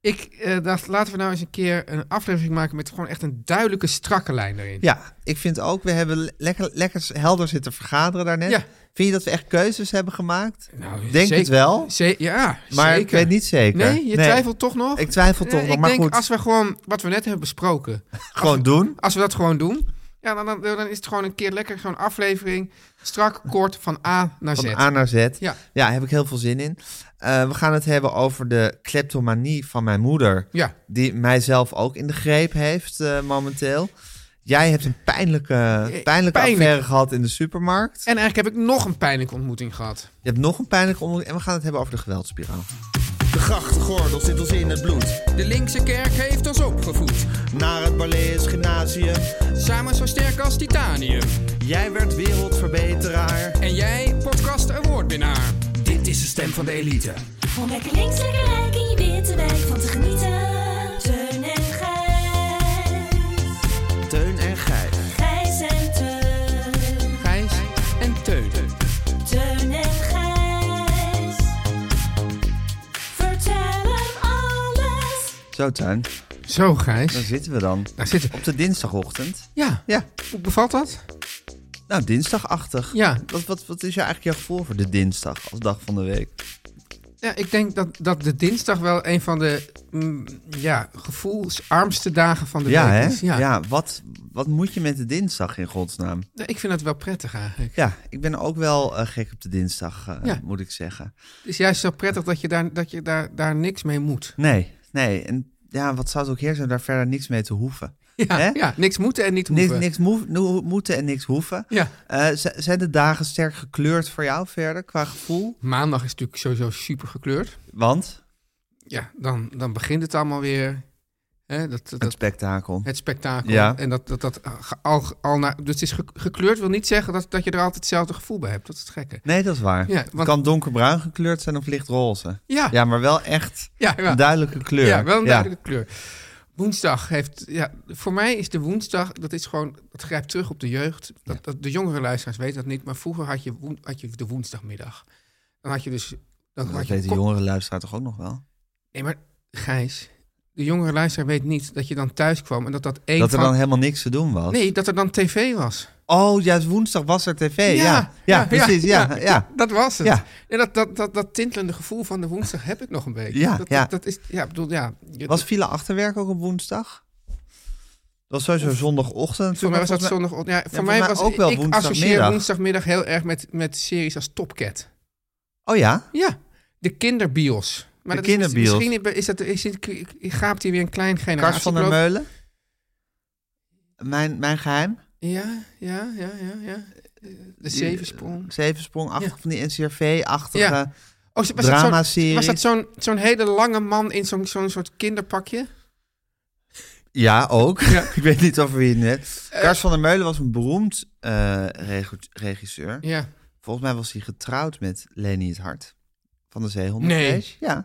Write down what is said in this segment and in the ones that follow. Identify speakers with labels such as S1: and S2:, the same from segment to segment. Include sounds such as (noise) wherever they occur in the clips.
S1: ik eh, dacht, laten we nou eens een keer een aflevering maken met gewoon echt een duidelijke, strakke lijn erin.
S2: Ja, ik vind ook, we hebben le- lekker, lekker helder zitten vergaderen daarnet.
S1: Ja.
S2: Vind je dat we echt keuzes hebben gemaakt?
S1: Nou,
S2: Denk
S1: zeker-
S2: het wel,
S1: Ze- ja,
S2: maar
S1: zeker.
S2: ik weet niet zeker.
S1: Nee, je twijfelt toch nog?
S2: Ik twijfel
S1: Eh,
S2: toch nog,
S1: ik
S2: maar
S1: denk,
S2: goed.
S1: als we gewoon wat we net hebben besproken,
S2: Gewoon doen.
S1: als we dat gewoon doen, ja, dan, dan, dan is het gewoon een keer lekker zo'n aflevering, strak, kort, van A naar Z.
S2: Van A naar Z.
S1: Ja.
S2: daar heb ik heel veel zin in. Eh, we gaan het hebben over de kleptomanie van mijn moeder.
S1: Ja.
S2: Die mijzelf ook in de greep heeft eh, momenteel. Jij hebt een pijnlijke, pijnlijke
S1: Eh, pijnlijk.
S2: affaire gehad in de supermarkt.
S1: En eigenlijk heb ik nog een pijnlijke ontmoeting gehad.
S2: Je hebt nog een pijnlijke onder... En we gaan het hebben over de geweldspiraal.
S3: De grachtgordel zit ons in het bloed.
S4: De linkse kerk heeft ons opgevoed.
S3: Naar het Barlees Gymnasium.
S4: Samen zo sterk als titanium.
S3: Jij werd wereldverbeteraar.
S4: En jij, podcast awardwinnaar. Dit is de stem van de elite.
S5: Om lekker links, lekker rijk in je witte wijk van te genieten. Teun en Gijs.
S3: Teun en Gijs.
S5: Gijs en Teun.
S4: Gijs en Teun.
S5: Teun en Gijs. Vertel hem alles.
S2: Zo, Tuin.
S1: Zo,
S2: Daar
S1: Gijs.
S2: zitten we dan.
S1: Daar zitten
S2: Op de dinsdagochtend.
S1: Ja,
S2: Ja,
S1: hoe bevalt dat?
S2: nou, dinsdagachtig.
S1: Ja.
S2: Wat, wat, wat is jou eigenlijk jouw gevoel voor de dinsdag als dag van de week?
S1: Ja, ik denk dat, dat de dinsdag wel een van de mm, ja, gevoelsarmste dagen van de
S2: Ja,
S1: week
S2: hè?
S1: is.
S2: Ja, wat, wat moet je met de dinsdag in godsnaam?
S1: Nou, ik vind dat wel prettig eigenlijk.
S2: Ja, ik ben ook wel eh, gek op de dinsdag, eh,
S1: Ja.
S2: moet ik zeggen.
S1: Het is juist zo prettig dat je daar, dat je daar, daar niks mee moet.
S2: Nee, nee. En ja, wat zou het ook heer zijn om daar verder niks mee te hoeven?
S1: Ja,
S2: Hè?
S1: ja niks moeten en niet
S2: Niks,
S1: hoeven.
S2: niks moe- no- moeten en niks hoeven.
S1: Ja.
S2: Eh, z- zijn de dagen sterk gekleurd voor jou verder qua gevoel?
S1: Maandag is natuurlijk sowieso super gekleurd.
S2: Want
S1: Ja, dan, dan begint het allemaal weer. Hè, dat, dat,
S2: het
S1: dat,
S2: spektakel.
S1: het spektakel.
S2: Ja.
S1: En dat, dat, dat eh, ge- al, al naar, dus het is ge- gekleurd wil niet zeggen dat, dat je er altijd hetzelfde gevoel bij hebt. Dat is het gekke.
S2: Nee, dat is waar.
S1: Ja,
S2: Het
S1: want-
S2: kan donkerbruin gekleurd zijn of lichtroze.
S1: Ja.
S2: Ja, maar wel echt
S1: Ja, ja.
S2: een duidelijke kleur.
S1: Ja, wel een duidelijke kleur. Woensdag heeft, ja, voor mij is de woensdag, dat is gewoon, dat grijpt terug op de jeugd. Dat, dat, de jongere luisteraars weten dat niet, maar vroeger had je, woen- had je de woensdagmiddag. Dan had je dus, dan
S2: Dat
S1: had je
S2: weet de
S1: ko-
S2: jongere luisteraar toch ook nog wel?
S1: Nee, maar Gijs, de jongere luisteraar weet niet dat je dan thuis kwam en dat dat één
S2: Dat er
S1: van...
S2: dan helemaal niks te doen was.
S1: Nee, dat er dan tv was.
S2: Oh, juist woensdag was er tv. Ja, ja, precies. Ja, ja, ja.
S1: Dat was het.
S2: Ja.
S1: En dat, dat, dat, dat tintelende gevoel van de woensdag heb ik nog een beetje.
S2: Ja,
S1: dat,
S2: ja.
S1: Dat, dat is, ja, ik bedoel, ja. je-
S2: Was file achterwerk ook op woensdag? Dat was sowieso zondagochtend.
S1: Voor mij was
S2: natuurlijk,
S1: dat
S2: maar volgens
S1: zondag. Ja, voor,
S2: voor
S1: mij,
S2: mij
S1: was
S2: ook wel
S1: ik associeer
S2: woensdagmiddag.
S1: woensdagmiddag heel erg met, met series als Top Cat.
S2: mij- Oh ja?
S1: Ja, de kinderbios. Maar
S2: De
S1: dat is-
S2: kinderbios.
S1: misschien is dat, is, dit- gaapt hier weer een klein generatie.
S2: Kars van der
S1: geloof ik.
S2: Meulen? Mijn, mijn geheim?
S1: Ja, ja, ja, ja, ja. De
S2: eh,
S1: Zevensprong.
S2: Zevensprong, achter
S1: Ja.
S2: van die NCRV-achtige...
S1: Ja. Oh, was dat zo'n,
S2: dramaserie.
S1: was dat zo'n, zo'n hele lange man in zo'n, zo'n soort kinderpakje?
S2: Ja, ook.
S1: Ja.
S2: (laughs)
S1: Eh.
S2: ik weet niet over wie het net. Kars van der Meulen was een beroemd eh, regu- regisseur.
S1: Ja.
S2: Volgens mij was hij getrouwd met Leni het Hart van de Zeehonden.
S1: Nee.
S2: Ja.
S1: Daar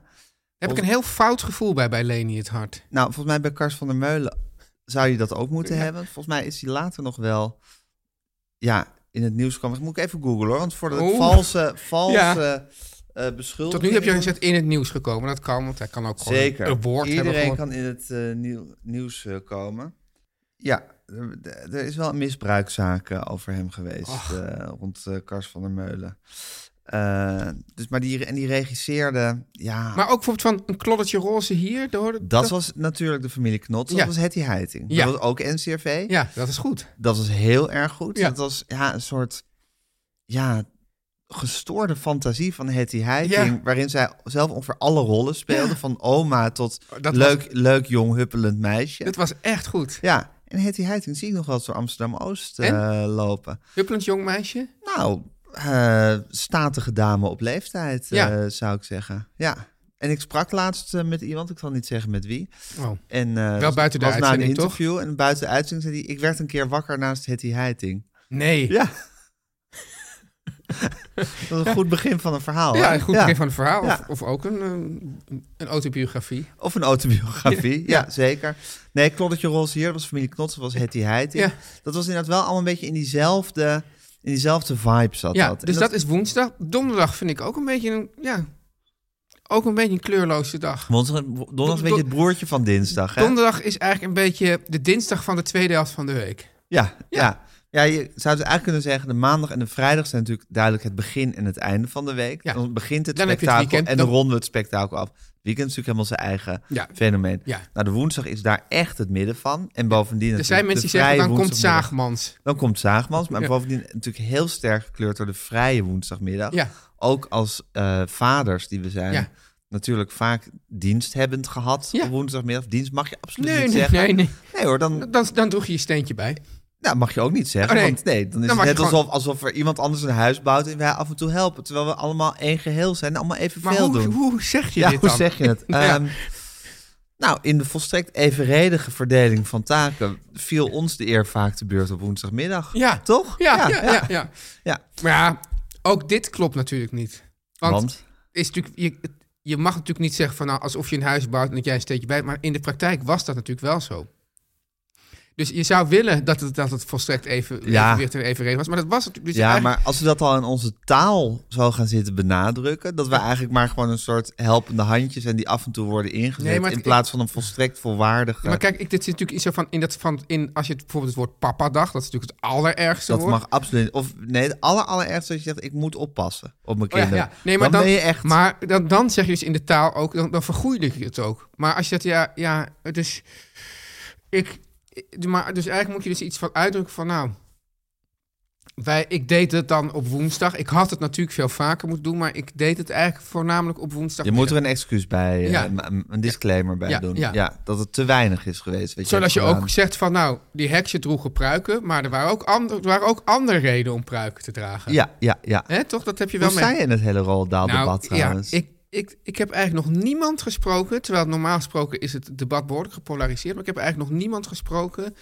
S1: heb
S2: Of-
S1: ik een heel fout gevoel bij, bij Leni het Hart.
S2: Nou, volgens mij bij Kars van der Meulen zou je dat ook moeten hebben. Volgens mij is hij later nog wel ja, in het nieuws gekomen. Moet ik even googlen hoor, want voor dat
S1: Oeh.
S2: valse, valse eh beschuldigingen.
S1: Tot nu toe heb je gezegd in het nieuws gekomen. Dat kan, want hij kan ook gewoon
S2: Zeker.
S1: een woord
S2: Iedereen
S1: hebben.
S2: kan in het eh, nieuw- nieuws eh, komen. Ja, er- er er is wel een misbruikzaak eh, over hem geweest eh, rond eh, Kars van der Meulen. Eh, dus, maar die, en die regisseerde, ja,
S1: Maar ook bijvoorbeeld van een kloddertje roze hier. Door,
S2: dat, was natuurlijk de familie Knots. Dat
S1: Ja.
S2: was Hetty Heiting.
S1: Ja.
S2: Dat was ook NCRV.
S1: Ja, dat is goed.
S2: Dat was heel erg goed.
S1: Ja.
S2: Dat was ja, een soort ja, gestoorde fantasie van Hetty Heiting...
S1: Ja.
S2: waarin zij zelf ongeveer alle rollen speelde.
S1: Ja. Oh,
S2: Van oma tot
S1: Dat
S2: leuk, leuk jong huppelend meisje.
S1: Dit was echt goed.
S2: Ja, en Hetty Heiting zie ik nog wel eens door Amsterdam-Oost eh, lopen.
S1: Huppelend jong meisje.
S2: Nou, eh, statige dame op leeftijd, eh,
S1: Ja.
S2: zou ik zeggen. Ja. En ik sprak laatst eh, met iemand, ik zal niet zeggen met wie.
S1: Oh.
S2: En, eh,
S1: Wel buiten de
S2: was na een
S1: uitzending, toch?
S2: interview en buiten de uitzending zei hij... ik werd een keer wakker naast Hetty Heiting.
S1: Nee.
S2: Ja. Dat is een goed begin van een verhaal.
S1: Ja,
S2: hè?
S1: een goed begin van het verhaal.
S2: Ja.
S1: Of, of ook een, eh, een autobiografie.
S2: Of een autobiografie, ja,
S1: Ja.
S2: zeker. Nee, Kloddertje Rols hier, dat was familie Knots, dat was Hetty Heiting.
S1: Ja.
S2: Dat was inderdaad wel allemaal een beetje in diezelfde, in diezelfde vibe zat
S1: ja,
S2: dat. En
S1: dus dat... is woensdag. Donderdag vind ik ook een beetje een, ja, ook een, beetje een kleurloze dag.
S2: Woensdag, donderdag is een beetje het broertje van dinsdag, hè?
S1: Donderdag is eigenlijk een beetje de dinsdag van de tweede helft van de week.
S2: Ja, ja. Ja, je zou dus eigenlijk kunnen zeggen, de maandag en de vrijdag zijn natuurlijk duidelijk het begin en het einde van de week.
S1: Ja.
S2: Dan begint het
S1: Dan heb je het
S2: spektakel
S1: weekend,
S2: en dan
S1: dan-
S2: ronden we het spektakel af. Weekend is natuurlijk helemaal zijn eigen
S1: Ja.
S2: fenomeen.
S1: Ja.
S2: Nou, de woensdag is daar echt het midden van. En bovendien
S1: Er zijn
S2: natuurlijk
S1: mensen die
S2: de
S1: zeggen,
S2: vrije
S1: dan komt
S2: woensdagmiddag.
S1: Zaagmans.
S2: Dan komt Zaagmans, maar
S1: Ja.
S2: bovendien natuurlijk heel sterk gekleurd door de vrije woensdagmiddag.
S1: Ja.
S2: Ook als eh, vaders die we zijn,
S1: Ja.
S2: natuurlijk vaak diensthebbend gehad
S1: Ja.
S2: op woensdagmiddag. Dienst mag je absoluut
S1: Nee,
S2: niet
S1: nee,
S2: zeggen.
S1: nee, nee.
S2: Nee hoor, dan
S1: Dan, dan droeg je je steentje bij.
S2: nou, mag je ook niet zeggen.
S1: Oh, nee.
S2: Want nee, dan is
S1: Dan
S2: het
S1: mag
S2: net
S1: je gewoon-
S2: alsof, alsof er iemand anders een huis bouwt en wij af en toe helpen. Terwijl we allemaal één geheel zijn en allemaal evenveel
S1: Maar hoe,
S2: doen.
S1: hoe zeg je
S2: ja,
S1: dit
S2: hoe
S1: dan?
S2: zeg je het?
S1: (laughs) Ja.
S2: Ehm, nou, in de volstrekt evenredige verdeling van taken viel ons de eer vaak te beurt op woensdagmiddag.
S1: Ja.
S2: Toch?
S1: Ja, ja, ja, ja,
S2: Ja.
S1: Maar ja, ook dit klopt natuurlijk niet. Want,
S2: Want?
S1: Is natuurlijk, je, je mag natuurlijk niet zeggen van nou, alsof je een huis bouwt en dat jij een steentje bij. Maar in de praktijk was dat natuurlijk wel zo. Dus je zou willen dat het, dat het volstrekt even,
S2: Ja.
S1: evenwicht en evenredig was. Maar dat was natuurlijk... Dus
S2: ja,
S1: eigenlijk-
S2: maar als we dat al in onze taal zo gaan zitten benadrukken, dat we eigenlijk maar gewoon een soort helpende handjes en die af en toe worden ingezet,
S1: Nee, maar
S2: in
S1: het-
S2: plaats van een volstrekt volwaardige.
S1: Ja, maar kijk, ik, dit zit natuurlijk iets zo van, in dat, van in, als je het, bijvoorbeeld het woord papa-dag, dat is natuurlijk het allerergste
S2: Dat
S1: woord.
S2: mag absoluut. niet. Of nee, het aller, allerergste dat je zegt: ik moet oppassen op mijn
S1: Oh ja,
S2: kinderen.
S1: ja. Nee, maar
S2: dan,
S1: dan,
S2: ben je echt.
S1: Maar dan, dan zeg je dus in de taal ook, dan, dan vergoeilijk je het ook. Maar als je dat, ja, ja, het is... Ik, ik- maar, dus eigenlijk moet je dus iets van uitdrukken van, nou... Wij, ik deed het dan op woensdag. Ik had het natuurlijk veel vaker moeten doen, maar ik deed het eigenlijk voornamelijk op woensdag.
S2: je moet er een excuus bij, eh,
S1: Ja.
S2: ma- een disclaimer bij
S1: Ja,
S2: doen. Ja.
S1: ja.
S2: dat het te weinig is geweest. Weet
S1: Zodat je
S2: hebt
S1: ook
S2: gedaan.
S1: zegt van, nou, die heksen droegen pruiken, maar er waren ook, ander, er waren ook andere redenen om pruiken te dragen.
S2: Ja, ja, ja.
S1: Hè, toch? Dat heb je
S2: Hoe
S1: wel mee.
S2: sta je in het hele Roaldaaldebat debat trouwens?
S1: Nou, Ja, ik, ik, ik heb eigenlijk nog niemand gesproken, terwijl normaal gesproken is het debat behoorlijk gepolariseerd, maar ik heb eigenlijk nog niemand gesproken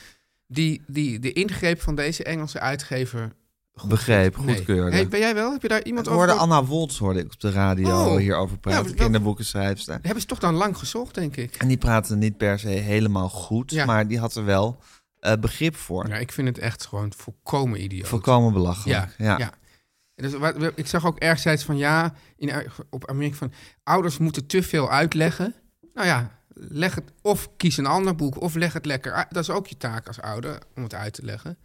S1: die, die de ingreep van deze Engelse uitgever goed
S2: Begreep,
S1: vindt. Nee.
S2: goedkeurde.
S1: Hey, ben jij wel? Heb je daar iemand
S2: Ik
S1: over?
S2: hoorde
S1: gehoord?
S2: Anna Woltz hoorde ik op de radio
S1: Oh.
S2: hierover praten,
S1: Ja, dat-
S2: kinderboekenschrijfster.
S1: Hebben ze toch dan lang gezocht, denk ik?
S2: En die praatte niet per se helemaal goed,
S1: Ja.
S2: maar die had er wel eh, begrip voor.
S1: Ja, ik vind het echt gewoon volkomen idioot.
S2: Volkomen belachelijk.
S1: Ja,
S2: Ja,
S1: ja. Dus wat, ik zag ook ergens van ja, in, op Amerika van ouders moeten te veel uitleggen. Nou ja, leg het, of kies een ander boek, of leg het lekker uit. Dat is ook je taak als ouder, om het uit te leggen.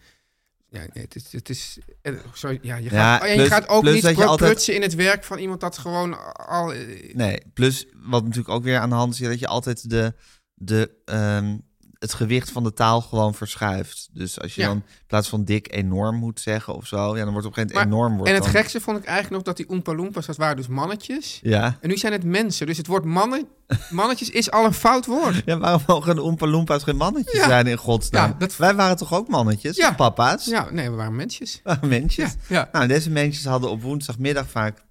S1: Ja, nee, het is, het is eh, zo, ja, je,
S2: Ja,
S1: gaat, oh ja,
S2: plus-
S1: je gaat ook
S2: plus
S1: niet
S2: dat je
S1: pro-
S2: altijd-
S1: prutsen in het werk van iemand dat gewoon al... eh,
S2: Nee, plus wat natuurlijk ook weer aan de hand is, ja, dat je altijd de, de, ehm, het gewicht van de taal gewoon verschuift. Dus als je
S1: Ja.
S2: dan in plaats van dik enorm moet zeggen of zo, ja, dan wordt op een gegeven
S1: maar-
S2: moment enorm. Wordt
S1: en het
S2: dan-
S1: gekste vond ik eigenlijk nog dat die Oompa Loompas, dat waren dus mannetjes.
S2: Ja.
S1: En nu zijn het mensen, dus het woord mannen, mannetjes is al een fout woord.
S2: (laughs) ja, waarom mogen de Oompa Loompa's geen mannetjes
S1: Ja.
S2: zijn in godsnaam?
S1: Ja, dat-
S2: Wij waren toch ook mannetjes?
S1: Ja.
S2: Of papa's?
S1: Ja, nee, we waren mensjes.
S2: Waren (laughs) Mensjes?
S1: Ja, ja.
S2: Nou, deze mensen hadden op woensdagmiddag vaak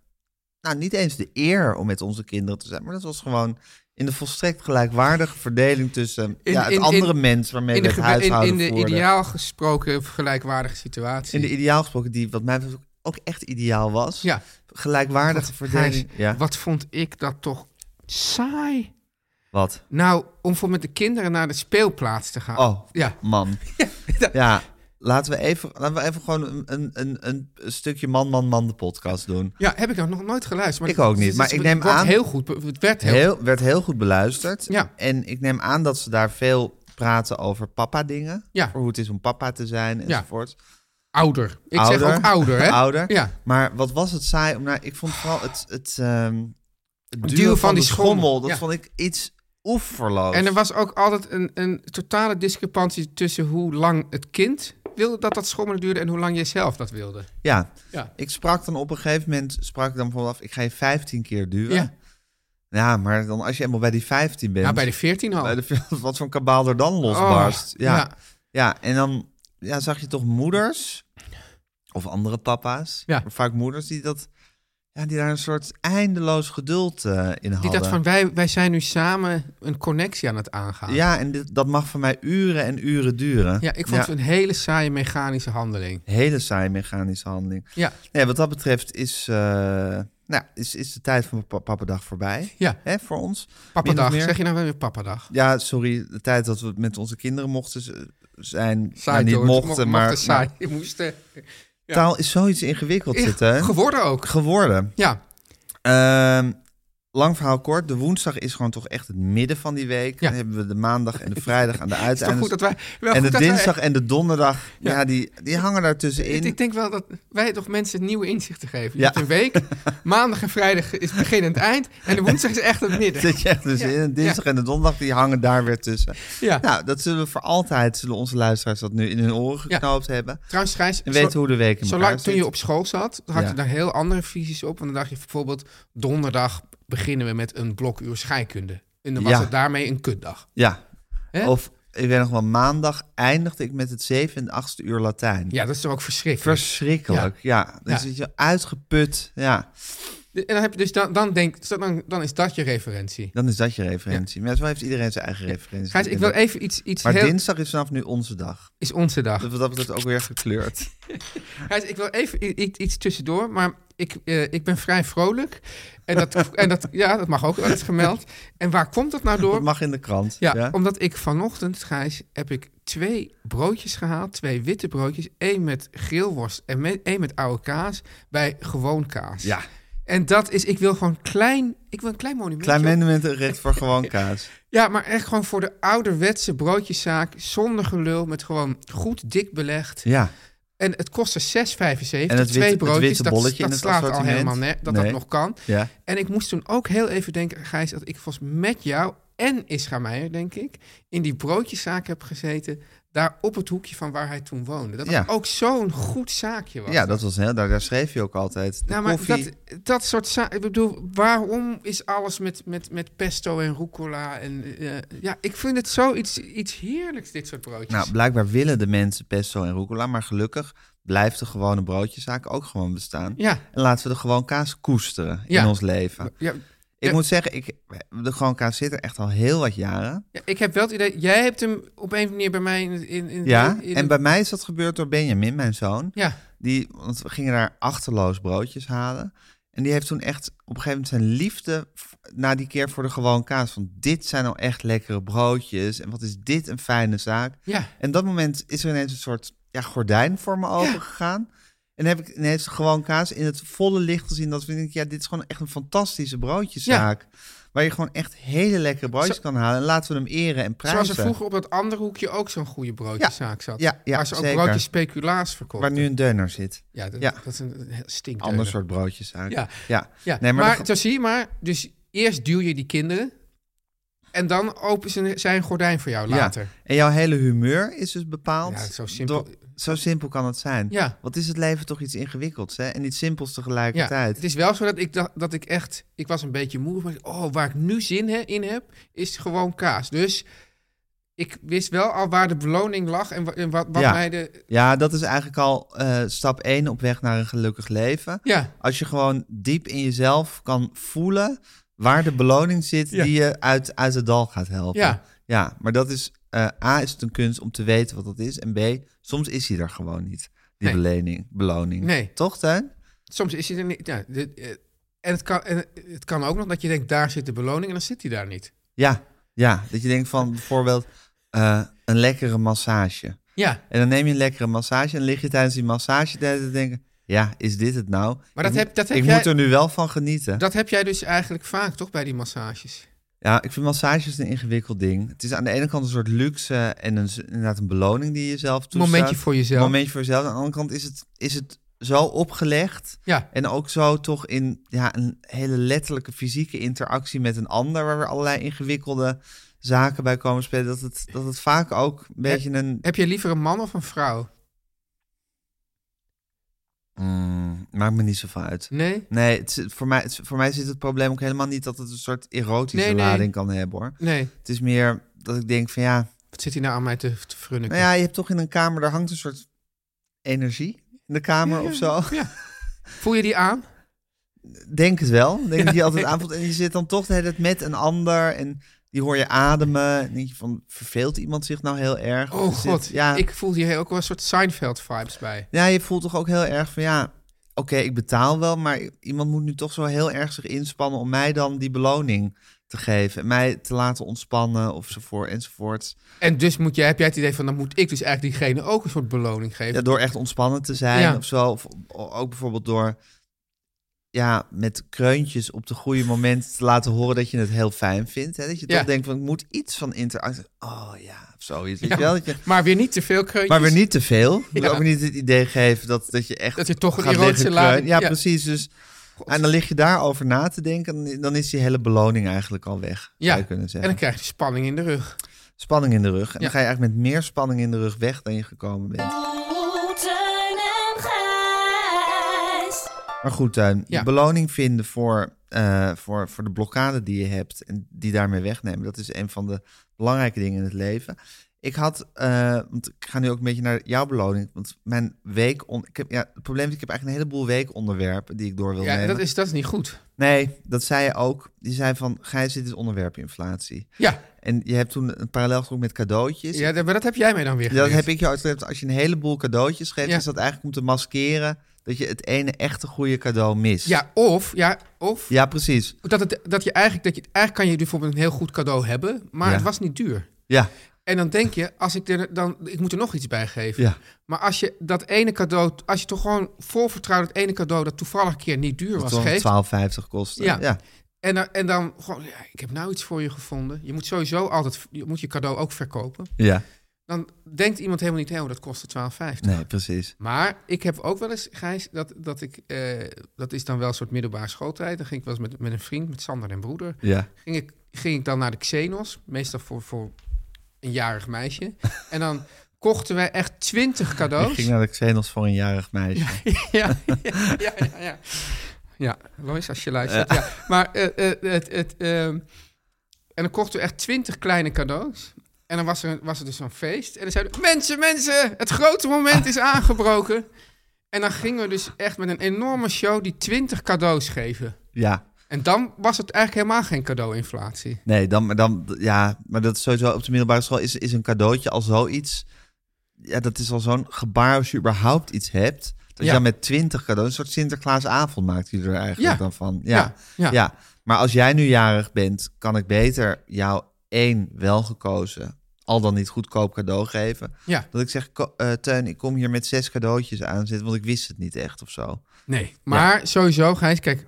S2: nou, niet eens de eer om met onze kinderen te zijn, maar dat was gewoon in de volstrekt gelijkwaardige verdeling tussen
S1: In-
S2: ja, het
S1: in- in-
S2: andere mens waarmee we het
S1: gebe- in,
S2: huishouden
S1: in de
S2: voerden.
S1: ideaal gesproken gelijkwaardige situatie.
S2: In de ideaal gesproken, die wat mij betreft ook echt ideaal was.
S1: ja,
S2: Gelijkwaardige verdeling.
S1: Gijs,
S2: Ja.
S1: Wat vond ik dat toch saai?
S2: Wat?
S1: Nou, om voor met de kinderen naar de speelplaats te gaan.
S2: Oh,
S1: (laughs) Ja,
S2: man.
S1: dat-
S2: Ja, Laten we even, laten we even gewoon een, een, een, een stukje man, man, man de podcast doen.
S1: Ja, heb ik nog, nog nooit geluisterd. Maar
S2: Ik ook
S1: het is-
S2: niet, maar
S1: het
S2: ik
S1: wordt
S2: neem aan-
S1: Heel goed, be- het werd heel,
S2: Heel, werd heel goed beluisterd.
S1: Ja.
S2: En ik neem aan dat ze daar veel praten over papa dingen.
S1: Ja.
S2: Voor hoe het is om papa te zijn
S1: Ja.
S2: enzovoort.
S1: ouder. Ik
S2: Ouder.
S1: zeg ook ouder, hè?
S2: (laughs) Ouder.
S1: Ja.
S2: Maar wat was het saai om naar... Ik vond vooral het, het, ehm, het duwen
S1: duwen
S2: van,
S1: van
S2: de
S1: die schommel.
S2: schommel, dat
S1: Ja.
S2: vond ik iets oeverloos.
S1: En er was ook altijd een, een totale discrepantie tussen hoe lang het kind wilde dat dat schommelen duurde en hoe lang jij zelf dat wilde.
S2: Ja.
S1: Ja.
S2: Ik sprak dan op een gegeven moment, sprak ik dan bijvoorbeeld af, ik ga je 15 keer duwen.
S1: Ja.
S2: Ja. maar dan als je eenmaal bij die 15 bent,
S1: Ja, Nou, bij de 14 al.
S2: bij de- (laughs) wat voor een kabaal er dan losbarst.
S1: Oh,
S2: ja.
S1: ja.
S2: Ja. en dan ja, zag je toch moeders of andere papa's,
S1: Ja.
S2: maar vaak moeders die dat, ja, die daar een soort eindeloos geduld eh, in
S1: Die
S2: hadden.
S1: dacht van, wij, wij zijn nu samen een connectie aan het aangaan.
S2: Ja, en dit, dat mag voor mij uren en uren duren.
S1: Ja, ik vond het een hele saaie mechanische handeling.
S2: Hele saaie mechanische handeling.
S1: Ja,
S2: Nee, wat dat betreft is, eh, nou, is, is de tijd van Papa- Pappendag voorbij.
S1: Ja.
S2: Hè, voor ons. Min of
S1: pappadag.
S2: meer.
S1: Zeg je nou wel weer pappadag?
S2: Ja, sorry. De tijd dat we met onze kinderen mochten z- zijn.
S1: Saai,
S2: maar Nou, niet
S1: Jorrit.
S2: mochten,
S1: Mocht-
S2: maar...
S1: saai.
S2: nou,
S1: Je moest... eh, ja.
S2: Taal is zoiets ingewikkeld
S1: Ja,
S2: zitten.
S1: geworden ook.
S2: Geworden.
S1: Ja,
S2: Ehm, lang verhaal kort. De woensdag is gewoon toch echt het midden van die week.
S1: Ja.
S2: Dan hebben we de maandag en de vrijdag aan de
S1: het (laughs) is toch
S2: uiteindes.
S1: goed dat wij... Wel
S2: en
S1: goed (laughs)
S2: de
S1: dat wij-
S2: dinsdag en de donderdag,
S1: Ja.
S2: ja. die, die hangen daartussenin.
S1: Ik, ik denk wel dat wij toch mensen nieuwe inzichten geven. Je
S2: Ja.
S1: hebt een
S2: (laughs)
S1: week, maandag en vrijdag is begin en het eind. En de woensdag is echt het midden.
S2: (laughs) Zit je echt dus
S1: Ja,
S2: in. En dinsdag en de donderdag, die hangen daar weer tussen.
S1: Ja.
S2: Nou, dat zullen we voor altijd, zullen onze luisteraars dat nu in hun oren
S1: Ja.
S2: geknoopt hebben.
S1: Trouwens, Gijs,
S2: En
S1: zo-
S2: weten hoe de week in elkaar
S1: zolang toen je
S2: zit.
S1: op school zat, had
S2: Ja.
S1: je daar heel andere visies op. Want dan dacht je bijvoorbeeld, donderdag beginnen we met een blokuur scheikunde. En dan was
S2: Ja.
S1: het daarmee een kutdag.
S2: Ja.
S1: Hè?
S2: Of, ik weet nog wel, maandag eindigde ik met het zeven en achtste uur Latijn.
S1: Ja, dat is toch ook verschrikkelijk.
S2: Verschrikkelijk, ja. Dan
S1: Ja.
S2: zit je uitgeput, ja.
S1: en dan heb je dus dan, dan denk, dan, dan is dat je referentie.
S2: Dan is dat je referentie. Maar zo heeft iedereen zijn eigen referentie.
S1: Gijs, ik wil even iets, iets
S2: Maar
S1: heel...
S2: dinsdag is vanaf nu onze dag.
S1: is onze dag.
S2: Dus wat dat betreft ook weer gekleurd.
S1: Gijs, ik wil even i- i- iets tussendoor, maar ik, eh, ik ben vrij vrolijk. En dat, en dat, ja, dat mag ook wel eens gemeld. En waar komt dat nou
S2: Dat
S1: door?
S2: mag in de krant.
S1: Ja, omdat ik vanochtend, Gijs, heb ik twee broodjes gehaald. Twee witte broodjes. één met grillworst en me- één met oude kaas bij gewoon kaas.
S2: Ja.
S1: En dat is, ik wil gewoon klein, ik wil een klein monument.
S2: Klein monument recht voor gewoon kaas.
S1: Ja, maar echt gewoon voor de ouderwetse broodjeszaak. Zonder gelul, met gewoon goed dik belegd.
S2: Ja.
S1: En het kostte 6,75.
S2: En het
S1: twee
S2: witte- het
S1: broodjes,
S2: witte
S1: dat-
S2: bolletje
S1: dat,
S2: in het
S1: slaat al
S2: assortiment?
S1: helemaal net, dat dat
S2: Nee.
S1: nog kan.
S2: Ja.
S1: En ik moest toen ook heel even denken, Gijs, dat ik volgens met jou en Isra Meijer, denk ik, in die broodjeszaak heb gezeten, daar op het hoekje van waar hij toen woonde. Dat dat
S2: Ja.
S1: ook zo'n goed zaakje was.
S2: Ja, dat was heel, daar, daar schreef je ook altijd. De
S1: nou, maar
S2: koffie.
S1: dat, dat soort zaken. Ik bedoel, waarom is alles met, met, met pesto en rucola? En, eh, ja, ik vind het zoiets iets heerlijks, dit soort broodjes.
S2: Nou, blijkbaar willen de mensen pesto en rucola, maar gelukkig blijft de gewone broodjeszaak ook gewoon bestaan.
S1: ja,
S2: En laten we de gewoon kaas koesteren
S1: Ja.
S2: in ons leven.
S1: ja,
S2: Ik
S1: Ja.
S2: moet zeggen, ik, de gewoon kaas zit er echt al heel wat jaren.
S1: Ja, ik heb wel het idee, jij hebt hem op een of andere manier bij mij in... in, in
S2: Ja,
S1: in-
S2: en bij mij is dat gebeurd door Benjamin, mijn zoon.
S1: Ja,
S2: Die, want we gingen daar achterloos broodjes halen. En die heeft toen echt op een gegeven moment zijn liefde f- na die keer voor de gewoon kaas. Van dit zijn nou echt lekkere broodjes. En wat is dit een fijne zaak.
S1: ja.
S2: En dat moment is er ineens een soort ja, gordijn voor me open gegaan. En heb ik ineens gewoon kaas in het volle licht gezien. Dat vind ik, ja, dit is gewoon echt een fantastische broodjeszaak. Waar je gewoon echt hele lekkere broodjes
S1: Zo-
S2: kan halen. En laten we hem eren en prijzen.
S1: Zoals er vroeger op dat andere hoekje ook zo'n goede broodjeszaak zat.
S2: Ja, ja,
S1: waar ze ook
S2: zeker.
S1: broodjes speculaas verkochten.
S2: Waar nu een deuner zit.
S1: ja, dat,
S2: ja.
S1: dat is een stinkt.
S2: Ander soort broodjeszaak.
S1: Ja.
S2: ja.
S1: Ja,
S2: Nee,
S1: maar,
S2: maar
S1: zo zie je maar, dus eerst duw je die kinderen... en dan open ze zij een gordijn voor jou later.
S2: Ja. En jouw hele humeur is dus bepaald.
S1: Ja, zo simpel-
S2: zo simpel kan het zijn.
S1: Ja.
S2: Wat is het leven toch iets ingewikkelds hè? en iets simpels
S1: Ja,
S2: tegelijkertijd.
S1: het is wel zo dat ik dacht dat ik echt, ik was een beetje moe, maar oh, waar ik nu zin he- in heb, is gewoon kaas. Dus ik wist wel al waar de beloning lag en, wa- en wat, wat
S2: Ja.
S1: mij de,
S2: Ja, dat is eigenlijk al eh, stap 1 op weg naar een gelukkig leven.
S1: ja,
S2: Als je gewoon diep in jezelf kan voelen waar de beloning zit
S1: Ja.
S2: die je uit, uit het dal gaat helpen.
S1: Ja.
S2: ja maar dat is, eh, A, is het een kunst om te weten wat dat is. En B, soms is hij er gewoon niet, die
S1: Nee.
S2: belening, beloning.
S1: Nee.
S2: Toch, Tuin?
S1: soms is hij er niet. Ja, dit, eh, en, het kan, en het kan ook nog dat je denkt, daar zit de beloning en dan zit hij daar niet.
S2: Ja, ja, dat je denkt van bijvoorbeeld eh, een lekkere massage.
S1: Ja,
S2: En dan neem je een lekkere massage en lig je tijdens die massage de hele tijd te denken... Ja, is dit het nou?
S1: Maar
S2: ik,
S1: dat heb- dat heb
S2: ik
S1: jij-
S2: moet er nu wel van genieten.
S1: dat heb jij dus eigenlijk vaak toch bij die massages.
S2: Ja, ik vind massages een ingewikkeld ding. Het is aan de ene kant een soort luxe en een, inderdaad een beloning die je zelf toestaat.
S1: Momentje voor jezelf.
S2: Momentje voor jezelf. Aan de andere kant is het, is het zo opgelegd.
S1: Ja.
S2: En ook zo toch in ja, een hele letterlijke fysieke interactie met een ander... waar weer allerlei ingewikkelde zaken bij komen spelen... dat het, dat het vaak ook een beetje een...
S1: Heb je liever een man of een vrouw?
S2: Mm, maakt me niet zoveel uit.
S1: Nee?
S2: Nee, het, zit- voor, mij, het- voor mij zit het probleem ook helemaal niet... dat het een soort erotische
S1: Nee, nee.
S2: lading kan hebben, hoor.
S1: Nee.
S2: Het is meer dat ik denk van ja...
S1: Wat zit hij nou aan mij te, te frunniken?
S2: Nou ja, je hebt toch in een kamer, daar hangt een soort energie in de kamer of zo.
S1: Voel je die aan?
S2: Denk het wel. Denk dat je altijd aanvoelt. En je zit dan toch de hele tijd met een ander en die hoor je ademen. En denk je van, verveelt iemand zich nou heel erg?
S1: Oh
S2: Of zit-
S1: god,
S2: ja,
S1: ik voel hier ook wel een soort Seinfeld-vibes bij.
S2: ja, je voelt toch ook heel erg van ja, oké, ik betaal wel, maar iemand moet nu toch zo heel erg zich inspannen om mij dan die beloning te geven. En mij te laten ontspannen ofzovoort enzovoort.
S1: En dus moet jij, heb jij het idee van, dan moet ik dus eigenlijk diegene ook een soort beloning geven.
S2: Ja, door echt ontspannen te zijn
S1: Ja.
S2: of zo. Of o- ook bijvoorbeeld door ja, met kreuntjes op de goede moment te laten horen dat je het heel fijn vindt. Hè? Dat je
S1: Ja.
S2: toch denkt van ik moet iets van interactie. Oh ja, of zoiets. Weet
S1: Ja,
S2: je wel, dat je,
S1: Maar weer niet te veel kreuntjes.
S2: maar weer niet te veel.
S1: Ja.
S2: Ja. Ook niet het idee geven dat, dat je echt.
S1: Dat je toch een
S2: gaat
S1: erotische
S2: liggen kreunen.
S1: lading-
S2: Ja,
S1: ja.
S2: precies. Dus, en dan lig je daarover na te denken. en Dan is die hele beloning eigenlijk al weg.
S1: Ja,
S2: zou je kunnen
S1: en
S2: zeggen.
S1: dan krijg je spanning in de rug.
S2: Spanning in de rug.
S1: Ja.
S2: En dan ga je eigenlijk met meer spanning in de rug weg dan je gekomen bent.
S5: Oh, Teun en Gijs.
S2: Maar goed, Tuin,
S1: Ja.
S2: de beloning vinden voor, eh, voor, voor de blokkade die je hebt en die daarmee wegnemen, dat is een van de belangrijke dingen in het leven. Ik had, eh, want ik ga nu ook een beetje naar jouw beloning, want mijn week, on- ik heb, ja, het probleem is, ik heb eigenlijk een heleboel weekonderwerpen die ik door wil
S1: Ja, en
S2: nemen.
S1: dat is, dat is niet goed.
S2: Nee, dat zei je ook. Die zei van, Gijs, dit is onderwerpinflatie.
S1: Ja,
S2: En je hebt toen een parallel getrokken met cadeautjes.
S1: ja dat- maar dat heb jij mij dan weer
S2: Dus Dat
S1: geleerd.
S2: heb ik jou uitgelegd. Als je een heleboel cadeautjes geeft,
S1: Ja.
S2: is dat eigenlijk om te maskeren dat je het ene echte goede cadeau mist.
S1: Ja, of, ja, of
S2: Ja, precies.
S1: Dat, het, dat je eigenlijk, dat je, eigenlijk kan je bijvoorbeeld een heel goed cadeau hebben, maar
S2: Ja.
S1: het was niet duur.
S2: Ja,
S1: En dan denk je, als ik er dan, ik moet er nog iets bij geven.
S2: ja.
S1: Maar als je dat ene cadeau, als je toch gewoon vol vertrouwen dat ene cadeau dat toevallig een keer niet duur
S2: Dat
S1: was
S2: toch
S1: geeft.
S2: 12,50 kostte.
S1: Ja.
S2: Ja.
S1: En, dan- en dan gewoon, ja, ik heb nou iets voor je gevonden. Je moet sowieso altijd, je moet je cadeau ook verkopen.
S2: Ja.
S1: Dan denkt iemand helemaal niet, hé, oh, dat kostte 12,50.
S2: Nee, precies.
S1: Maar ik heb ook wel eens, Gijs, dat, dat ik, eh, dat is dan wel een soort middelbare schooltijd. Dan ging ik wel eens met, met een vriend, met Sander en broeder.
S2: Ja.
S1: ging ik, ging ik dan naar de Xenos, meestal voor, voor een jarig meisje. En dan kochten wij echt twintig
S2: (laughs) Ik
S1: cadeaus.
S2: ging naar de Xenos voor een jarig meisje.
S1: ja, (laughs) ja, ja, ja, ja. Ja, Lois, als je luistert. Ja. Maar eh, eh, het... het ehm, en dan kochten we echt twintig kleine cadeaus. En dan was er, was er dus zo'n feest. En dan zeiden we, mensen, mensen, het grote moment is aangebroken. En dan gingen we dus echt met een enorme show die twintig cadeaus geven.
S2: Ja.
S1: En dan was het eigenlijk helemaal geen cadeauinflatie.
S2: Nee, dan, maar dan, ja, maar dat is sowieso op de middelbare school is, is een cadeautje al zoiets. Ja, dat is al zo'n gebaar als je überhaupt iets hebt.
S1: Ja.
S2: Dat je dan met 20 cadeaus, een soort Sinterklaasavond maakt jullie er eigenlijk
S1: Ja.
S2: dan van.
S1: Ja,
S2: Ja.
S1: ja.
S2: Ja. Maar als jij nu jarig bent, kan ik beter jou één welgekozen, al dan niet goedkoop cadeau geven.
S1: Ja.
S2: Dat ik zeg, ko- eh, Teun, ik kom hier met zes cadeautjes aanzetten, want ik wist het niet echt of zo.
S1: Nee, maar sowieso, Gijs, kijk.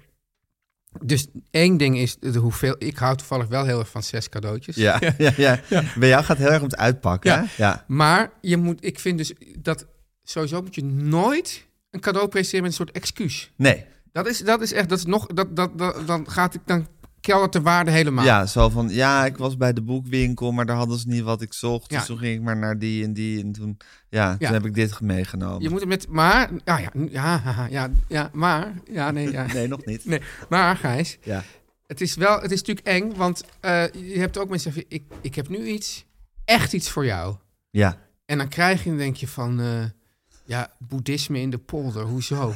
S1: Dus één ding is de hoeveel... Ik hou toevallig wel heel erg van zes cadeautjes.
S2: (laughs) Ja, ja, ja. Bij jou gaat het heel erg om het uitpakken.
S1: Ja.
S2: Ja. ja.
S1: Maar je moet, ik vind dus dat sowieso moet je nooit een cadeau presenteren met een soort excuus.
S2: Nee.
S1: Dat is, dat is echt, dat is nog, dat, dat, dat, dan gaat ik, dan keldert de waarde helemaal.
S2: Ja, zo van, ja, ik was bij de boekwinkel, maar daar hadden ze niet wat ik zocht.
S1: Ja.
S2: Dus toen ging ik maar naar die en die. En toen, ja,
S1: Ja.
S2: toen heb ik dit meegenomen.
S1: Je moet het met, maar, nou ja, ja, haha, ja, ja, maar, ja, nee, ja.
S2: Nee, nog niet.
S1: Nee, maar Gijs,
S2: Ja.
S1: het is wel, het is natuurlijk eng, want eh, je hebt ook mensen die zeggen, ik, ik heb nu iets, echt iets voor jou.
S2: Ja.
S1: En dan krijg je, dan denk je van, eh, ja, boeddhisme in de polder, hoezo?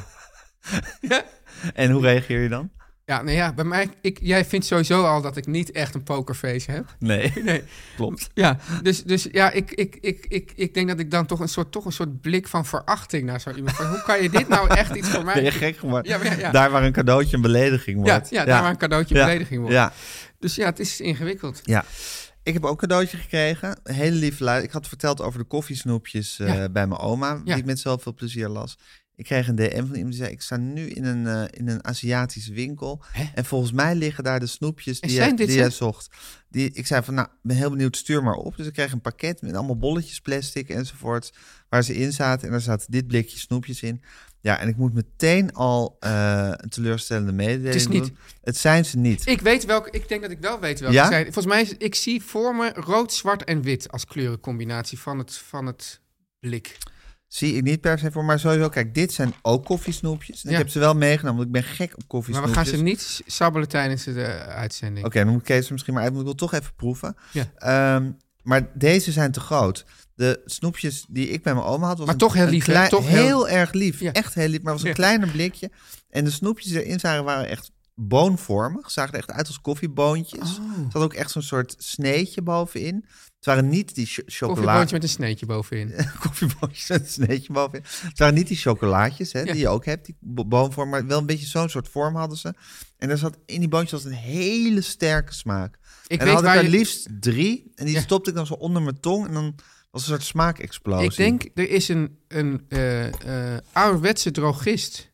S2: En hoe reageer je dan?
S1: Ja, nou ja, bij mij, ik, jij vindt sowieso al dat ik niet echt een pokerface heb.
S2: Nee,
S1: (laughs)
S2: (laughs)
S1: Nee.
S2: klopt.
S1: Ja, dus, dus ja, ik, ik, ik, ik, ik denk dat ik dan toch een soort, toch een soort blik van verachting naar zo iemand. Van, hoe kan je dit (laughs) nou echt iets voor
S2: Ben je
S1: mij?
S2: gek geworden?
S1: Ja, maar ja, ja.
S2: Daar waar een cadeautje een belediging
S1: Ja,
S2: wordt.
S1: ja, daar waar een cadeautje
S2: Ja.
S1: belediging wordt.
S2: Ja,
S1: Dus ja, het is ingewikkeld.
S2: ja. Ik ik heb ook een cadeautje gekregen. Een Hele lieve lui. Ik had verteld over de koffiesnoepjes eh,
S1: Ja.
S2: bij mijn oma, die
S1: Ja.
S2: ik met zoveel plezier las. Ik kreeg een DM van iemand die zei: Ik sta nu in een, eh, in een Aziatische winkel.
S1: Hè?
S2: En volgens mij liggen daar de snoepjes
S1: En
S2: die,
S1: zijn
S2: je,
S1: dit
S2: die
S1: ze?
S2: je zocht. Die, ik zei van nou, ben heel benieuwd, stuur maar op. Dus ik kreeg een pakket met allemaal bolletjes, plastic enzovoort. Waar ze in zaten. En daar zaten dit blikje snoepjes in. Ja, en ik moet meteen al eh, een teleurstellende mededeling
S1: Het is niet-
S2: doen. Het zijn ze niet.
S1: Ik weet welke, ik denk dat ik wel weet welke
S2: Ja?
S1: zijn. Volgens mij, is, ik zie voor me rood, zwart en wit als kleurencombinatie van het, van het blik.
S2: Zie ik niet per se voor, maar sowieso. Kijk, dit zijn ook koffiesnoepjes. En
S1: Ja.
S2: Ik heb ze wel meegenomen, want ik ben gek op
S1: Maar we
S2: koffiesnoepjes.
S1: gaan ze niet s- sabbelen tijdens de eh, uitzending.
S2: Oké, dan moet ik deze misschien maar uit, maar ik wil toch even proeven.
S1: Ja.
S2: Ehm, maar deze zijn te groot. De snoepjes die ik bij mijn oma had, was
S1: Maar toch heel
S2: een
S1: lief, hè?
S2: klein-
S1: Toch
S2: heel,
S1: heel-
S2: erg lief.
S1: Ja.
S2: Echt heel lief, maar het was een
S1: Ja.
S2: kleiner blikje. En de snoepjes die erin zagen waren echt boonvormig. Zagen er echt uit als koffieboontjes.
S1: Oh.
S2: Er zat ook echt zo'n soort sneetje bovenin. Het waren niet die cho- chocola
S1: Koffieboontje met een sneetje bovenin.
S2: koffieboontjes met een sneetje bovenin. Het waren niet die chocolaatjes hè,
S1: Ja.
S2: die je ook hebt, die bo- boomvorm, maar wel een beetje zo'n soort vorm hadden ze. En er zat in die boontjes was een hele sterke smaak.
S1: Ik weet
S2: en dan had ik
S1: waar
S2: er
S1: je-
S2: liefst drie en die
S1: Ja.
S2: stopte ik dan zo onder mijn tong en dan was een soort smaakexplosie.
S1: Ik denk, er is een, een eh, eh, ouderwetse drogist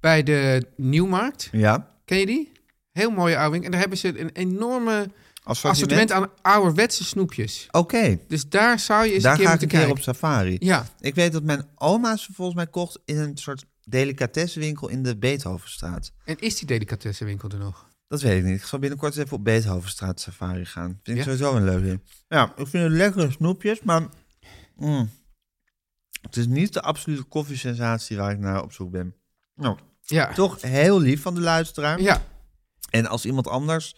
S1: bij de Nieuwmarkt.
S2: Ja,
S1: Ken je die? Heel mooie ouwing. En daar hebben ze een enorme
S2: assortiment.
S1: assortiment aan ouderwetse snoepjes.
S2: Oké,
S1: Dus daar zou je eens
S2: daar
S1: een keer
S2: ga ik
S1: moeten
S2: een keer
S1: kijken.
S2: op safari.
S1: Ja,
S2: Ik weet dat mijn oma ze volgens mij kocht in een soort delicatessenwinkel in de Beethovenstraat.
S1: en is die delicatessenwinkel er nog?
S2: Dat weet ik niet. Ik zal binnenkort eens even op Beethovenstraat safari gaan. Vind ik
S1: Ja?
S2: sowieso een leuk ding. Ja, ik vind het lekkere snoepjes, maar... mm, het is niet de absolute koffiesensatie waar ik naar op zoek ben. Nou,
S1: Ja.
S2: toch heel lief van de luisteraar.
S1: Ja,
S2: En als iemand anders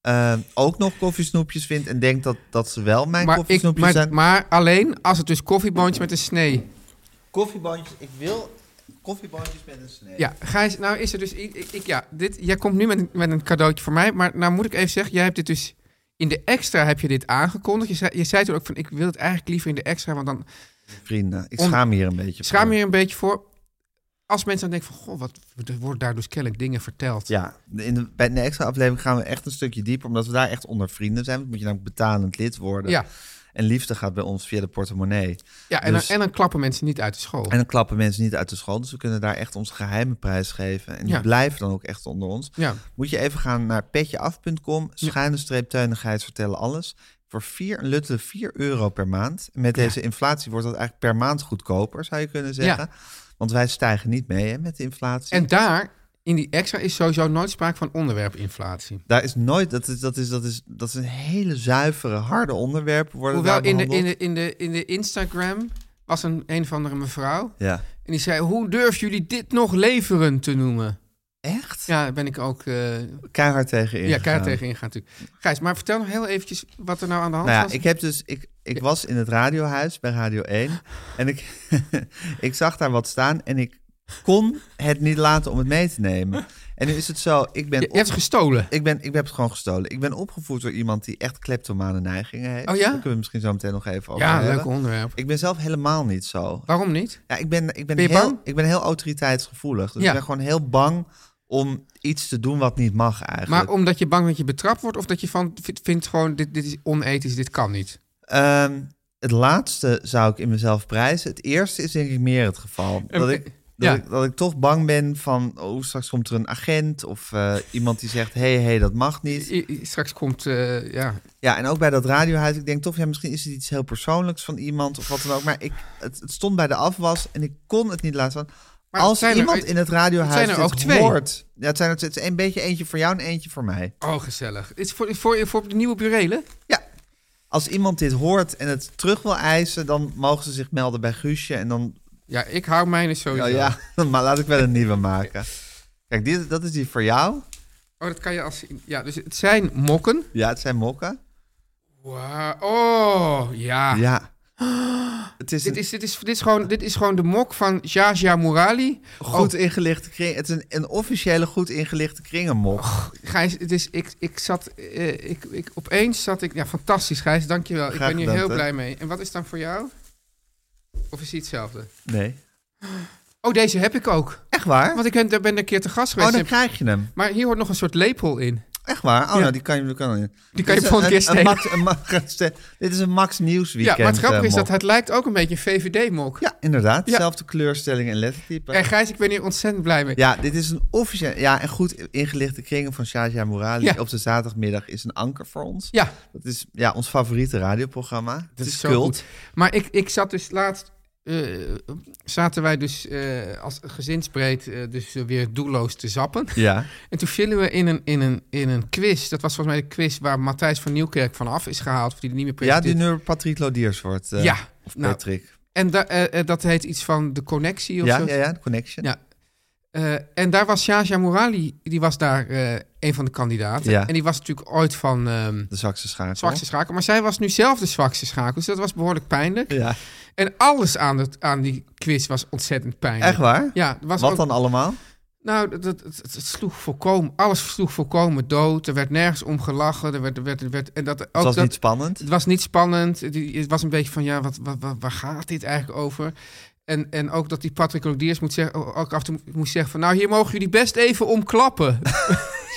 S2: eh, ook nog koffiesnoepjes vindt... en denkt dat, dat ze wel mijn
S1: maar, ik,
S2: koffiesnoepjes
S1: maar,
S2: zijn...
S1: maar alleen als het dus koffieboontje met een snee.
S2: Koffiebandjes, ik wil koffiebandjes met een snee.
S1: Ja, Gijs, nou is er dus... i- Ik, ik- ja, dit, jij komt nu met een, met een cadeautje voor mij, maar nou moet ik even zeggen, jij hebt dit dus... In de extra heb je dit aangekondigd. Je zei, je zei toen ook van, ik wil het eigenlijk liever in de extra, want dan
S2: Vrienden, ik
S1: Om-
S2: schaam hier een beetje
S1: schaam
S2: voor.
S1: je er een beetje voor. Als mensen dan denken van, goh, wat, er worden daar dus kennelijk dingen verteld.
S2: Ja, in de, bij de extra aflevering gaan we echt een stukje dieper, omdat we daar echt onder vrienden zijn. Want moet je namelijk betalend lid worden.
S1: Ja.
S2: En liefde gaat bij ons via de portemonnee.
S1: Ja, en,
S2: Dus-
S1: dan, en dan klappen mensen niet uit de school.
S2: En dan klappen mensen niet uit de school, dus we kunnen daar echt onze geheime prijs geven. En die
S1: Ja.
S2: blijven dan ook echt onder ons.
S1: ja.
S2: Moet je even gaan naar petjeaf.com, schuine streep tuinigheid vertellen alles. Voor vier, een luttele 4 euro per maand. En Met deze inflatie wordt dat eigenlijk per maand goedkoper, zou je kunnen zeggen. Want wij stijgen niet mee hè, met de inflatie.
S1: en daar, in die extra, is sowieso nooit sprake van onderwerpinflatie.
S2: Daar is nooit, dat is, dat is, dat is, dat is een hele zuivere, harde onderwerp. Worden
S1: Hoewel
S2: daar
S1: in de, in,
S2: behandeld.
S1: de, in, de, in de Instagram was een, een of andere mevrouw.
S2: Ja.
S1: En die zei: Hoe durf jullie dit nog leveren te noemen?
S2: Echt?
S1: Ja, daar ben ik ook. eh
S2: Keihard tegen
S1: ja, keihard tegen ingaan natuurlijk. Gijs, maar vertel nog heel eventjes wat er nou aan de hand
S2: Nou ja,
S1: was.
S2: ik heb dus, ik, ik was in het radiohuis bij Radio 1 en ik, (laughs) ik zag daar wat staan en ik kon het niet laten om het mee te nemen. En nu is het zo, ik ben,
S1: je, je hebt
S2: op-
S1: gestolen.
S2: ik ben, ik heb het gewoon gestolen. Ik ben opgevoed door iemand die echt kleptomane neigingen heeft.
S1: Oh ja?
S2: Daar kunnen we misschien zo meteen nog even over
S1: Ja,
S2: hebben.
S1: leuk onderwerp.
S2: Ik ben zelf helemaal niet zo.
S1: Waarom niet?
S2: Ja, ik ben, ik ben,
S1: Ben je
S2: heel,
S1: bang?
S2: ik ben heel autoriteitsgevoelig. Dus
S1: Ja.
S2: ik ben gewoon heel bang om iets te doen wat niet mag
S1: Maar
S2: eigenlijk.
S1: omdat je bang dat je betrapt wordt of dat je van v- vindt gewoon: dit, dit is onethisch, dit kan niet.
S2: Ehm, het laatste zou ik in mezelf prijzen. Het eerste is denk ik meer het geval. Dat ik, dat,
S1: ja.
S2: ik, dat ik toch bang ben van, oh, straks komt er een agent of eh, iemand die zegt, hé, hey, hey, dat mag niet.
S1: I- i- Straks komt, eh, ja.
S2: Ja, en ook bij dat radiohuis, ik denk toch, ja, misschien is het iets heel persoonlijks van iemand of wat dan ook. Maar ik, het, het stond bij de afwas en ik kon het niet laten staan.
S1: Maar
S2: Als
S1: zijn er-
S2: iemand in het radiohuis
S1: zijn er
S2: dit
S1: ook twee?
S2: hoort- ja, het zijn er het is een beetje eentje voor jou en eentje voor mij.
S1: Oh, gezellig. Is voor, voor, voor de nieuwe burelen?
S2: Ja. Als iemand dit hoort en het terug wil eisen, dan mogen ze zich melden bij Guusje. En dan,
S1: Ja, ik hou mijne sowieso.
S2: nou ja, (laughs) maar laat ik wel een nieuwe maken. Kijk, dit, dat is die voor jou.
S1: Oh, dat kan je als... Ja, dus het zijn mokken.
S2: Ja, het zijn mokken.
S1: Wauw. Oh, ja. (gasps)
S2: Ja. Het is
S1: Dit,
S2: een
S1: is, dit, is, dit, is gewoon, dit is gewoon de mok van Jaja Murali.
S2: goed ingelichte kring. Het is een, een officiële goed ingelichte kringenmok.
S1: Gijs, het is, ik, ik zat... eh, ik, ik, opeens zat ik... Ja, fantastisch, Gijs. Dankjewel.
S2: Graag
S1: ik ben hier
S2: gedaan,
S1: heel
S2: hè.
S1: blij mee. En wat is dan voor jou? Of is die hetzelfde?
S2: Nee.
S1: Oh, deze heb ik ook.
S2: Echt waar?
S1: Want ik ben, ben een keer te gast
S2: oh,
S1: geweest.
S2: dan krijg je hem.
S1: Maar hier hoort nog een soort lepel in.
S2: Echt waar? Oh,
S1: Ja.
S2: nou, die kan je, die kan je.
S1: Die kan je
S2: Dit is
S1: volgende
S2: een-
S1: keer
S2: een
S1: stelen.
S2: Max- een Max- (laughs) Dit is een Max Nieuws
S1: Ja,
S2: weekend.
S1: maar het grappige
S2: eh,
S1: is dat
S2: mop.
S1: het lijkt ook een beetje een VVD-mok.
S2: Ja, inderdaad.
S1: Ja.
S2: Zelfde kleurstelling en lettertype.
S1: En Gijs, ik ben hier ontzettend blij mee.
S2: Ja, dit is een officieel... Ja, en goed ingelichte kringen van Shaja Mourali
S1: Ja.
S2: op de zaterdagmiddag is een anker voor ons.
S1: Ja,
S2: Dat is ja, ons favoriete radioprogramma. Dat het
S1: is
S2: is
S1: zo
S2: cult.
S1: goed. Maar ik, ik zat dus laatst. eh, zaten wij dus eh, als gezinsbreed eh, dus weer doelloos te zappen.
S2: Ja,
S1: En toen vielen we in een, in, een, in een quiz. Dat was volgens mij de quiz waar Matthijs van Nieuwkerk van af is gehaald. Of die er niet meer
S2: ja
S1: presenteert.
S2: die nu Patrick Lodiers wordt. eh,
S1: Ja,
S2: Of
S1: nou,
S2: Patrick.
S1: En da- eh, eh, dat heet iets van de connectie of
S2: ja,
S1: zo.
S2: ja, ja, de Connection.
S1: Ja. Eh, en daar was Shaja Morali, die was daar eh, een van de kandidaten.
S2: Ja.
S1: En die was natuurlijk ooit van ehm
S2: De Zakse schakel.
S1: zwakste schakel. Maar zij was nu zelf de zwakste schakel. Dus dat was behoorlijk pijnlijk.
S2: Ja,
S1: En alles aan, het, aan die quiz was ontzettend pijnlijk.
S2: echt waar?
S1: Ja, er was
S2: Wat
S1: ook-
S2: dan allemaal?
S1: Nou, dat, dat, het, het sloeg volkomen, alles sloeg volkomen dood. Er werd nergens om gelachen. Er werd, er werd, er werd, en dat, ook
S2: Het was
S1: dat,
S2: niet spannend.
S1: het was niet spannend. Het, het was een beetje van, ja, wat, wat, wat- waar gaat dit eigenlijk over? En, en ook dat die Patrick Lodiers moet zeggen, ook af en toe moest zeggen van... nou, hier mogen jullie best even om
S2: (laughs)
S1: klappen.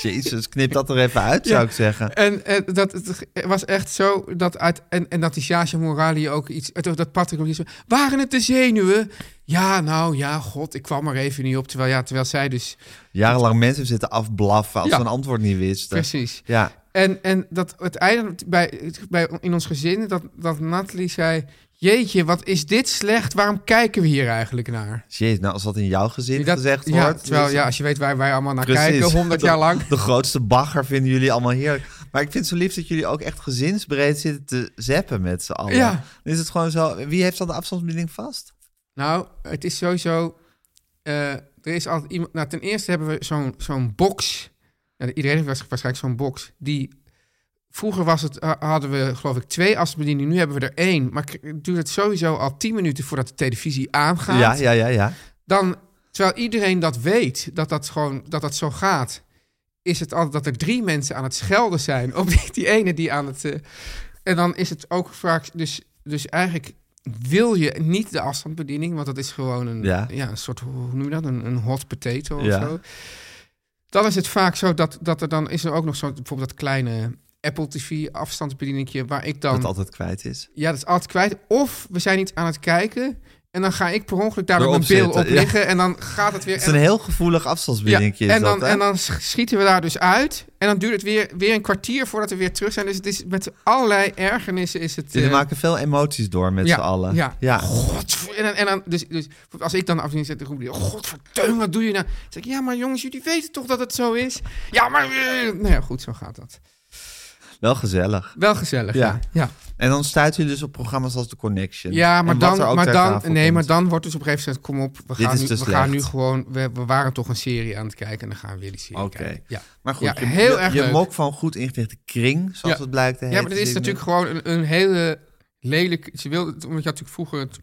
S2: Jezus, knip dat er even uit, zou ik zeggen.
S1: en, en dat, het was echt zo dat... Uit, en, en dat die Sjaasje Morali ook iets... Dat dat Patrick Lodiers... waren het de zenuwen? Ja, nou, ja, god, ik kwam er even niet op. Terwijl, ja, terwijl zij dus...
S2: Jarenlang mensen hebben zitten afblaffen als
S1: Ja.
S2: ze een antwoord niet wisten.
S1: Precies.
S2: Ja,
S1: En, en dat uiteindelijk bij, bij, in ons gezin, dat, dat Nathalie zei... Jeetje, wat is dit slecht? Waarom kijken we hier eigenlijk naar?
S2: jeez, nou als dat in jouw gezin
S1: Dat-
S2: gezegd
S1: ja,
S2: wordt.
S1: Terwijl,
S2: dus-
S1: ja, als je weet waar wij allemaal naar
S2: Precies.
S1: kijken, 100
S2: (laughs)
S1: jaar lang.
S2: De grootste bagger vinden jullie allemaal heerlijk. Maar ik vind het zo lief dat jullie ook echt gezinsbreed zitten te zeppen met z'n allen.
S1: Ja.
S2: Dan is het gewoon zo, wie heeft dan de afstandsbediening vast?
S1: Nou, het is sowieso... eh, er is altijd iemand... Nou, ten eerste hebben we zo'n zo'n box. Nou, iedereen heeft waarsch- waarschijnlijk zo'n box. Die... Vroeger was het, ha- hadden we, geloof ik, twee afstandsbedieningen. Nu hebben we er één. Maar k- duurt het sowieso al 10 minuten voordat de televisie aangaat.
S2: Ja, ja, ja, ja.
S1: dan, terwijl iedereen dat weet, dat dat, gewoon, dat dat zo gaat, is het altijd dat er drie mensen aan het schelden zijn op (laughs) die, die ene die aan het... eh, en dan is het ook vaak, dus, dus eigenlijk wil je niet de afstandsbediening, want dat is gewoon een, ja.
S2: Ja.
S1: een soort, hoe noem je dat, een, een hot potato of
S2: Ja.
S1: zo. Dan is het vaak zo dat, dat er dan is er ook nog zo'n, bijvoorbeeld dat kleine Apple TV afstandsbedieningje, waar ik dan...
S2: Dat altijd kwijt is.
S1: Ja, dat is altijd kwijt. Of we zijn iets aan het kijken. En dan ga ik per ongeluk daar met
S2: Erop
S1: mijn bil op
S2: zitten, ja.
S1: liggen. En dan gaat het weer.
S2: Het is een heel gevoelig
S1: ja,
S2: afstandsbediening.
S1: en, dan, en dan sch- schieten we daar dus uit. En dan duurt het weer, weer een kwartier voordat we weer terug zijn. Dus het is met allerlei ergernissen is het.
S2: Jullie
S1: eh,
S2: maken veel emoties door met
S1: ja,
S2: z'n allen.
S1: ja.
S2: ja.
S1: Godver- En dan, en dan dus, dus als ik dan af en toe zit, dan roep ik, godverdomme, wat doe je nou? Dan zeg ik, ja, maar jongens, jullie weten toch dat het zo is? Ja, maar... eh." Nou ja, goed, zo gaat dat.
S2: Wel gezellig.
S1: Wel gezellig,
S2: Ja.
S1: ja. ja.
S2: En dan stuiten jullie dus op programma's als The Connection.
S1: Ja, maar
S2: En wat
S1: dan,
S2: er ook
S1: maar
S2: ter
S1: dan,
S2: tafel
S1: nee,
S2: komt.
S1: maar dan wordt dus op een gegeven moment, kom op, we,
S2: Dit
S1: gaan
S2: is dus
S1: nu,
S2: te
S1: we gaan nu
S2: slecht.
S1: gewoon, we, we waren toch een serie aan het kijken en dan gaan we weer die serie
S2: Oké.
S1: kijken. Ja.
S2: Maar goed,
S1: Ja,
S2: je,
S1: heel
S2: je-
S1: erg
S2: je
S1: leuk.
S2: mok van goed ingerichte kring, zoals
S1: Ja.
S2: het blijkt te
S1: ja,
S2: heten.
S1: maar dit is
S2: zie ik nu.
S1: natuurlijk gewoon een, een hele lelijke, ze wilde, het- omdat je had natuurlijk vroeger het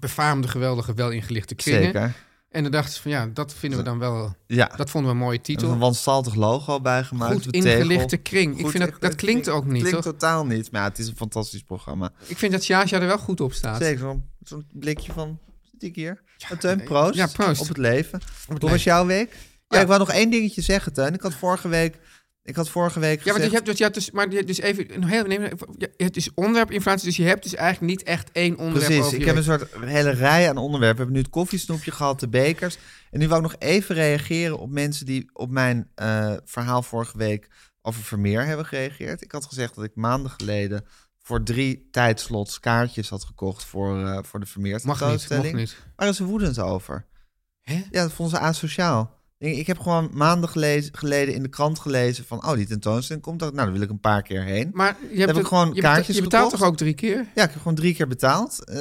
S1: befaamde, geweldige, wel ingelichte kringen.
S2: Zeker.
S1: En dan dachten ze van, ja, dat vinden we dan wel,
S2: Ja,
S1: dat vonden we een mooie
S2: er is een
S1: titel.
S2: wanstaltig logo bijgemaakt.
S1: Goed
S2: op de tegel.
S1: ingelichte kring. Ik
S2: Goed
S1: vind dat, dat
S2: ingelichte
S1: klinkt
S2: kring.
S1: ook niet,
S2: klinkt
S1: toch?
S2: totaal niet, maar ja, het is een fantastisch programma.
S1: Ik vind dat Jaja er wel goed op staat.
S2: Zeker, zo'n zo'n blikje van, zit ik hier? Nou, Teun, proost,
S1: Ja, proost.
S2: op het leven. Hoe
S1: leven.
S2: was jouw week? Ja,
S1: Ja.
S2: ik wou nog één dingetje zeggen, Teun. Ik had vorige week, ik had vorige week
S1: Ja, want je
S2: gezegd-
S1: hebt, dus, je hebt dus, maar je hebt dus even, nog heel, neem, je hebt dus onderwerpinflatie, dus je hebt dus eigenlijk niet echt één onderwerp
S2: Precies,
S1: over je
S2: ik heb
S1: week.
S2: een soort hele rij aan onderwerpen. We hebben nu het koffiesnoepje gehad, de bekers. En nu wou ik nog even reageren op mensen die op mijn eh, verhaal vorige week over Vermeer hebben gereageerd. Ik had gezegd dat ik maanden geleden voor drie tijdslots kaartjes had gekocht voor, eh, voor de Vermeer
S1: Mag niet, mag
S2: tentoonstelling.
S1: niet.
S2: Waar is ze woedend over?
S1: Hè?
S2: Ja, dat vonden ze asociaal. Ik ik heb gewoon maanden gelezen, geleden in de krant gelezen van... oh, die tentoonstelling komt, dat, nou, daar wil ik een paar keer heen.
S1: Maar je hebt
S2: ik
S1: het-
S2: gewoon
S1: je beta-
S2: kaartjes
S1: Je betaalt
S2: gekocht?
S1: toch ook drie keer?
S2: Ja, ik heb gewoon drie keer betaald. Eh,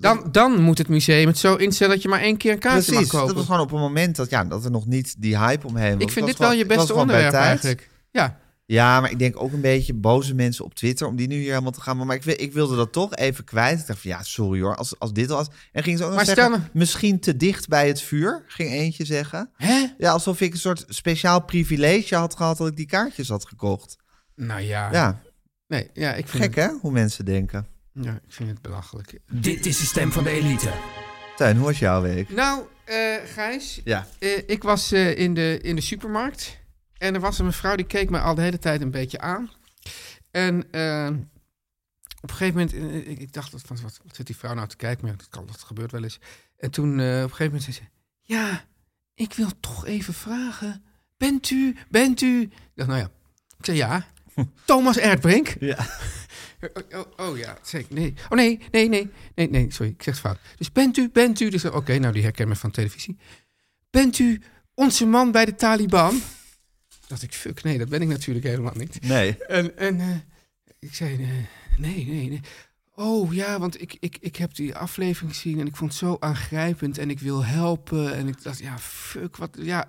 S1: Dan, dan moet het museum het zo instellen dat je maar één keer een kaartje
S2: Precies,
S1: mag
S2: dat
S1: kopen.
S2: was gewoon op een moment dat, ja, dat er nog niet die hype omheen was.
S1: ik vind
S2: was
S1: dit wel
S2: gewoon-
S1: je
S2: ik was
S1: beste
S2: gewoon bij
S1: onderwerp
S2: tijd.
S1: eigenlijk. Ja,
S2: Ja, maar ik denk ook een beetje boze mensen op Twitter... om die nu hier helemaal te gaan. Maar ik, wil- ik wilde dat toch even kwijt. Ik dacht van, ja, sorry hoor, als, als dit al was... En ging ze ook nog
S1: Maar
S2: zeggen,
S1: stel nou-
S2: misschien te dicht bij het vuur, ging eentje zeggen.
S1: hè?
S2: Ja, alsof ik een soort speciaal privilege had gehad... dat ik die kaartjes had gekocht.
S1: Nou ja.
S2: Ja,
S1: Nee, ja, ik vind
S2: gek hè, hoe mensen denken.
S1: Het, ja, ik vind het belachelijk.
S4: Dit is de stem van de elite.
S2: Tuin, hoe was jouw week?
S1: Nou, eh, Gijs,
S2: Ja,
S1: eh, ik was eh, in, de, in de supermarkt. En er was een mevrouw die keek mij al de hele tijd een beetje aan. En eh, op een gegeven moment, eh, ik, ik dacht, wat, van, wat, wat zit die vrouw nou te kijken? Maar ja, dat, kan, dat gebeurt wel eens. En toen eh, op een gegeven moment zei ze, ja, ik wil toch even vragen. Bent u, bent u? Ik dacht, nou ja. Ik zei, ja. Thomas Erdbrink?
S2: Ja.
S1: Oh, oh, oh ja, zeker. Nee. Oh nee, nee, nee, nee, nee, sorry, ik zeg het fout. Dus bent u, bent u, dus oké, nou die herkennen me van televisie. Bent u onze man bij de Taliban? Dacht ik, fuck, nee, dat ben ik natuurlijk helemaal niet.
S2: Nee.
S1: En, en eh, ik zei, eh, nee, nee, nee. Oh ja, want ik, ik, ik heb die aflevering gezien en ik vond het zo aangrijpend en ik wil helpen. En ik dacht, ja, fuck, wat, ja.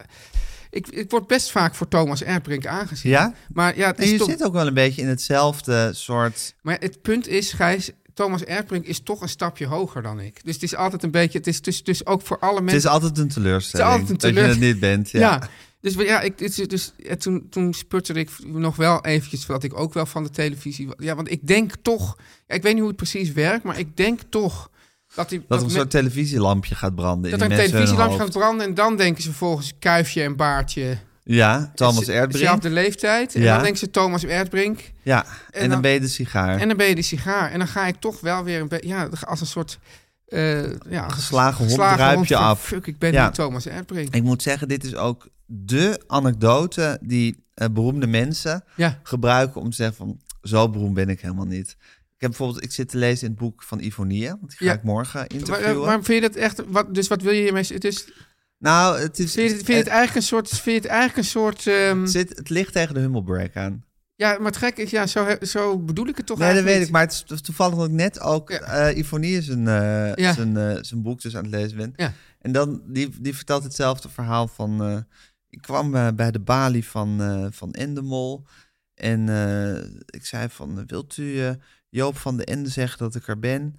S1: Ik, ik word best vaak voor Thomas Erdbrink aangezien.
S2: Ja?
S1: Maar ja, het
S2: En
S1: is
S2: je
S1: toch-
S2: zit ook wel een beetje in hetzelfde soort...
S1: maar het punt is, Gijs, Thomas Erdbrink is toch een stapje hoger dan ik. Dus het is altijd een beetje, het is dus, dus ook voor alle
S2: Het is
S1: mensen.
S2: altijd een teleurstelling.
S1: Het is altijd een
S2: Dat je het
S1: teleurstelling.
S2: niet bent. Ja.
S1: ja. Dus, we- ja, ik, dit is- dus ja, toen, toen sputterde ik nog wel eventjes dat ik ook wel van de televisie... Ja, want ik denk toch... ja, ik weet niet hoe het precies werkt, maar ik denk toch... Dat, die,
S2: Dat er een
S1: men-
S2: soort televisielampje gaat branden.
S1: dat
S2: in
S1: er
S2: die
S1: een
S2: mensen hun
S1: televisielamp gaat
S2: hoofd.
S1: branden en dan denken ze volgens kuifje en baardje...
S2: Ja, Thomas
S1: ze-
S2: Erdbrink.
S1: Zelfde leeftijd. En
S2: Ja.
S1: dan denken ze Thomas Erdbrink.
S2: Ja,
S1: En
S2: en, dan,
S1: dan-
S2: ben je de sigaar.
S1: En dan ben je de sigaar. En dan ga ik toch wel weer een beetje... Ja, als een soort... eh, ja,
S2: Geslagen hond
S1: geslagen
S2: druip
S1: hond
S2: je
S1: van,
S2: af.
S1: Fuck, ik ben
S2: Ja.
S1: niet Thomas Erdbrink.
S2: Ik moet zeggen, dit is ook de anekdote die eh, beroemde mensen
S1: Ja.
S2: gebruiken om te zeggen van... Zo beroemd ben ik helemaal niet. Ik heb bijvoorbeeld, ik zit te lezen in het boek van Ivonia. Want die ga
S1: Ja.
S2: ik morgen
S1: Maar,
S2: interviewen.
S1: eh, maar vind je dat echt... Wat, dus wat wil je hiermee... Het is, vind,
S2: nou, het is...
S1: je, het- vind je het eigenlijk een soort... Vind je het eigenlijk een soort ehm,
S2: het, zit, het ligt tegen de hummelbreak aan.
S1: ja, maar het gek is... Ja, zo, he- zo bedoel ik het toch
S2: Nee, dat
S1: eigenlijk
S2: weet ik. Maar het is to- toevallig dat ik net ook
S1: Ja.
S2: eh Ivonie zijn, eh,
S1: Ja.
S2: zijn, eh, zijn boek dus aan het lezen ben.
S1: Ja.
S2: En dan, die, die vertelt hetzelfde verhaal van... eh, ik kwam eh, bij de balie van, eh, van Endemol. En eh, ik zei van, wilt u eh, Joop van de Ende zeggen dat ik er ben?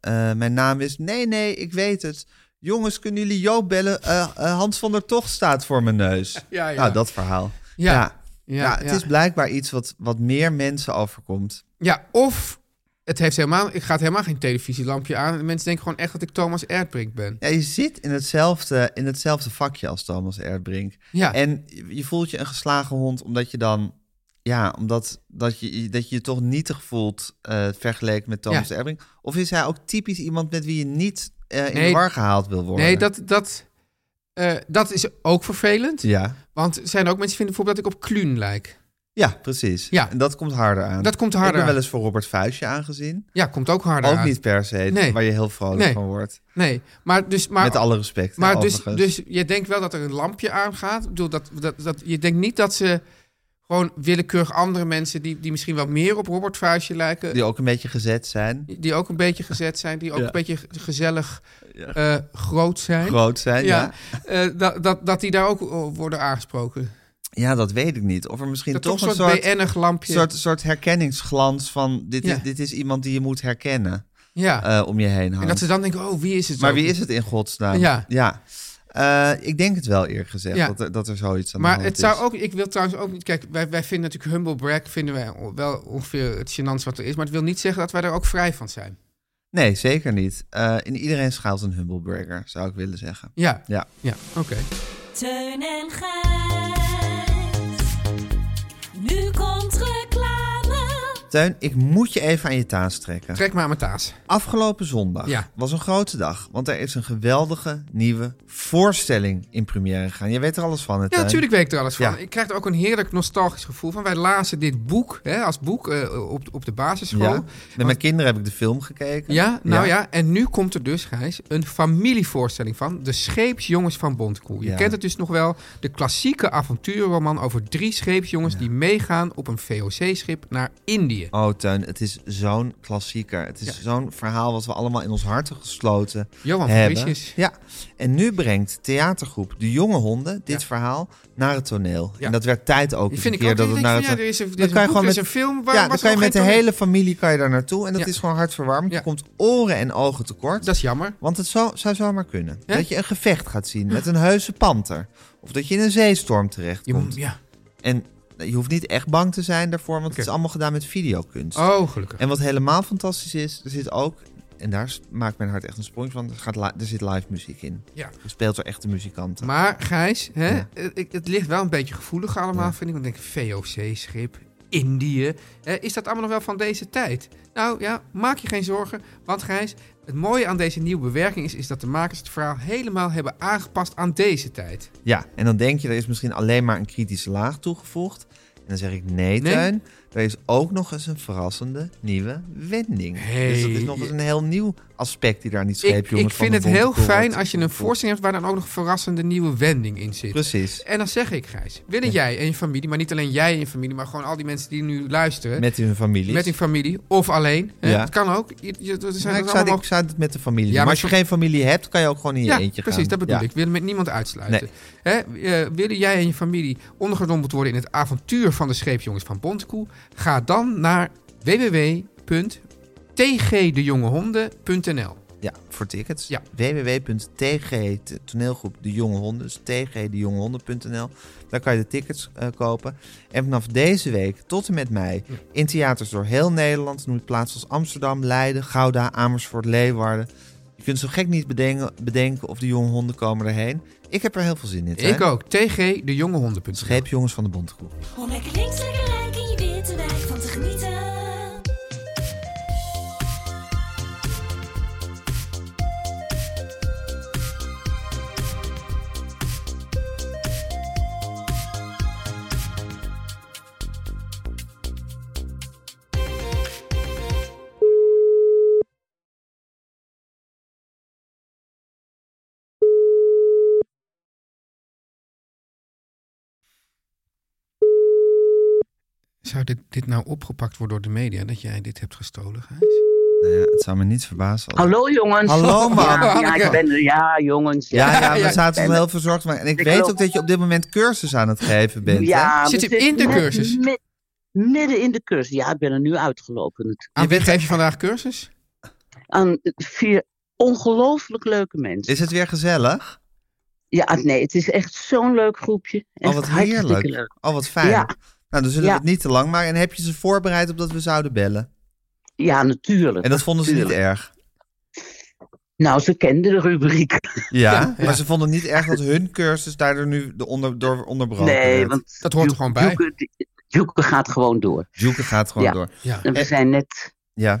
S2: Eh, mijn naam is... Nee, nee, ik weet het. Jongens, kunnen jullie Joop bellen? Eh, eh, Hans van der Tocht staat voor mijn
S1: (laughs)
S2: neus.
S1: Ja, ja.
S2: Nou, dat verhaal.
S1: Ja.
S2: Ja,
S1: Ja,
S2: het
S1: ja.
S2: is blijkbaar iets wat, wat meer mensen overkomt.
S1: Ja, of... Het heeft helemaal, ik ga het helemaal geen televisielampje aan. De mensen denken gewoon echt dat ik Thomas Erdbrink ben.
S2: Ja, je zit in hetzelfde, in hetzelfde vakje als Thomas Erdbrink.
S1: Ja.
S2: En je voelt je een geslagen hond omdat je dan... Ja, omdat dat je, dat je je toch nietig voelt eh, vergeleken met Thomas
S1: Ja.
S2: Erdbrink. Of is hij ook typisch iemand met wie je niet eh, in de
S1: Nee.
S2: war gehaald wil worden?
S1: Nee, dat, dat, eh, dat is ook vervelend.
S2: Ja,
S1: Want er zijn ook mensen die vinden bijvoorbeeld dat ik op Kluun lijk.
S2: ja precies.
S1: Ja.
S2: En dat komt harder aan.
S1: Dat komt
S2: Ik ben
S1: harder
S2: wel
S1: aan.
S2: eens voor Robert Vuistje aangezien.
S1: Ja, komt ook harder
S2: Ook
S1: aan.
S2: niet per se,
S1: Nee.
S2: waar je heel vrolijk
S1: Nee.
S2: van wordt.
S1: Nee, maar dus... Maar,
S2: met alle respect. hè,
S1: Maar dus,
S2: overigens.
S1: dus je denkt wel dat er een lampje aangaat. Ik bedoel, dat, dat, dat, je denkt niet dat ze gewoon willekeurig andere mensen... die, die misschien wel meer op Robert Vuistje lijken...
S2: Die ook een beetje gezet zijn.
S1: Die, ook een beetje gezet zijn, die ook
S2: Ja.
S1: een beetje ge- gezellig
S2: Ja.
S1: eh, groot zijn.
S2: Groot zijn, ja.
S1: Ja, eh, dat, dat, dat die daar ook o- worden aangesproken.
S2: Ja, dat weet ik niet. Of er misschien
S1: Dat
S2: toch,
S1: toch een
S2: een
S1: soort
S2: soort,
S1: BN'ig lampje.
S2: soort, soort herkenningsglans van... Dit,
S1: Ja.
S2: is, dit is iemand die je moet herkennen
S1: ja.
S2: eh, om je heen
S1: en dat ze
S2: hangt.
S1: dan denken, oh, wie is het?
S2: Maar
S1: ook?
S2: wie is het in godsnaam?
S1: Ja.
S2: ja. Eh, ik denk het wel eerlijk gezegd,
S1: Ja.
S2: dat, er, dat er zoiets aan de
S1: Maar
S2: hand
S1: het
S2: is.
S1: zou ook, ik wil trouwens ook niet, kijk, wij, wij vinden natuurlijk humble brag, vinden wij o- wel ongeveer het gênants wat er is, maar het wil niet zeggen dat wij daar ook vrij van zijn.
S2: Nee, zeker niet. Eh, in iedereen schaalt een humbleburger, zou ik willen zeggen.
S1: Ja,
S2: Ja.
S1: ja, oké.
S5: Teun en Gijs. Nu komt reclame.
S2: Teun, ik moet je even aan je taas trekken.
S1: Trek maar aan mijn taas.
S2: Afgelopen zondag
S1: Ja.
S2: was een grote dag, want er is een geweldige nieuwe voorstelling in première gegaan. Je weet er alles van, hè,
S1: Ja,
S2: Teun?
S1: natuurlijk weet ik er alles van.
S2: Ja.
S1: Ik krijg er ook een heerlijk nostalgisch gevoel van. Wij lazen dit boek hè, als boek eh, op, op de basisschool.
S2: Ja. Met mijn kinderen heb ik de film gekeken.
S1: Ja, nou ja. en nu komt er dus, Gijs, een familievoorstelling van De Scheepsjongens van Bontkoel. Je
S2: Ja.
S1: kent het dus nog wel, de klassieke avonturenroman over drie scheepsjongens die meegaan op een VOC-schip naar Indië.
S2: Oh, Teun, het is zo'n klassieker. Het is
S1: Ja.
S2: zo'n verhaal wat we allemaal in ons harten gesloten
S1: Johan
S2: hebben.
S1: Fabricius.
S2: Ja. En nu brengt theatergroep De Jonge Honden dit
S1: Ja.
S2: verhaal naar het toneel.
S1: Ja.
S2: En dat werd tijd ook
S1: Die
S2: eens
S1: vind ik
S2: een keer
S1: ook.
S2: dat
S1: Ik
S2: het
S1: denk
S2: naar
S1: van, ja,
S2: het toneel-
S1: er is een- er
S2: Dan
S1: is een
S2: kan je
S1: boek,
S2: gewoon
S1: er is
S2: met-
S1: een film. Waarom
S2: ja, dan
S1: was er
S2: kan je
S1: nog
S2: met de
S1: geen toneel?
S2: hele familie kan je daar naartoe. En dat
S1: Ja.
S2: is gewoon hartverwarmend. Je
S1: Ja.
S2: komt oren en ogen tekort.
S1: Dat is jammer.
S2: Want het zou, zou zomaar kunnen.
S1: Ja?
S2: Dat je een gevecht gaat zien met een heuse panter. Of dat je in een zeestorm
S1: Je
S2: terechtkomt.
S1: moet, ja.
S2: En je hoeft niet echt bang te zijn daarvoor, want het
S1: Oké.
S2: is allemaal gedaan met videokunst.
S1: Oh, gelukkig.
S2: En wat helemaal fantastisch is, er zit ook en daar s- maakt mijn hart echt een sprong van. Er, gaat li- er zit live muziek in.
S1: Ja.
S2: Er speelt er echte muzikanten.
S1: Maar Gijs, hè,
S2: Ja.
S1: eh, ik- het ligt wel een beetje gevoelig allemaal,
S2: Ja.
S1: vind ik. Want ik denk, VOC-schip, Indië. Eh, is dat allemaal nog wel van deze tijd? Nou ja, maak je geen zorgen. Want Gijs, het mooie aan deze nieuwe bewerking is, is dat de makers het verhaal helemaal hebben aangepast aan deze tijd.
S2: Ja, en dan denk je, er is misschien alleen maar een kritische laag toegevoegd. En dan zeg ik, nee,
S1: Nee.
S2: Tuin, er is ook nog eens een verrassende nieuwe wending. dus dat is
S1: Hey,
S2: nog eens
S1: je-
S2: een heel nieuw aspect die daar niet
S1: Ik,
S2: scheepjongens
S1: ik
S2: van
S1: vind
S2: de
S1: het
S2: Bonte
S1: heel
S2: Kool
S1: fijn
S2: wordt
S1: als je een
S2: toegevoegd.
S1: voorstelling hebt waar dan ook nog een verrassende nieuwe wending in zit.
S2: Precies,
S1: En dan zeg ik, Gijs, willen jij en je familie, maar niet alleen jij en je familie, maar gewoon al die mensen die nu luisteren, met,
S2: met hun familie.
S1: hun familie of alleen, hè,
S2: Ja.
S1: dat kan ook. Je, je, dat zijn
S2: Maar
S1: dat
S2: Nou, ik,
S1: allemaal
S2: zou, ik zou het met de familie
S1: Ja,
S2: doen.
S1: maar
S2: Maar als je geen familie hebt, kan je ook gewoon in je
S1: ja,
S2: eentje
S1: precies,
S2: gaan.
S1: dat bedoel
S2: Ja.
S1: ik. Ik wil met niemand uitsluiten. Hè, eh, willen jij en je familie ondergedompeld worden in het avontuur van de scheepjongens van Bontekoe? Ga dan naar www.tgdejongehonden.nl.
S2: Ja, voor tickets.
S1: Ja.
S2: www.tg, t- toneelgroep De Jonge Honden, dus tgdejongehonden.nl. Daar kan je de tickets eh, kopen. En vanaf deze week tot en met mei in theaters door heel Nederland. Noem je plaatsen als Amsterdam, Leiden, Gouda, Amersfoort, Leeuwarden. Je kunt zo gek niet bedenken, bedenken of de jonge honden komen erheen. Ik heb er heel veel zin in. Dus
S1: Ik ook, tgdejongehonden.nl.
S2: Scheepjongens van de Bontekoe.
S5: Om lekker links, lekker rijk in je witte wijk van te genieten.
S1: Zou dit, dit nou opgepakt worden door de media dat jij dit hebt gestolen, Gijs?
S2: Nou ja, het zou me niet verbazen. als-
S6: Hallo jongens.
S2: Hallo, man.
S6: Ja, ja, ik ben er. Ja, jongens.
S2: Ja, ja,
S1: Ja,
S2: we zaten
S6: en-
S2: wel heel verzorgd. Maar, en ik,
S6: Ik
S2: weet
S6: geloof-
S2: ook dat je op dit moment cursus aan het geven bent. hè?
S6: Ja, we
S1: Zit hem
S6: zitten
S1: in de
S6: net
S1: cursus?
S6: mid- midden in de cursus. Ja, ik ben er nu uitgelopen. Het-
S1: Aan wie geef je vandaag cursus?
S6: Aan vier ongelooflijk leuke mensen.
S2: Is het weer gezellig?
S6: Ja, nee, het is echt zo'n leuk groepje. Echt
S2: oh, wat
S6: hartstikke
S2: heerlijk.
S6: leuk.
S2: Oh, wat fijn.
S6: Ja.
S2: Nou, dan zullen
S6: Ja.
S2: we het niet te lang maken. En heb je ze voorbereid op dat we zouden bellen?
S6: Ja, natuurlijk.
S2: En dat vonden ze niet erg.
S6: Nou, ze kenden de rubriek.
S2: Ja,
S1: Ja, ja.
S2: maar ze vonden het niet erg dat hun cursus daardoor nu de onder, door onderbroken
S6: nee,
S2: werd.
S6: want
S1: Dat hoort er
S6: Joek-
S1: gewoon bij.
S6: Joeke, die- Joeke gaat gewoon door.
S2: Joeke gaat gewoon
S6: Ja.
S2: door.
S1: Ja.
S6: En we
S2: Eh.
S6: zijn net...
S2: Ja.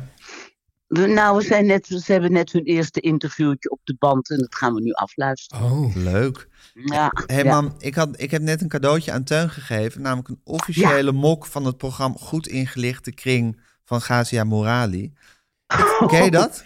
S6: we- nou, we zijn net, ze hebben net hun eerste interviewtje op de band en dat gaan we nu afluisteren.
S1: Oh.
S2: Leuk.
S6: Ja,
S2: Hé hey,
S6: ja.
S2: mam, ik, had, ik heb net een cadeautje aan Teun gegeven. Namelijk een officiële mok van het programma Goed Ingelichte Kring van Gazia Morali.
S6: Oh,
S2: Ken je dat?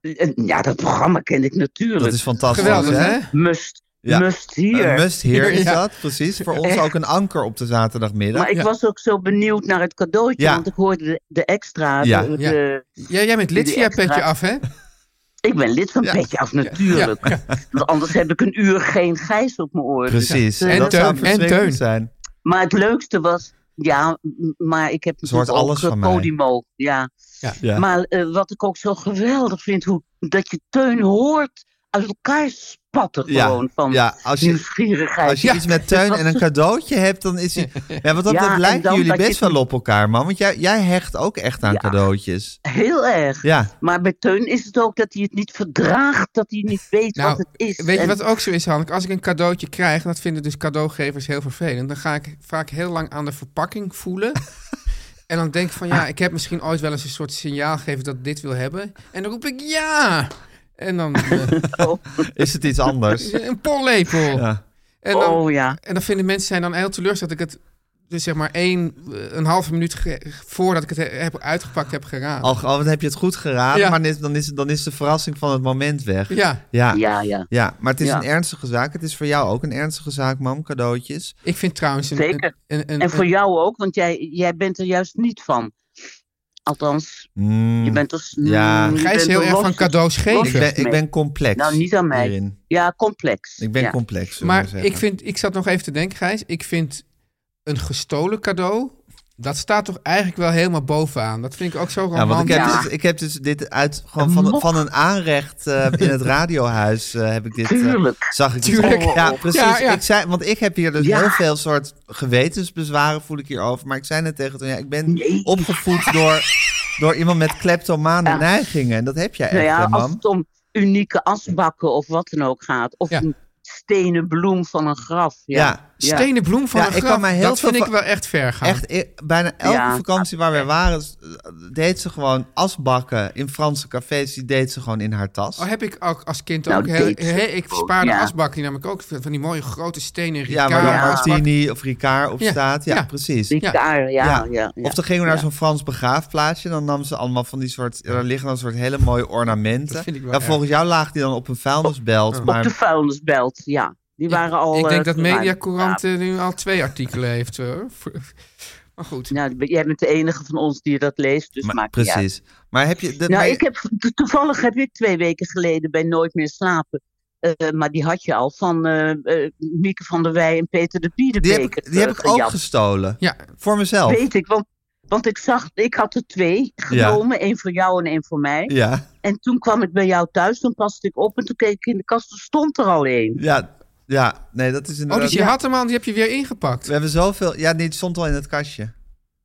S6: Eh, Ja, dat programma ken ik natuurlijk.
S2: Dat is fantastisch.
S1: Geweldig, hè?
S6: Must,
S2: Ja.
S6: must hier. Eh.
S2: Een must hier is
S1: Ja.
S2: dat, precies. Voor ons
S6: Echt.
S2: ook een anker op de zaterdagmiddag.
S6: maar ik
S1: Ja.
S6: was ook zo benieuwd naar het cadeautje,
S2: Ja.
S6: want ik hoorde de, de extra.
S2: Ja.
S6: de-
S1: Ja.
S6: de-
S1: Ja, jij bent lid
S6: Die
S1: via
S6: extra-
S1: petje af,
S2: (laughs)
S1: hè?
S6: ik ben lid van
S2: Ja.
S6: Petje af, natuurlijk. Want anders heb ik een uur geen gijs op mijn Dus, oren.
S2: Precies.
S6: Ja.
S2: En,
S6: En
S2: dat
S1: Teun,
S2: zou
S1: en
S2: verschrikkelijk
S1: Teun.
S2: zijn.
S6: Maar het leukste was, ja, m- maar ik heb
S2: Ze hoort
S6: natuurlijk
S2: alles
S6: ook
S2: van
S6: eh,
S2: mij.
S6: Podimo. Ja.
S2: Ja.
S6: Maar eh, wat ik ook zo geweldig vind, hoe, dat je Teun hoort uit elkaar spatten
S2: Ja.
S6: gewoon van
S2: Ja, als je,
S6: nieuwsgierigheid.
S2: als je
S1: Ja.
S2: iets met Teun en een cadeautje hebt, dan is
S6: (laughs)
S2: hij... Ja, want dat,
S6: Ja,
S2: dat
S6: en
S2: lijken
S6: dan
S2: jullie
S6: dat je
S2: best
S6: het-
S2: wel op elkaar, man. Want jij, jij hecht ook echt aan
S6: Ja.
S2: cadeautjes.
S6: Heel erg.
S2: Ja,
S6: Maar bij Teun is het ook dat hij het niet verdraagt, dat hij niet weet
S1: Nou,
S6: wat het is.
S1: Weet je
S6: En-
S1: wat ook zo is, Hanneke? Als ik een cadeautje krijg, en dat vinden dus cadeaugevers heel vervelend, dan ga ik vaak heel lang aan de verpakking
S6: (laughs)
S1: voelen. en dan denk ik van ja, ik heb misschien ooit wel eens een soort signaal gegeven dat ik dit wil hebben. En dan roep ik ja! En dan
S6: (laughs)
S1: eh,
S2: is het iets anders?
S1: een pollepel.
S2: Ja.
S1: En, dan,
S6: Oh ja,
S1: en dan vinden mensen zijn dan heel teleurgesteld dat ik het dus zeg maar één, eh, een halve minuut ge- voordat ik het he- heb uitgepakt heb geraden.
S2: Al, al dan heb je het goed geraden,
S1: Ja.
S2: maar dan is, dan, is, dan is de verrassing van het moment weg.
S1: Ja,
S2: Ja, ja.
S6: ja, ja.
S2: maar het is
S6: Ja.
S2: een ernstige zaak. Het is voor jou ook een ernstige zaak, mam, cadeautjes.
S1: ik vind trouwens... Een,
S6: Zeker.
S1: Een, een,
S6: En voor
S1: een-
S6: jou ook, want jij, jij bent er juist niet van. Althans,
S2: Mm,
S6: je bent dus...
S2: Ja.
S6: mm, je
S1: Gijs is
S6: bent
S1: heel
S6: er
S1: erg van
S6: lastig.
S1: cadeaus
S6: Los-
S2: ik,
S1: geven.
S2: ben, ik ben complex.
S6: Nou, niet aan mij.
S2: hierin.
S6: Ja, complex.
S2: Ik ben
S6: ja.
S2: complex. zullen we
S1: Maar
S2: zeggen.
S1: ik, vind, ik zat nog even te denken, Gijs. Ik vind een gestolen cadeau, dat staat toch eigenlijk wel helemaal bovenaan. Dat vind ik ook zo
S2: Ja, want
S1: romantisch.
S2: ik heb,
S6: Ja.
S2: dus, ik heb dus dit uit gewoon van, van een aanrecht eh, in het radiohuis eh, heb ik dit. eh,
S6: Tuurlijk.
S2: zag ik dit.
S1: Tuurlijk.
S2: Ja, precies.
S1: Ja, ja.
S2: Ik zei, want ik heb hier dus
S6: Ja.
S2: heel veel soort gewetensbezwaren voel ik hierover. Maar ik zei net tegen toen, ja, ik ben
S6: Nee.
S2: opgevoed door. door iemand met kleptomane
S6: Ja.
S2: neigingen. En dat heb jij echt,
S6: Nou ja,
S2: hè,
S6: als
S2: mam?
S6: het om unieke asbakken of wat dan ook gaat. Of
S1: Ja.
S6: een stenen bloem van een graf. Ja,
S2: Ja.
S1: Stenen bloem van
S2: Ja,
S1: een
S2: ik
S1: graf,
S2: kan mij heel
S1: dat
S2: veel
S1: vind ik
S2: va-
S1: wel echt ver gaan.
S2: Echt, i- bijna elke
S6: Ja.
S2: vakantie waar wij waren, s- eh, deed ze gewoon asbakken in Franse cafés. Die deed ze gewoon in haar tas.
S1: Oh, heb ik ook als kind
S6: Nou,
S1: ook heel...
S6: dit is
S1: hè, ik
S6: goed,
S1: spaarde
S6: ja.
S1: asbak, die nam ik ook van die mooie grote stenen
S2: ja,
S1: Ricard.
S2: waar dan
S6: Ja.
S2: Martini of Ricard op
S1: Ja,
S2: staat. Ja,
S1: ja.
S2: precies.
S6: Die
S1: Ja.
S6: kaar, ja. ja. ja.
S2: Of dan gingen we naar
S6: Ja.
S2: zo'n Frans begraafplaatsje. Dan nam ze allemaal van die soort... Er liggen dan soort hele mooie ornamenten.
S1: Dat vind ik wel
S2: ja,
S1: erg.
S2: volgens jou laag die dan op een vuilnisbelt.
S6: Op
S2: Maar
S6: de vuilnisbelt, ja. Die waren al...
S1: Ik
S6: eh,
S1: denk dat
S6: geruimd.
S1: Mediacourant eh, nu al twee artikelen heeft. hoor. Maar goed.
S6: Ja, nou, jij bent de enige van ons die dat leest, dus
S2: maar-
S6: maakt niet uit.
S2: precies. Maar heb je... Dat,
S6: Nou,
S2: maar-
S6: ik heb, to- toevallig heb ik twee weken geleden bij Nooit meer slapen. eh, maar die had je al van eh, eh, Mieke van der Wij en Peter de
S2: die heb
S6: Biedenbeker.
S2: ik, die heb ik
S6: eh,
S2: ook
S6: gejat.
S2: gestolen.
S1: Ja,
S2: Voor mezelf.
S6: Weet ik, want, want ik zag, ik had er twee genomen. één voor jou en één voor mij.
S2: Ja,
S6: En toen kwam ik bij jou thuis, toen paste ik op en toen keek ik in de kast, er stond er al één.
S2: ja, Nou, ja. Nee, dat is
S1: oh,
S2: inderdaad...
S1: dus je had hem al, die heb je weer ingepakt.
S2: We hebben zoveel... Ja, nee, het stond al in het kastje.
S1: En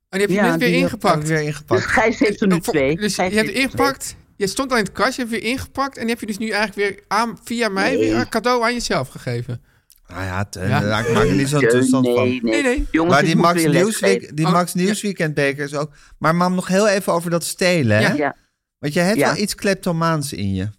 S1: die heb je
S6: Ja,
S1: net weer
S6: die heb-
S2: Pak
S1: ingepakt.
S2: weer
S6: Dus (laughs)
S2: ingepakt.
S6: Gijs heeft er nu
S1: Oh, voor-
S6: twee.
S1: Dus je
S6: Gijs
S1: hebt
S6: heeft er
S1: ingepakt, je stond al in het kastje, je hebt weer ingepakt... en die heb je dus nu eigenlijk weer aan, via mij weer een cadeau aan jezelf gegeven.
S2: Nou ja, Teun,
S1: Ja.
S2: ja, ik maak er niet zo'n
S6: twee.
S2: toestand
S6: nee,
S2: van.
S6: Nee,
S1: Nee,
S6: nee.
S1: nee.
S6: Jongens,
S2: Maar
S6: ik
S2: die
S6: moet
S2: Max,
S6: weer lesgeven.
S2: Nieuwsweek, die
S1: Oh,
S2: Max
S1: ja.
S2: Nieuwsweekend beker is ook... Maar mam, nog heel even over dat stelen, hè?
S1: Ja.
S6: Ja,
S2: Want jij hebt
S6: Ja.
S2: wel iets kleptomaans in je.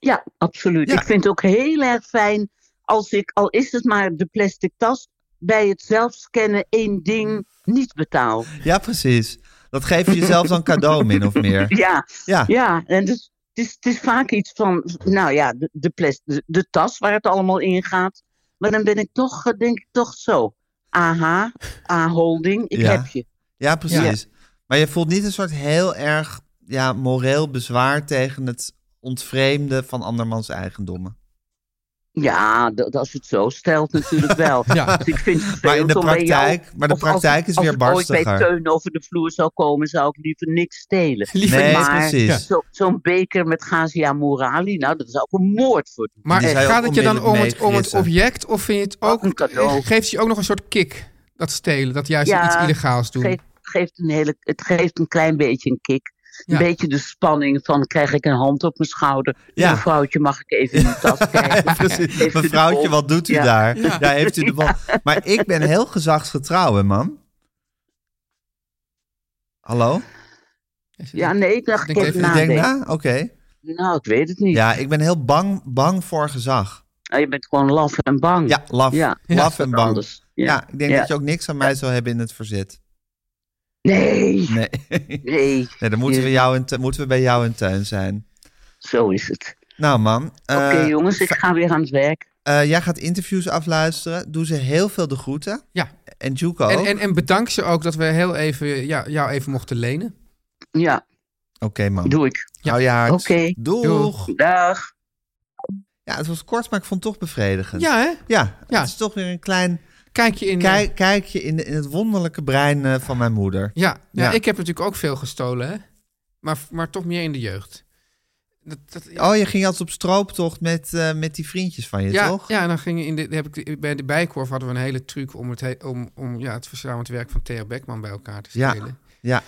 S6: ja, absoluut.
S2: Ja.
S6: Ik vind het ook heel erg fijn als ik, al is het maar de plastic tas, bij het zelf scannen één ding niet
S2: (laughs)
S6: betaal.
S2: Ja, precies. Dat geef je jezelf dan cadeau, min of meer.
S6: Ja,
S2: Ja,
S6: ja. En dus, het, is, het is vaak iets van, nou ja, de, de, plas- de, de tas waar het allemaal in gaat. Maar dan ben ik toch, eh, denk ik toch zo. AH, A-holding, ik
S2: Ja.
S6: heb je.
S2: ja precies. Maar je voelt niet een soort heel erg ja, moreel bezwaar tegen het ontvreemden van andermans eigendommen.
S6: Ja, dat, als je het zo stelt natuurlijk
S2: (laughs)
S6: wel.
S1: Ja.
S6: Dus ik vind het
S2: Maar in de
S6: vervelend om bij jou-
S2: praktijk, maar de
S6: of als-
S2: praktijk is
S6: als
S2: weer
S6: het ooit bij
S2: barstiger.
S6: Teun over de vloer zou komen, zou ik liever niks
S2: (laughs)
S6: stelen.
S1: Liever
S2: Nee,
S6: maar
S2: precies.
S6: zo- zo'n beker met Gazia Morali, nou, dat zou ik een moord voor doen.
S1: Maar
S2: Die zou je
S1: gaat
S2: ook
S1: het je dan om
S2: onmiddellijk
S1: het, om het
S2: meegrissen.
S1: object of vind je het ook,
S6: een cadeau.
S1: geeft je ook nog een soort kick, dat stelen, dat juist
S6: Ja,
S1: iets illegaals doen?
S6: Geeft, geeft een hele, het geeft een klein beetje een kick.
S1: Ja.
S6: Een beetje de spanning van krijg ik een hand op mijn schouder.
S2: Ja.
S6: Mevrouwtje, mag ik even in mijn
S2: (laughs)
S6: tas
S2: Ja,
S6: kijken?
S2: precies.
S6: Heeft u de
S2: Mevrouwtje,
S6: bol?
S2: wat doet u
S6: Ja.
S2: daar? Ja. heeft u de bal. Maar ik ben heel gezagsgetrouw, hè, mam? Hallo?
S6: Ja, nee, ik dacht
S1: Denk
S6: ik even
S1: even-
S2: Ik
S6: nadenken.
S2: denk na? Oké.
S6: Nou, ik weet het niet.
S2: Ja, ik ben heel bang, bang voor gezag.
S6: Nou, je bent gewoon laf en bang.
S2: Ja, laf.
S6: Hm. Ja.
S2: Laf en bang.
S6: Anders.
S2: Ja,
S6: Ja.
S2: ik denk
S6: Ja.
S2: dat je ook niks aan mij zou hebben in het verzet.
S6: Nee,
S2: Nee, (laughs)
S6: nee,
S2: nee dan moeten we,
S6: Ja.
S2: jou in tu- moeten we bij jou in tuin zijn.
S6: zo is het.
S2: Nou, mam. eh,
S6: Oké jongens, ik
S2: fa-
S6: ga weer aan het werk.
S2: eh, jij gaat interviews afluisteren. Doe ze heel veel de groeten.
S1: Ja.
S2: En Juco.
S1: En,
S2: ook.
S1: en, en bedank ze ook dat we heel even ja, jou even mochten lenen.
S6: Ja,
S2: Oké, mam.
S6: doe ik.
S2: Hou je hart.
S6: Oké.
S2: Doeg.
S1: Doeg.
S6: Dag.
S2: Ja, het was kort, maar ik vond het toch bevredigend.
S1: Ja, hè?
S2: Ja,
S1: Ja.
S2: het is toch weer een klein
S1: Kijk je in. eh,
S2: kijk, kijkje in, de- in het wonderlijke brein eh, van mijn moeder.
S1: Ja, ja,
S2: Ja.
S1: ik heb natuurlijk ook veel gestolen, hè? Maar, maar toch meer in de jeugd. Dat, dat, ja,
S2: Oh, je ging altijd op strooptocht met, eh, met die vriendjes van je,
S1: ja,
S2: toch?
S1: ja, en dan ging je in de, heb ik, de- bij de Bijkorf hadden we een hele truc om het, he- om, om, ja, het verzameld werk van Theo Beckman bij elkaar te
S2: Ja.
S1: spelen.
S2: Ja.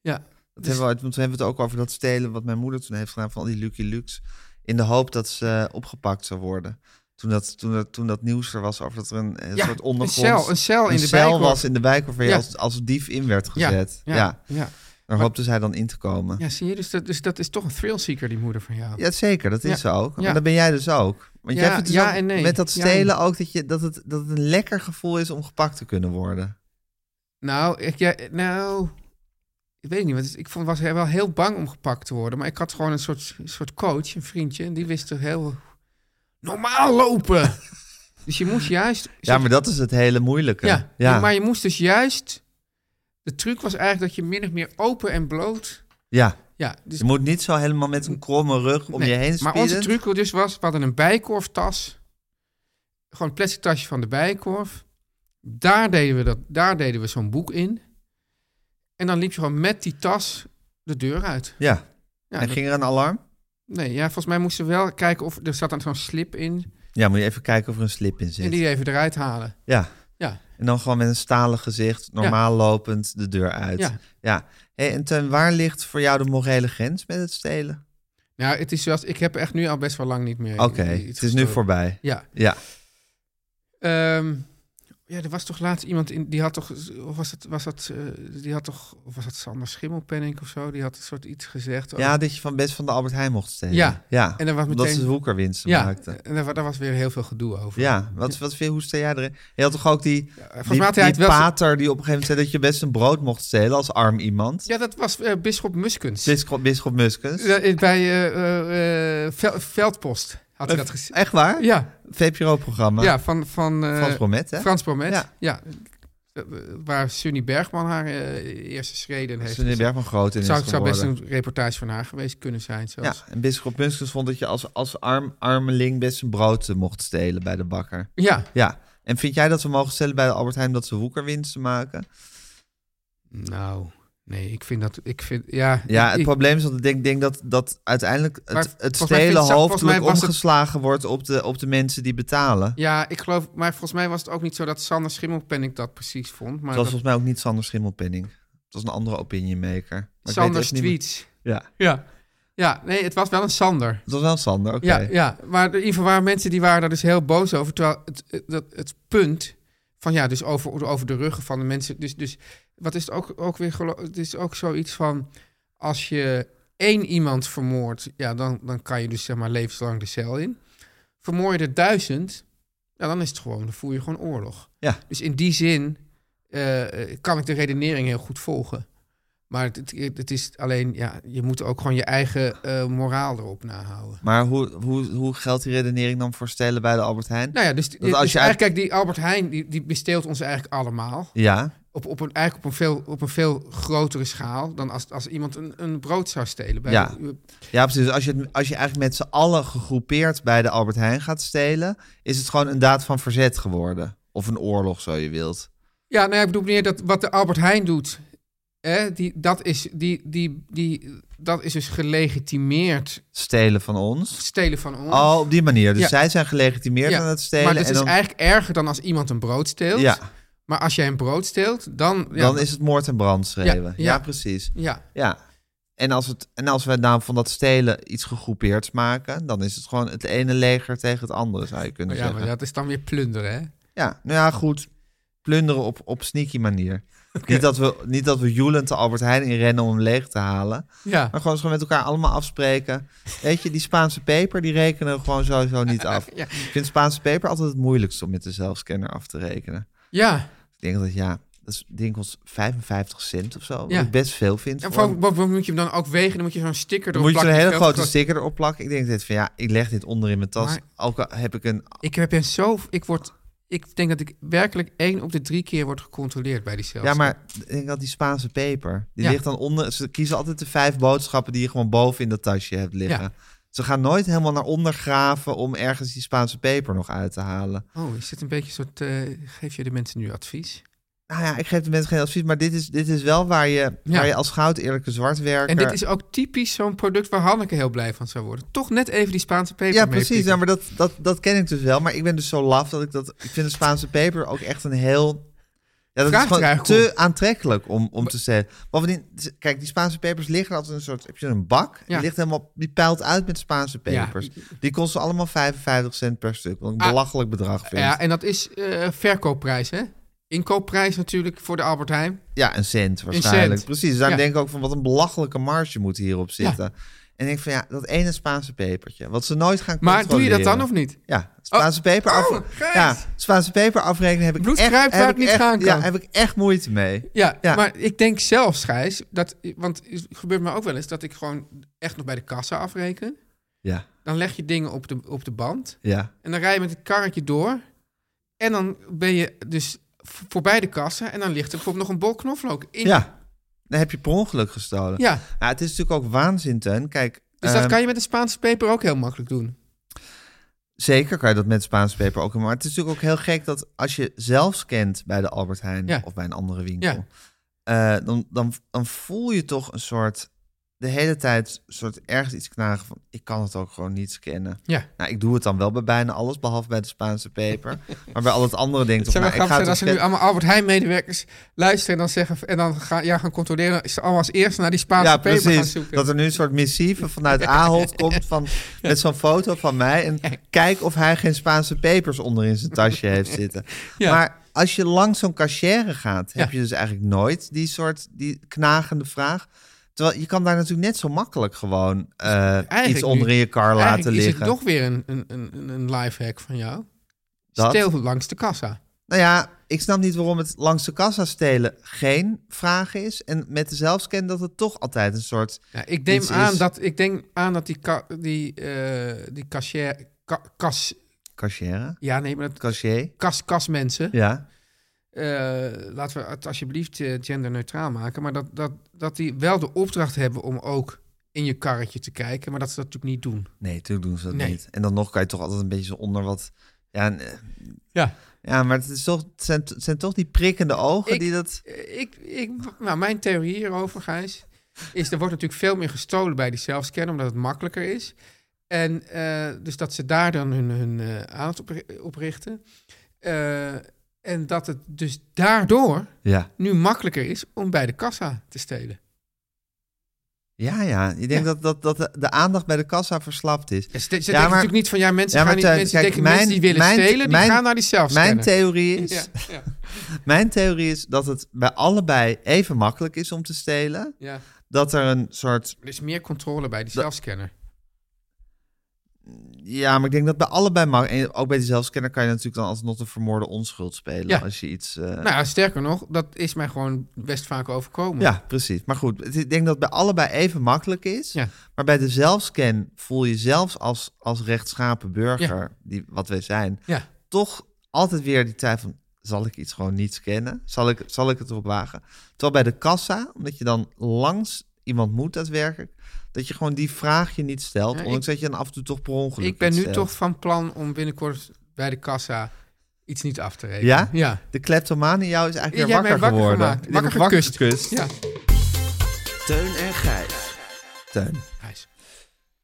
S1: Ja, Dus-
S2: Dat hebben we, want we hebben het ook over dat stelen wat mijn moeder toen heeft gedaan van al die Lucky Lukes. In de hoop dat ze eh, opgepakt zou worden. Toen dat, toen, dat, toen dat nieuws er was over dat er een, eh,
S1: Ja,
S2: soort
S1: een
S2: ondergronds...
S1: cel, een cel in
S2: een
S1: de
S2: cel
S1: Bijkorf.
S2: was in de wijk waar je
S1: Ja.
S2: als, als dief in werd gezet. Ja,
S1: Ja, ja, ja.
S2: Daar hoopte zij dan in te komen.
S1: Ja, zie je, dus dat, dus dat is toch een thrillseeker, die moeder van jou.
S2: Ja, zeker. Dat
S1: Ja.
S2: is ze ook.
S1: Ja.
S2: Maar dat ben jij dus ook. Want jij
S1: Ja,
S2: vindt dus
S1: ja
S2: ook
S1: en nee.
S2: met dat
S1: Ja.
S2: stelen ook dat, je, dat, het, dat het een lekker gevoel is om gepakt te kunnen worden.
S1: Nou, ik, ja, nou, ik weet niet, want het- ik vond, was wel heel bang om gepakt te worden. Maar ik had gewoon een soort, soort coach, een vriendje, en die wist er heel normaal
S2: (laughs)
S1: lopen. dus je moest juist...
S2: Ja, maar dat is het hele moeilijke.
S1: Ja,
S2: ja.
S1: maar je moest dus juist... De truc was eigenlijk dat je min of meer open en bloot...
S2: Ja.
S1: Ja, dus,
S2: Je moet niet zo helemaal met een kromme rug om
S1: nee.
S2: je heen spieden.
S1: Maar onze truc dus was, we hadden een bijkorftas. Gewoon een plastic tasje van de bijkorf. Daar deden we, dat, daar deden we zo'n boek in. En dan liep je gewoon met die tas de deur uit.
S2: Ja.
S1: Ja,
S2: en
S1: dat-
S2: ging er een alarm?
S1: Nee, ja, volgens mij moesten we wel kijken of... Er zat dan zo'n slip in.
S2: Ja, moet je even kijken of er een slip in zit.
S1: En die even eruit halen.
S2: Ja.
S1: Ja.
S2: En dan gewoon met een stalen gezicht, normaal lopend de deur uit.
S1: Ja.
S2: Ja. Hey, en ten waar ligt voor jou de morele grens met het stelen?
S1: Nou, het is juist, ik heb echt nu al best wel lang niet Oh. meer.
S2: Oké,
S1: i- iets
S2: het is nu
S1: gestolen.
S2: voorbij.
S1: Ja.
S2: Ja.
S1: Ehm, ja, er was toch laatst iemand in, die had toch, of was dat, was dat, eh, die had toch, of was dat Sander Schimmelpenning of zo? Die had een soort iets gezegd. over-
S2: ja, dat je van best van de Albert Heijn mocht stelen.
S1: Ja.
S2: ja.
S1: en er was
S2: omdat
S1: meteen.
S2: ze woekerwinsten
S1: ja,
S2: maakten.
S1: en daar, wa- daar was weer heel veel gedoe over.
S2: Ja, wat, wat, vind- hoe sta jij erin? Je had toch ook die,
S1: Ja,
S2: die,
S1: Volgens mij had hij het
S2: die
S1: wel.
S2: pater die op een gegeven moment zei dat je best een brood mocht stelen als arm iemand.
S1: Ja, dat was eh Bisschop Muskens.
S2: Bisschop, Bisschop Muskens.
S1: Ja, in- Bij eh, eh, eh, Vel- Veldpost had
S2: Eh,
S1: hij dat gezien.
S2: Echt waar?
S1: Ja,
S2: VPRO-programma.
S1: ja, van, van eh,
S2: Frans Bromet, hè?
S1: Frans Bromet. Ja.
S2: Ja.
S1: Eh, Waar Sunny Bergman haar eh, eerste schreden heeft.
S2: Sunny Bergman groot in is
S1: zou, zou best
S2: geworden.
S1: een reportage van haar geweest kunnen zijn.
S2: Ja,
S1: Zelfs.
S2: en Bisschop Muskens vond dat je als, als arm, armeling best een brood eh, mocht stelen bij de bakker.
S1: ja.
S2: Ja. En vind jij dat we mogen stellen bij de Albert Heijn dat ze woekerwinsten maken?
S1: Nou, nee, ik vind dat. Ik vind, ja,
S2: Ja, het
S1: ik-
S2: probleem is dat ik denk, denk dat, dat uiteindelijk
S1: Maar
S2: het, het
S1: volgens mij vindt
S2: stelen
S1: ze- volgens mij
S2: hoofdelijk
S1: was het-
S2: omgeslagen wordt op de, op de mensen die betalen.
S1: ja, ik geloof. Maar volgens mij was het ook niet zo dat Sander Schimmelpenning dat precies vond. Maar
S2: Het was
S1: dat-
S2: volgens mij ook niet Sander Schimmelpenning. Het was een andere opinionmaker. Maar ik weet
S1: Sanders
S2: even niet meer-
S1: tweets.
S2: Ja,
S1: Ja. ja, nee, het was wel een Sander.
S2: het was wel Sander, oké.
S1: Ja, ja, maar in ieder geval waren mensen die waren daar dus heel boos over. Terwijl het, het- dat, het punt van ja, dus over, over de ruggen van de mensen. Dus, dus wat is het ook, ook weer? gelo- Het is ook zoiets van als je één iemand vermoordt, ja, dan, dan kan je dus zeg maar levenslang de cel in. Vermoor je er duizend, ja, dan is het gewoon, dan voer je gewoon oorlog.
S2: Ja.
S1: Dus in die zin eh, eh, kan ik de redenering heel goed volgen. Maar het, het, het is alleen, ja, je moet ook gewoon je eigen eh, moraal erop nahouden.
S2: Maar hoe, hoe, hoe geldt die redenering dan voor stelen bij de Albert Heijn?
S1: Nou ja, dus, dus
S2: als
S1: eigenlijk,
S2: je
S1: kijk,
S2: eigenlijk-
S1: die Albert Heijn die, die besteelt ons eigenlijk allemaal.
S2: Ja,
S1: Op, op een, eigenlijk op een, veel, op een veel grotere schaal dan als, als iemand een, een brood zou stelen. Bij
S2: Ja.
S1: de-
S2: ja precies. Dus Als je, het- als je eigenlijk met z'n allen gegroepeerd bij de Albert Heijn gaat stelen... is het gewoon een daad van verzet geworden. Of een oorlog, zo je wilt.
S1: ja, nou ja, ik bedoel meer dat wat de Albert Heijn doet, hè, die, dat, is, die, die, die, dat is dus gelegitimeerd
S2: Stelen van ons.
S1: stelen van ons.
S2: Oh, op die manier. Dus
S1: Ja.
S2: zij zijn gelegitimeerd
S1: Ja,
S2: aan het stelen.
S1: maar dat
S2: en
S1: is
S2: dan,
S1: eigenlijk erger dan als iemand een brood steelt.
S2: ja,
S1: Maar als jij een brood steelt, dan... Ja,
S2: dan is het moord en brand schreeuwen.
S1: Ja,
S2: Ja,
S1: ja.
S2: precies.
S1: ja,
S2: Ja. En als, het, en als we nou van dat stelen iets gegroepeerds maken... dan is het gewoon het ene leger tegen het andere, zou je kunnen
S1: Oh ja,
S2: zeggen.
S1: maar dat is dan weer plunderen, hè?
S2: Ja, nou ja, goed. Plunderen op, op sneaky
S1: (laughs)
S2: manier. Niet, dat we, niet dat we joelend de Albert Heijn inrennen om hem leeg te halen.
S1: Ja.
S2: Maar gewoon, gewoon met elkaar allemaal afspreken. Weet je, die Spaanse peper, die rekenen we gewoon sowieso niet af.
S1: (laughs) Ja.
S2: Ik vind Spaanse peper altijd het moeilijkste om met de zelfscanner af te rekenen.
S1: Ja.
S2: Ik denk dat, ja, dat is denk ik ons 55 cent of zo. Wat
S1: Ja.
S2: ik best veel vind.
S1: En
S2: voor
S1: voor, voor- voor moet je hem dan ook wegen? Dan moet je zo'n sticker
S2: dan
S1: erop
S2: moet je zo'n
S1: plakken.
S2: hele
S1: Veel te
S2: grote sticker erop plakken. Ik denk dit van ja, ik leg dit onder in mijn tas.
S1: Maar-
S2: Ook al heb ik een.
S1: Ik heb er zo... Ik word... Ik denk dat ik werkelijk één op de drie keer word gecontroleerd bij die cel.
S2: Ja, maar ik denk dat die Spaanse peper. Die
S1: Ja.
S2: ligt dan onder. Ze kiezen altijd de vijf boodschappen die je gewoon boven in dat tasje hebt liggen.
S1: Ja.
S2: Ze gaan nooit helemaal naar ondergraven om ergens die Spaanse peper nog uit te halen.
S1: Oh, is dit een beetje een soort... eh, geef je de mensen nu advies?
S2: Nou ja, ik geef de mensen geen advies, maar dit is, dit is wel waar je,
S1: Ja.
S2: waar je als goud eerlijke zwartwerker...
S1: En dit is ook typisch zo'n product waar Hanneke heel blij van zou worden. Toch net even die Spaanse peper
S2: Ja,
S1: mee
S2: precies.
S1: pikken.
S2: Ja, maar dat, dat, dat ken ik dus wel. Maar ik ben dus zo laf dat ik dat... Ik vind de Spaanse peper ook echt een heel... Ja, dat
S1: Vraag er
S2: is gewoon
S1: eigenlijk
S2: te aantrekkelijk om, om te stelen. Bovendien, z- kijk, die Spaanse pepers liggen altijd in een soort... Heb je een bak? en
S1: Ja.
S2: Die, ligt helemaal, die pijlt uit met Spaanse
S1: Ja.
S2: pepers. Die kosten allemaal 55 cent per stuk. Wat ik een
S1: Ah.
S2: belachelijk bedrag vind.
S1: Ja,
S2: Ja,
S1: en dat is eh, verkoopprijs, hè? Inkoopprijs natuurlijk voor de Albert Heijn.
S2: een cent waarschijnlijk.
S1: cent.
S2: Precies. dus Daar
S1: Ja.
S2: denk ik ook van, wat een belachelijke marge moet hierop zitten. En ik denk van, ja, dat ene Spaanse pepertje. Wat ze nooit gaan
S1: Maar doe je dat dan
S2: controleren.
S1: of niet?
S2: Ja, Spaanse peper af...
S1: oh, Gijs!
S2: ja, Spaanse peper afrekenen heb ik
S1: Bloedkruip
S2: echt,
S1: waar
S2: heb
S1: het niet
S2: echt,
S1: gaan kan.
S2: Ja, heb ik echt moeite mee.
S1: Ja,
S2: Ja.
S1: maar ik denk zelfs, Gijs, dat, want het gebeurt me ook wel eens dat ik gewoon echt nog bij de kassa afreken.
S2: Ja,
S1: Dan leg je dingen op de, op de band.
S2: ja.
S1: En dan rij je met het karretje door. En dan ben je dus v- voorbij de kassa. En dan ligt er bijvoorbeeld nog een bol knoflook in.
S2: Ja, dan heb je per ongeluk gestolen.
S1: Ja,
S2: Nou, het is natuurlijk ook waanzin, Teun. Kijk,
S1: dus dat
S2: ehm,
S1: kan je met een Spaanse peper ook heel makkelijk doen.
S2: zeker kan je dat met Spaanse peper ook. doen, Maar het is natuurlijk ook heel gek dat als je zelfs kent bij de Albert Heijn
S1: Ja.
S2: of bij een andere winkel...
S1: Ja.
S2: eh, dan, dan, dan voel je toch een soort de hele tijd soort ergens iets knagen van... ik kan het ook gewoon niet scannen.
S1: Ja.
S2: Nou, ik doe het dan wel bij bijna alles, behalve bij de Spaanse peper. maar bij al het
S1: (laughs)
S2: andere denk ik
S1: Het
S2: toch...
S1: zou wel
S2: Nou, ik ga
S1: grappig zijn als
S2: het wel
S1: er nu
S2: scannen.
S1: allemaal Albert Heijn-medewerkers luisteren en dan zeggen en dan gaan, ja, gaan controleren. Is er allemaal als eerst naar die Spaanse
S2: Ja,
S1: peper gaan
S2: precies.
S1: zoeken?
S2: Dat er nu een soort missieve
S1: (laughs)
S2: vanuit Ahold komt van, met zo'n foto van mij. En kijk of hij geen Spaanse pepers onder in zijn tasje heeft zitten.
S1: Ja.
S2: Maar als je langs zo'n cachère gaat, heb
S1: Ja.
S2: je dus eigenlijk nooit die soort die knagende vraag. Terwijl je kan daar natuurlijk net zo makkelijk gewoon eh, iets onder
S1: nu-
S2: in je kar laten
S1: Eigenlijk is
S2: liggen.
S1: het toch weer een, een, een, een lifehack van jou.
S2: Dat?
S1: Stil langs de kassa.
S2: Nou ja, ik snap niet waarom het langs de kassa stelen geen vraag is. En met de zelfscan dat het toch altijd een soort...
S1: Ja, ik, neem
S2: Iets
S1: aan
S2: is-
S1: dat, ik denk aan dat die, ka, die, eh die cashier... Ka, kas,
S2: Cachère?
S1: ja, nee, maar dat,
S2: Cachier?
S1: kas, kasmensen.
S2: Ja.
S1: eh, laten we het alsjeblieft eh, genderneutraal maken. Maar dat, dat, dat die wel de opdracht hebben om ook in je karretje te kijken. Maar dat ze dat natuurlijk niet doen.
S2: Nee, natuurlijk doen ze dat
S1: Nee.
S2: niet. En dan nog kan je toch altijd een beetje zo onder wat... Ja, en, eh,
S1: Ja.
S2: ja maar het, is toch, het, zijn, het zijn toch die prikkende ogen
S1: Ik-
S2: die dat...
S1: Eh, Ik, ik, nou, mijn theorie hierover, Gijs, is er wordt natuurlijk veel meer gestolen bij die zelfscan, omdat het makkelijker is. En eh, dus dat ze daar dan hun, hun eh, aandacht op, op richten. Eh, en dat het dus daardoor
S2: Ja,
S1: nu makkelijker is om bij de kassa te stelen.
S2: ja, ja. Ik denk
S1: Ja.
S2: Dat, dat, dat de, de aandacht bij de kassa verslapt is.
S1: Ja, ze ze denken
S2: maar-
S1: natuurlijk niet van, ja, mensen,
S2: Ja,
S1: gaan
S2: maar
S1: niet,
S2: Teun,
S1: mensen
S2: kijk,
S1: denken, mensen die
S2: mijn-
S1: willen
S2: mijn-
S1: stelen, die
S2: mijn-
S1: gaan naar die zelfscannen.
S2: Mijn theorie, is,
S1: Ja, ja,
S2: mijn theorie is dat het bij allebei even makkelijk is om te stelen.
S1: ja.
S2: Dat er een soort...
S1: Er is meer controle bij die
S2: Dat-
S1: zelfscanner.
S2: Ja, maar ik denk dat bij allebei mag. En ook bij die zelfscanner kan je natuurlijk dan alsnog de vermoorde onschuld spelen.
S1: Ja.
S2: Als je iets... eh,
S1: Nou, ja, sterker nog, dat is mij gewoon best vaak overkomen.
S2: Ja, precies. Maar goed, het- ik denk dat het bij allebei even makkelijk is.
S1: Ja.
S2: Maar bij de zelfscan voel je zelfs als, als rechtschapen burger, die, wat wij zijn,
S1: Ja.
S2: toch altijd weer die tijd van, zal ik iets gewoon niet scannen? Zal ik, zal ik het erop wagen? Terwijl bij de kassa, omdat je dan langs iemand moet daadwerkelijk, dat je gewoon die vraag je niet stelt,
S1: Ja,
S2: ondanks dat je dan af en toe toch per ongeluk
S1: Ik ben
S2: iets
S1: nu
S2: stelt.
S1: toch van plan om binnenkort bij de kassa iets niet af te rekenen.
S2: Ja?
S1: Ja.
S2: De kleptomaan in jou is eigenlijk
S1: Jij
S2: weer
S1: bent wakker
S2: wakker, geworden.
S1: gemaakt.
S2: Die heb
S1: Wakker
S2: ik
S1: gekust. Ja.
S3: Teun en Gijs.
S2: Teun.
S1: Gijs.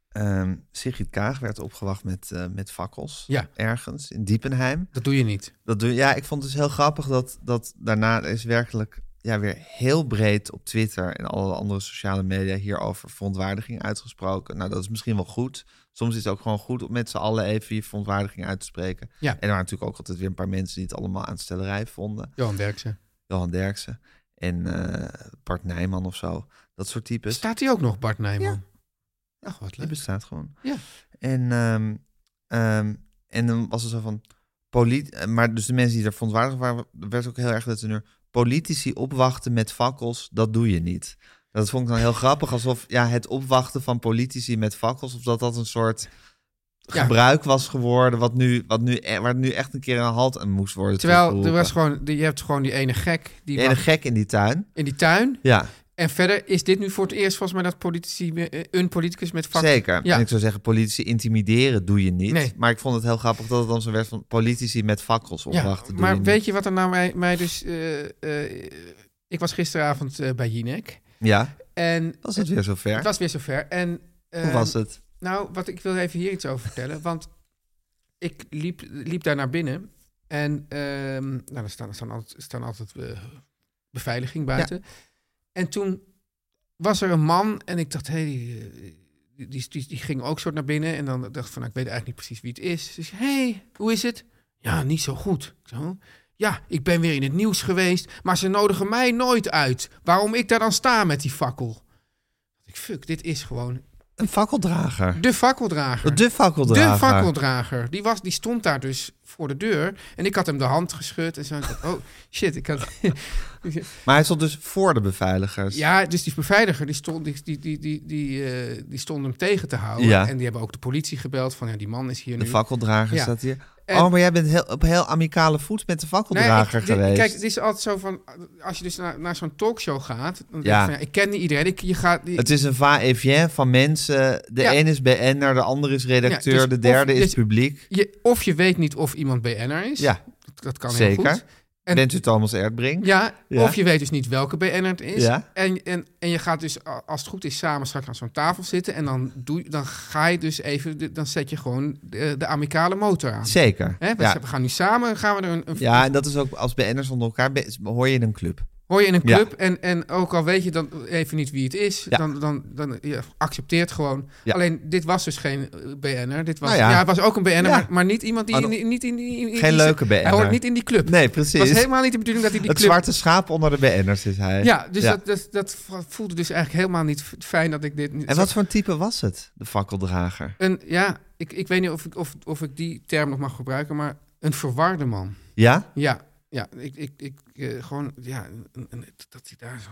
S2: Ehm, Sigrid Kaag werd opgewacht met, eh, met fakkels.
S1: Ja.
S2: Ergens in Diepenheim.
S1: Dat doe je niet.
S2: Dat doe, ja, ik vond het dus heel grappig dat, dat daarna is werkelijk ja, weer heel breed op Twitter en alle andere sociale media hierover verontwaardiging uitgesproken. Nou, dat is misschien wel goed. Soms is het ook gewoon goed om met z'n allen even je verontwaardiging uit te spreken.
S1: Ja.
S2: En er waren natuurlijk ook altijd weer een paar mensen die het allemaal aanstellerij vonden.
S1: Johan Derksen.
S2: Johan Derksen en eh Bart Nijman of zo. Dat soort types.
S1: Staat hij ook nog, Bart Nijman? Ja. Ach, wat
S2: Die
S1: leuk.
S2: bestaat gewoon.
S1: Ja.
S2: En, ehm, ehm, en dan was het zo van... Polit eh, maar dus de mensen die er verontwaardigd waren... werd ook heel erg dat ze nu... Politici opwachten met fakkels, dat doe je niet. Dat vond ik dan heel grappig. Alsof ja, het opwachten van politici met fakkels... of dat dat een soort
S1: Ja.
S2: gebruik was geworden... Wat nu, wat nu, e- waar nu echt een keer een halt aan moest worden
S1: Terwijl er
S2: toegeroepen.
S1: was gewoon, die- je hebt gewoon die ene gek die
S2: Die ene
S1: wacht
S2: gek in die tuin.
S1: in die tuin.
S2: Ja,
S1: En verder is dit nu voor het eerst volgens mij dat politici, eh, een politicus met vak...
S2: zeker.
S1: Ja.
S2: En ik zou zeggen, politici intimideren doe je niet.
S1: Nee.
S2: Maar ik vond het heel grappig dat het dan zo werd van... politici met fakkels
S1: Ja,
S2: opwachten doe je
S1: maar
S2: niet.
S1: weet je wat er nou mij, mij dus... eh, eh, ik was gisteravond eh, bij Jinek.
S2: Ja,
S1: En
S2: was het weer zover?
S1: het was weer zover. En,
S2: Hoe
S1: eh,
S2: was het?
S1: Nou, wat ik wil even hier iets over vertellen. Want ik liep, liep daar naar binnen. En ehm nou, er staan, er staan altijd, er staan altijd eh, beveiliging buiten. En toen was er een man. En ik dacht, hé, hey, die, eh, die, die, die- die ging ook soort naar binnen. En dan dacht ik van, nou, ik weet eigenlijk niet precies wie het is. Dus hé, hey, hoe is het? Ja, niet zo goed. Ik zei, "Huh?" Ja, ik ben weer in het nieuws geweest. Maar ze nodigen mij nooit uit. Waarom ik daar dan sta met die fakkel? Ik, fuck, dit is gewoon
S2: Een fakkeldrager.
S1: de fakkeldrager.
S2: De fakkeldrager.
S1: De fakkeldrager. Die, was, die stond daar dus voor de deur. En ik had hem de hand geschud. En zo. Ik dacht, oh shit. Ik
S2: (laughs)
S1: had...
S2: Maar hij stond dus voor de beveiligers.
S1: ja, dus die beveiliger die stond, die, die, die, die, die, eh, die stond hem tegen te houden.
S2: Ja.
S1: En die hebben ook de politie gebeld. Van ja, die man is hier
S2: De
S1: nu.
S2: fakkeldrager
S1: Ja.
S2: staat hier.
S1: En-
S2: Oh, maar jij bent heel, op heel amicale voet met de fakkeldrager
S1: Nee, ik- dit-
S2: geweest.
S1: Kijk, het is altijd zo van. Als je dus naar, naar zo'n talkshow gaat. Dan denk
S2: Ja.
S1: je van, ja, ik ken niet iedereen. Ik, je gaat,
S2: het is een va evien van mensen. De
S1: Ja.
S2: een is BN'er, de ander is redacteur,
S1: Ja, dus
S2: de derde
S1: of-
S2: is
S1: dus-
S2: publiek.
S1: je, of je weet niet of iemand BN'er is.
S2: Ja,
S1: Dat kan
S2: Zeker.
S1: heel goed. En-
S2: Bent u Thomas Erdbrink?
S1: Ja,
S2: Ja.
S1: of je weet dus niet welke BN'er het is.
S2: Ja.
S1: En, en, en je gaat dus, a- als het goed is, samen straks aan zo'n tafel zitten. En dan, doe, je- dan ga je dus even, de- dan zet je gewoon de, de amicale motor aan.
S2: Zeker.
S1: Hè, we
S2: ja.
S1: zeggen, we gaan nu samen, gaan we er een, een-
S2: ja, en dat is ook als BN'ers onder elkaar be- hoor je in een club.
S1: hoor je in een
S2: Ja.
S1: club en, en ook al weet je dan even niet wie het is,
S2: Ja.
S1: dan, dan, dan je accepteert gewoon.
S2: Ja.
S1: Alleen dit was dus geen eh, BN'er, dit was,
S2: Nou ja.
S1: ja. het was ook een BN'er,
S2: Ja.
S1: maar, maar niet iemand die,
S2: Oh,
S1: niet, niet in die, in die-
S2: Geen leuke
S1: Hij hoort
S2: BN'er.
S1: niet in die club.
S2: Nee,
S1: Het was
S2: precies.
S1: helemaal niet de bedoeling dat hij die
S2: Het
S1: club
S2: zwarte schaap onder de BN'ers is hij.
S1: Ja, dus Dat, dat, dat voelde dus eigenlijk helemaal niet f- fijn dat ik dit... niet-
S2: En wat voor een type was het, de fakkeldrager?
S1: Een, ja, ik, ik weet niet of ik, of, of ik die term nog mag gebruiken, maar een verwarde man.
S2: Ja?
S1: Ja, ja ik, ik, ik eh, gewoon, ja, een- een- dat hij daar zo...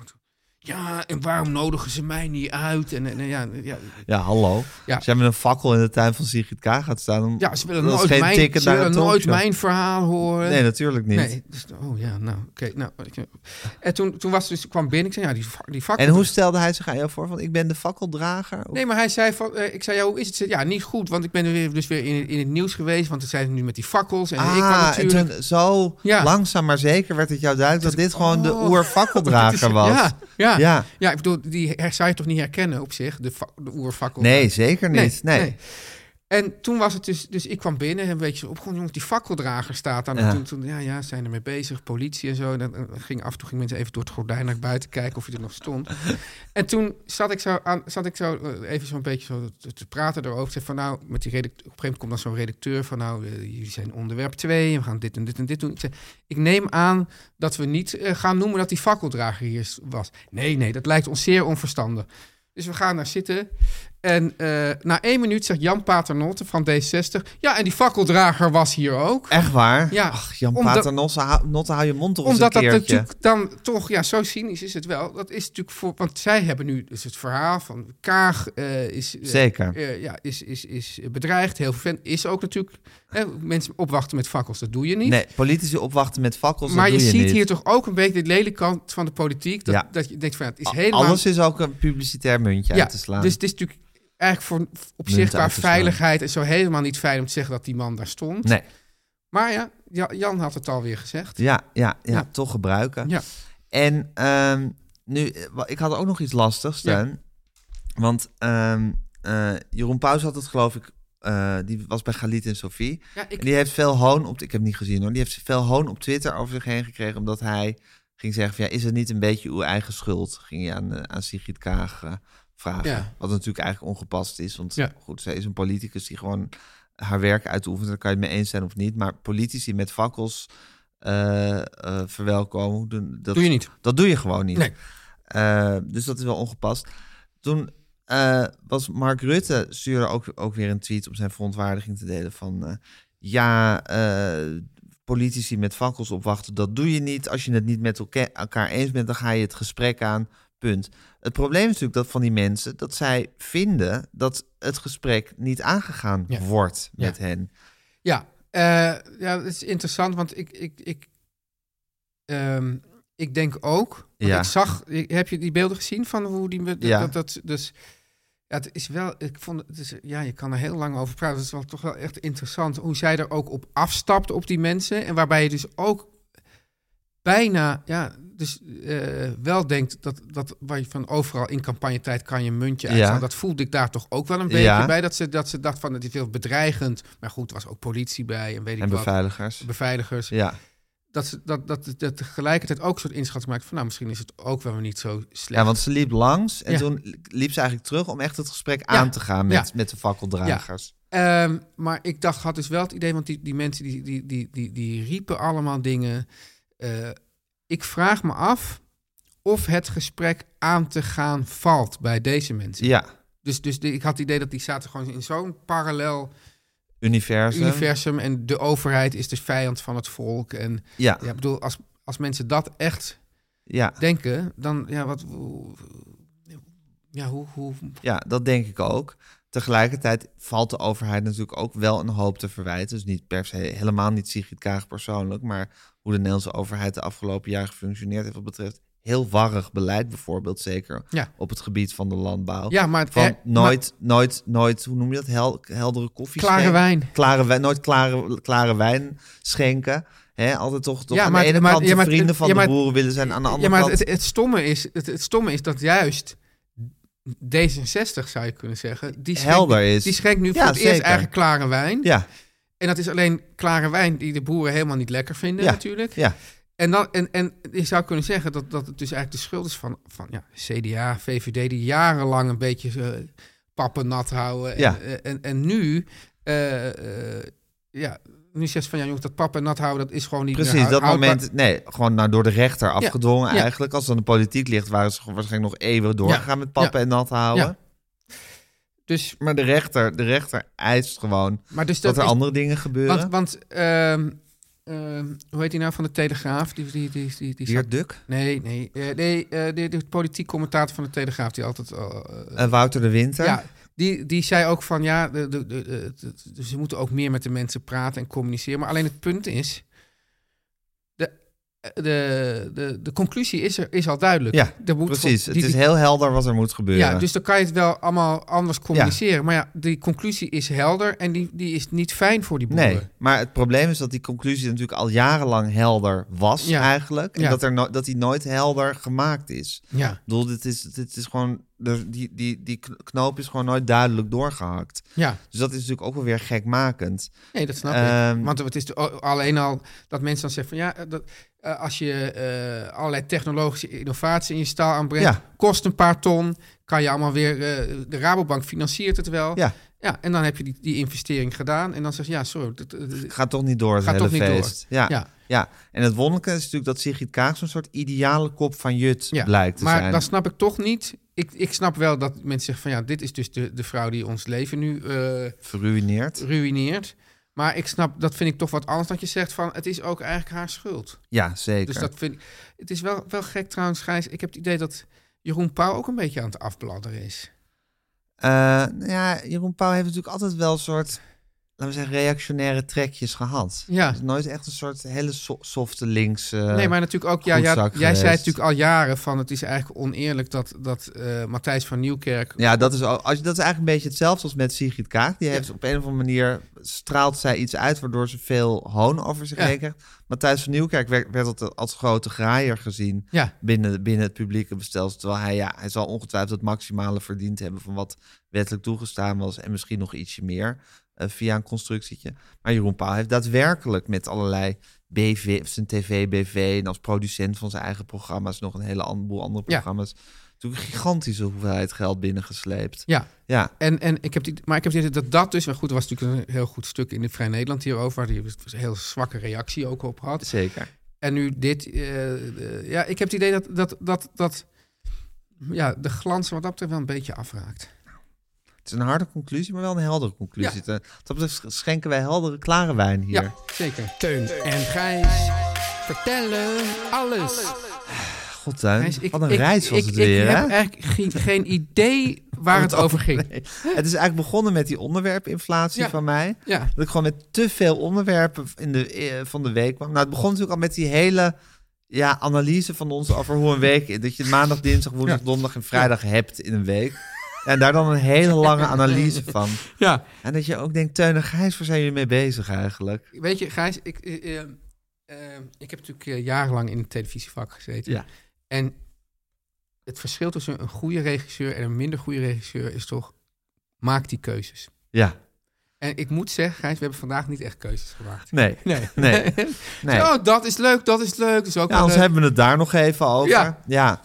S1: Ja, en waarom nodigen ze mij niet uit? En, en, en ja, ja,
S2: Ja, hallo.
S1: Ja.
S2: Als jij met een fakkel in de tuin van Sigrid K gaat staan... Dan,
S1: ja, ze willen
S2: dat is
S1: nooit,
S2: geen
S1: mijn,
S2: ticket
S1: ze
S2: naar
S1: willen
S2: een
S1: nooit
S2: talkshow.
S1: mijn verhaal horen.
S2: Nee, natuurlijk niet.
S1: Nee, dus, oh ja, nou, oké. nou, ik- en toen, toen was dus, kwam binnen, ik zei, ja, die, va- die vakken...
S2: En hoe stelde hij zich aan jou voor? Van, ik ben de fakkeldrager?
S1: Nee, maar hij zei van, eh, ik zei, ja, hoe is het? Ze- Ja, niet goed, want ik ben er weer, dus weer in, in het nieuws geweest, want het zijn nu met die fakkels en ik kwam
S2: Ah, en
S1: natuurlijk.
S2: toen zo
S1: Ja.
S2: langzaam maar zeker werd het jou duidelijk dat dit gewoon de
S1: oh. (laughs) Het
S2: oerfakkeldrager
S1: is-
S2: was.
S1: Ja, ja, ja.
S2: Ja.
S1: ik bedoel, die her- zou je toch niet herkennen op zich, de, fa- de oerfakkel?
S2: Nee, zeker niet. Nee.
S1: En toen was het dus, dus ik kwam binnen en een beetje zo opgekomen, jongens, die fakkeldrager staat aan.
S2: Ja.
S1: En toen, toen, ja, ja, ze zijn er mee bezig, politie en zo. En dan eh, ging af en toe gingen mensen even door het gordijn naar buiten kijken of je er nog
S2: (laughs)
S1: stond. en toen zat ik zo, aan, zat ik zo eh, even zo'n beetje zo te, te praten erover. Ik Zei van nou, met die redacteur, op een gegeven moment komt dan zo'n redacteur van nou, eh, jullie zijn onderwerp 2, we gaan dit en dit en dit doen. Ik zei, ik neem aan dat we niet eh, gaan noemen dat die fakkeldrager hier is- was. Nee, nee, dat lijkt ons zeer onverstandig. Dus we gaan daar zitten. En eh, na één minuut zegt Jan Paternotte van D60... Ja, en die fakkeldrager was hier ook.
S2: Echt waar?
S1: Ja,
S2: Ach, Jan
S1: omdat-
S2: Paternotte, hou- Notte, hou je mond op
S1: Omdat
S2: eens
S1: dat
S2: een keertje.
S1: natuurlijk dan toch... Ja, zo cynisch is het wel. Dat is natuurlijk voor... Want zij hebben nu dus het verhaal van Kaag eh, is... eh,
S2: Zeker.
S1: eh, ja, is, is, is bedreigd. Heel veel fan- is ook natuurlijk... hè, mensen opwachten met fakkels, dat doe je niet.
S2: Nee, politici opwachten met fakkels, dat
S1: maar je,
S2: doe
S1: ziet
S2: niet.
S1: hier toch ook een beetje de lelijke kant van de politiek. Dat,
S2: Ja.
S1: dat je denkt van ja, het is
S2: A-
S1: helemaal...
S2: Alles is ook een publicitair muntje uit te slaan.
S1: Dus het is natuurlijk eigenlijk voor, op
S2: Munt
S1: zich qua
S2: uit te slaan.
S1: veiligheid en zo helemaal niet fijn om te zeggen dat die man daar stond.
S2: Nee,
S1: Maar ja, Ja- Jan had het alweer gezegd.
S2: ja, ja, ja,
S1: Ja.
S2: toch gebruiken.
S1: Ja.
S2: En ehm, nu, eh, wa- ik had ook nog iets lastigs,
S1: Ja.
S2: Teun. Want ehm, eh, Jeroen Pauws had het, geloof ik, eh, die was bij Galit en Sophie.
S1: Ja,
S2: En
S1: ik,
S2: die heeft veel hoon op. Ik heb het niet gezien hoor. Die heeft veel hoon op Twitter over zich heen gekregen. Omdat hij ging zeggen: van, ja, Is het niet een beetje uw eigen schuld? Ging hij aan, eh, aan Sigrid Kaag eh, vragen.
S1: Ja.
S2: Wat natuurlijk eigenlijk ongepast is. Want
S1: Ja.
S2: goed, zij is een politicus die gewoon haar werk uitoefent. Daar kan je het mee eens zijn of niet. Maar politici met fakkels eh, eh, verwelkomen. doen- Dat,
S1: doe je niet.
S2: dat doe je gewoon niet.
S1: Nee.
S2: Eh, dus dat is wel ongepast. Toen eh, was Mark Rutte, stuurde ook, ook weer een tweet om zijn verontwaardiging te delen van... eh, ja, eh, politici met fakkels opwachten, dat doe je niet. Als je het niet met elke- elkaar eens bent, dan ga je het gesprek aan, punt. Het probleem is natuurlijk dat van die mensen, dat zij vinden dat het gesprek niet aangegaan
S1: Ja.
S2: wordt met hen.
S1: Ja, eh, ja, dat is interessant, want ik, ik, ik, ehm, ik denk ook. want
S2: Ja.
S1: Ik zag, ik- heb je die beelden gezien van hoe die. Dat,
S2: Ja.
S1: dat, dat- dus, ja, het is wel. Ik vond het. is- ja, je kan er heel lang over praten. Het is wel toch wel echt interessant hoe zij er ook op afstapt op die mensen. En waarbij je dus ook bijna. Ja, dus eh, wel denkt dat, dat waar je van overal in campagnetijd kan je een muntje
S2: Ja.
S1: uitstaan. Dat voelde ik daar toch ook wel een beetje
S2: Ja.
S1: bij. Dat ze, dat ze dacht van het is heel bedreigend. Maar goed, er was ook politie bij en weet ik
S2: En
S1: wat.
S2: beveiligers.
S1: Beveiligers.
S2: Ja,
S1: Dat, ze, dat, dat, dat tegelijkertijd ook een soort inschatting maakt van nou, misschien is het ook wel niet zo slecht.
S2: ja, want ze liep langs en
S1: Ja.
S2: toen liep ze eigenlijk terug om echt het gesprek
S1: Ja.
S2: aan te gaan met,
S1: Ja.
S2: met de fakkeldragers.
S1: Ehm, maar ik dacht, had dus wel het idee, want die, die mensen die, die, die, die, die riepen allemaal dingen. Eh, ik vraag me af of het gesprek aan te gaan valt bij deze mensen.
S2: Ja,
S1: Dus, dus de- ik had het idee dat die zaten gewoon in zo'n parallel
S2: universum.
S1: universum en de overheid is de vijand van het volk. En
S2: Ja,
S1: ja, ik bedoel, als, als mensen dat echt
S2: ja,
S1: denken, dan ja, wat. hoe- Ja, hoe. hoe
S2: ja, dat denk ik ook. Tegelijkertijd valt de overheid natuurlijk ook wel een hoop te verwijten. Dus niet per se, helemaal niet Sigrid Kaag persoonlijk, maar hoe de Nederlandse overheid de afgelopen jaren gefunctioneerd heeft wat betreft heel warrig beleid bijvoorbeeld, zeker
S1: Ja.
S2: op het gebied van de landbouw.
S1: ja, maar.
S2: Van
S1: eh,
S2: nooit, nooit, nooit, hoe noem je dat? Hel, heldere koffie.
S1: Klare
S2: schenken.
S1: wijn.
S2: Klare wijn. Nooit klare, klare wijn schenken. hè, altijd toch, toch
S1: Ja,
S2: aan
S1: maar-
S2: de ene
S1: maar-
S2: kant
S1: ja,
S2: de
S1: maar-
S2: vrienden van
S1: ja, maar-
S2: de boeren willen zijn, aan de andere
S1: ja, maar
S2: kant...
S1: het, het, stomme is, het, het stomme is dat juist D66, zou je kunnen zeggen, die schenkt,
S2: Helder is.
S1: Die schenkt nu
S2: Ja,
S1: voor het eerst
S2: zeker.
S1: eigen klare wijn.
S2: ja,
S1: En dat is alleen klare wijn die de boeren helemaal niet lekker vinden
S2: Ja,
S1: natuurlijk.
S2: ja.
S1: En, dan, en, en je zou kunnen zeggen dat, dat het dus eigenlijk de schuld is van, van ja, CDA, VVD... die jarenlang een beetje eh, pappen nat houden. En,
S2: Ja.
S1: eh, en, en nu... eh, eh, ja, nu zegt van ja, jongens, dat pappen nat houden, dat is gewoon niet meer
S2: precies. Dat
S1: houdbaar.
S2: moment, nee, gewoon nou, door de rechter afgedwongen
S1: ja.
S2: eigenlijk. Als het aan de politiek ligt, waren ze waarschijnlijk nog eeuwig doorgegaan met pappen en nat houden.
S1: Ja. Dus,
S2: Maar de rechter, de rechter eist gewoon
S1: maar dus
S2: dat,
S1: dat
S2: er
S1: is-
S2: andere dingen gebeuren.
S1: Want, want ehm, ehm, hoe heet die nou van de Telegraaf? Die, die, die, die, die
S2: Geert Duk?
S1: Nee, nee. eh, nee eh, de, de politiek commentator van de Telegraaf, die altijd... al, eh,
S2: Eh, Wouter de Winter?
S1: ja, die, die zei ook van, ja, de, de, de, de- de- ze moeten ook meer met de mensen praten en communiceren. Maar alleen het punt is, de, de, de, de conclusie is, er, is al duidelijk.
S2: Ja,
S1: Er moet
S2: precies.
S1: voor-
S2: Het
S1: die-
S2: is
S1: die-
S2: heel helder wat er moet gebeuren.
S1: ja, dus dan kan je het wel allemaal anders communiceren. Maar ja, die conclusie is helder en die, die is niet fijn voor die boeren.
S2: Nee, maar het probleem is dat die conclusie natuurlijk al jarenlang helder was
S1: Ja.
S2: eigenlijk. En
S1: Ja.
S2: dat, er no- dat die nooit helder gemaakt is.
S1: Ja,
S2: Ik bedoel, dit is, dit is gewoon, er- die, die, die kn- knoop is gewoon nooit duidelijk doorgehakt.
S1: ja.
S2: Dus dat is natuurlijk ook wel weer gekmakend.
S1: Nee, dat snap
S2: Ehm,
S1: ik. Want het is al- alleen al dat mensen dan zeggen van ja, eh, dat, eh, als je eh, allerlei technologische innovatie in je staal aanbrengt,
S2: Ja.
S1: kost een paar ton, kan je allemaal weer, eh, de Rabobank financiert het wel.
S2: Ja.
S1: ja en dan heb je die, die investering gedaan en dan zeg je ja, sorry. Dat, eh, dat-
S2: Gaat toch niet door het
S1: Gaat
S2: hele
S1: toch niet door.
S2: feest. Ja.
S1: Ja.
S2: Ja. en het wonderlijke is natuurlijk dat Sigrid Kaag zo'n soort ideale kop van Jut
S1: ja.
S2: blijkt te
S1: maar
S2: zijn.
S1: dan snap ik toch niet. Ik, ik snap wel dat mensen zeggen van ja, dit is dus de, de vrouw die ons leven nu eh,
S2: Verruineerd.
S1: ruïneert. Maar ik snap, dat vind ik toch wat anders dat je zegt van het is ook eigenlijk haar schuld.
S2: Ja, zeker.
S1: Dus dat vind ik. Het is wel, wel gek trouwens, Gijs. Ik heb het idee dat Jeroen Pauw ook een beetje aan het afbladderen is.
S2: Eh, nou ja, Jeroen Pauw heeft natuurlijk altijd wel een soort, laten we zeggen, reactionaire trekjes gehad.
S1: Ja.
S2: Het is nooit echt een soort hele so- softe links. eh,
S1: nee, maar natuurlijk ook. Ja,
S2: goed
S1: ja,
S2: zak
S1: jij zei
S2: geweest.
S1: natuurlijk al jaren van het is eigenlijk oneerlijk dat, dat eh, Matthijs van Nieuwkerk.
S2: Ja, dat is, al- als, je- dat is eigenlijk een beetje hetzelfde als met Sigrid Kaag. Die heeft op een of andere manier straalt zij iets uit waardoor ze veel hoon over zich
S1: Ja.
S2: heen krijgt. Matthijs van Nieuwkerk werd, werd altijd als grote graaier gezien
S1: Ja.
S2: binnen, binnen het publieke bestel. Terwijl hij, ja, hij zal ongetwijfeld het maximale verdiend hebben van wat wettelijk toegestaan was. En misschien nog ietsje meer eh, via een constructietje. Maar Jeroen Pauw heeft daadwerkelijk met allerlei BV, of zijn tv-BV en als producent van zijn eigen programma's nog een hele an- boel andere
S1: Ja.
S2: programma's. Natuurlijk een gigantische hoeveelheid geld binnengesleept.
S1: Ja,
S2: Ja,
S1: en, en ik heb die, maar ik heb dit, dat dat dus. Maar goed, er was natuurlijk een heel goed stuk in de Vrij Nederland hierover. Waar die een heel zwakke reactie ook op had.
S2: zeker.
S1: En nu dit. eh, eh, ja, ik heb het idee dat, dat, dat, dat ja, de glans wat dat betreft wel een beetje afraakt.
S2: Het is een harde conclusie, maar wel een heldere conclusie.
S1: Ja.
S2: Ten- Dat betreft schenken wij heldere, klare wijn hier.
S1: Ja, zeker.
S4: Teun en Gijs vertellen alles.
S2: God, Teun,
S1: Gijs, ik-
S2: wat een
S1: ik-
S2: reis was
S1: ik-
S2: het weer,
S1: Ik
S2: hè?
S1: heb eigenlijk geen, geen idee waar het over ging.
S2: Nee. Het is eigenlijk begonnen met die onderwerpinflatie
S1: Ja.
S2: van mij.
S1: Ja,
S2: Dat ik gewoon met te veel onderwerpen in de, eh, van de week kwam. Nou, het begon natuurlijk al met die hele ja, analyse van ons over hoe een week... is. Dat je maandag, dinsdag, woensdag,
S1: Ja.
S2: donderdag en vrijdag hebt in een week. En daar dan een hele lange analyse van.
S1: ja.
S2: En dat je ook denkt, Teun en Gijs, waar zijn jullie mee bezig eigenlijk?
S1: Weet je, Gijs, ik, eh, eh, eh, ik heb natuurlijk eh, jarenlang in het televisievak gezeten.
S2: Ja.
S1: En het verschil tussen een goede regisseur en een minder goede regisseur is toch, maak die keuzes.
S2: Ja,
S1: En ik moet zeggen, Gijs, we hebben vandaag niet echt keuzes gemaakt.
S2: nee.
S1: (laughs) Nee.
S2: Nee. Nee.
S1: Oh, dat is leuk, dat is leuk. Dat is ook wel
S2: Ja, Nou, anders
S1: leuk.
S2: hebben we het daar nog even over.
S1: Ja.
S2: Ja,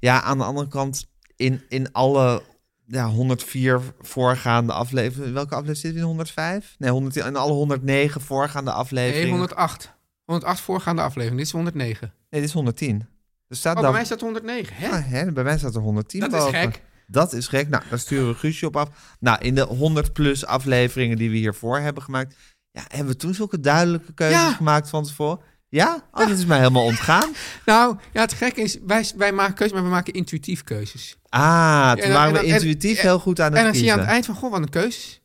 S2: ja. aan de andere kant, in, in alle ja, 104 voorgaande afleveringen... Welke aflevering zitten we in? 105? Nee, 100, in alle 109 voorgaande
S1: Nee,
S2: afleveringen...
S1: 108. 108 voorgaande aflevering, dit is 109.
S2: Nee, dit is 110. Er staat
S1: Oh, bij
S2: dan...
S1: mij staat 109, hè?
S2: Ah, hè, bij mij staat er 110
S1: Dat is
S2: boven.
S1: gek.
S2: Dat is gek. Nou, daar sturen we Guusje op af. Nou, in de 100 plus afleveringen die we hiervoor hebben gemaakt... Ja, hebben we toen zulke duidelijke keuzes
S1: Ja.
S2: gemaakt van tevoren? Ja? Oh, dat is mij helemaal ontgaan.
S1: Nou, ja, het gekke is, wij, wij maken keuzes, maar we maken intuïtief keuzes.
S2: Ah, toen
S1: En dan-
S2: waren we
S1: en dan- en-
S2: intuïtief
S1: en-
S2: heel goed aan het
S1: en dan zie je
S2: kiezen.
S1: aan het eind van, goh, wat een keuzes.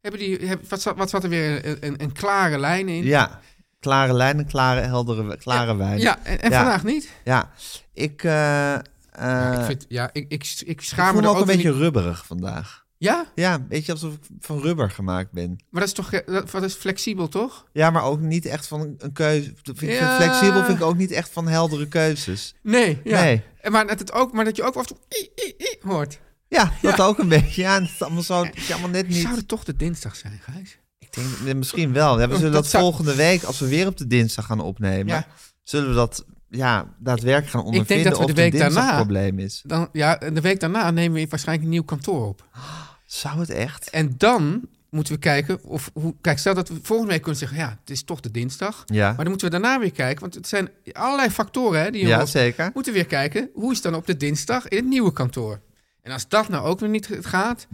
S1: Hebben die, heb, wat, zat- wat zat er weer een, een, een klare lijn in?
S2: Ja, klare lijnen, klare, heldere, klare wijn.
S1: Ja, en, en
S2: Ja.
S1: vandaag niet.
S2: Ja, ik, eh, eh,
S1: ik, vind, ja, ik, ik, ik
S2: ik
S1: schaam
S2: voel
S1: me er
S2: Eh. me ook een
S1: weer
S2: beetje
S1: niet-
S2: rubberig vandaag.
S1: Ja?
S2: Ja, een beetje alsof ik van rubber gemaakt ben.
S1: Maar dat is toch eh, dat, dat is flexibel, toch?
S2: Ja, maar ook niet echt van een keuze. Dat Vind ik
S1: Ja.
S2: Flexibel vind ik ook niet echt van heldere keuzes.
S1: Nee. Ja.
S2: Nee.
S1: En Maar, dat het ook, maar dat je ook af en toe i, i, i hoort.
S2: Ja, dat ook een beetje. Ja, en het is allemaal, zo, het is allemaal net niet.
S1: Zou het toch de dinsdag zijn, Gijs?
S2: Ik denk, nee, misschien wel. Ja, we
S1: (laughs)
S2: zullen
S1: Dat
S2: dat
S1: zou-
S2: volgende week, als we weer op de dinsdag gaan opnemen,
S1: Ja.
S2: zullen we dat ja, daadwerkelijk gaan ondervinden
S1: dat we
S2: of
S1: de
S2: het
S1: week
S2: een dinsdag
S1: daarna-
S2: probleem is.
S1: Dan, ja, en de week daarna nemen we waarschijnlijk een nieuw kantoor op.
S2: Zou het echt?
S1: En dan moeten we kijken of hoe. Kijk, stel dat we volgende week kunnen zeggen: ja, het is toch de dinsdag.
S2: Ja.
S1: Maar dan moeten we daarna weer kijken, want het zijn allerlei factoren hè, die
S2: ja,
S1: hierop-
S2: zeker.
S1: moeten we weer kijken hoe is het dan op de dinsdag in het nieuwe kantoor. En als dat nou ook weer niet gaat,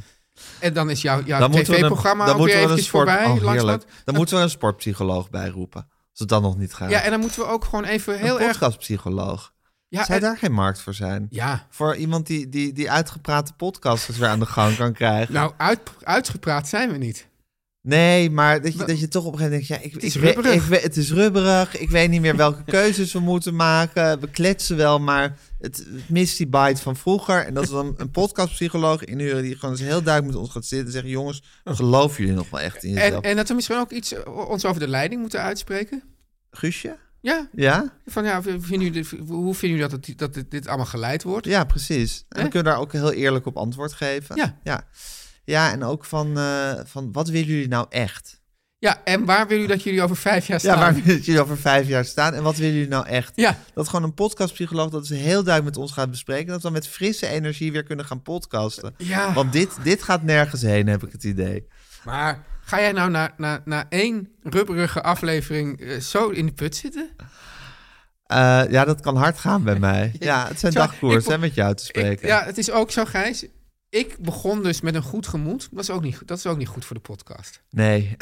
S1: en dan is jouw, jouw
S2: Dan moeten we een-
S1: tv-programma
S2: dan
S1: ook weer
S2: moeten we
S1: eventjes voorbij.
S2: oh,
S1: langs
S2: heerlijk.
S1: dat.
S2: Dan moeten we een sportpsycholoog bijroepen. Als het dan nog niet gaat.
S1: Ja, en dan moeten we ook gewoon even heel
S2: een
S1: erg.
S2: podcastpsycholoog.
S1: Ja,
S2: Zou
S1: en-
S2: daar geen markt voor zijn?
S1: ja.
S2: Voor iemand die, die, die uitgeprate podcasters weer aan de gang kan krijgen.
S1: nou, uit, uitgepraat zijn we niet.
S2: Nee, maar dat je,
S1: Maar-
S2: dat je toch op een gegeven moment denkt... Ja, ik,
S1: is
S2: ik weet-
S1: rubberig.
S2: Ik, weet- het is rubberig. Ik weet niet meer
S1: (laughs)
S2: welke keuzes we moeten maken. We kletsen wel, maar het, het mist die bite van vroeger. En dat we dan een podcastpsycholoog inhuren... die gewoon eens heel duidelijk met ons gaat zitten en zeggen... jongens, geloven jullie nog wel echt in
S1: En,
S2: jezelf?
S1: en dat we misschien ook iets eh, ons over de leiding moeten uitspreken.
S2: Guusje?
S1: Ja,
S2: Ja?
S1: van ja, vinden jullie, hoe vinden jullie dat, het, dat dit, dit allemaal geleid wordt?
S2: Ja, precies. En
S1: Hè?
S2: dan kunnen we daar ook heel eerlijk op antwoord geven.
S1: Ja.
S2: Ja, ja en ook van, eh, van... wat willen jullie nou echt?
S1: Ja, en waar wil u dat jullie over vijf jaar staan?
S2: Ja, waar (laughs) willen jullie over vijf jaar staan? En wat willen jullie nou echt?
S1: Ja.
S2: Dat gewoon een podcastpsycholoog dat ze heel duidelijk met ons gaat bespreken. Dat we dan met frisse energie weer kunnen gaan podcasten.
S1: Ja.
S2: Want dit, dit gaat nergens heen, heb ik het idee.
S1: Maar ga jij nou na, na, na één rubberige aflevering eh, zo in de put zitten?
S2: Eh, ja, dat kan hard gaan bij mij.
S1: (laughs)
S2: Ja, het zijn
S1: Sorry, ik
S2: dagkoers,
S1: vo-
S2: hè, met jou te
S1: Ik,
S2: spreken.
S1: ja, het is ook zo, Gijs. Ik begon dus met een goed gemoed. Dat is ook niet, goed- dat is ook niet goed voor de podcast.
S2: (laughs) Nee.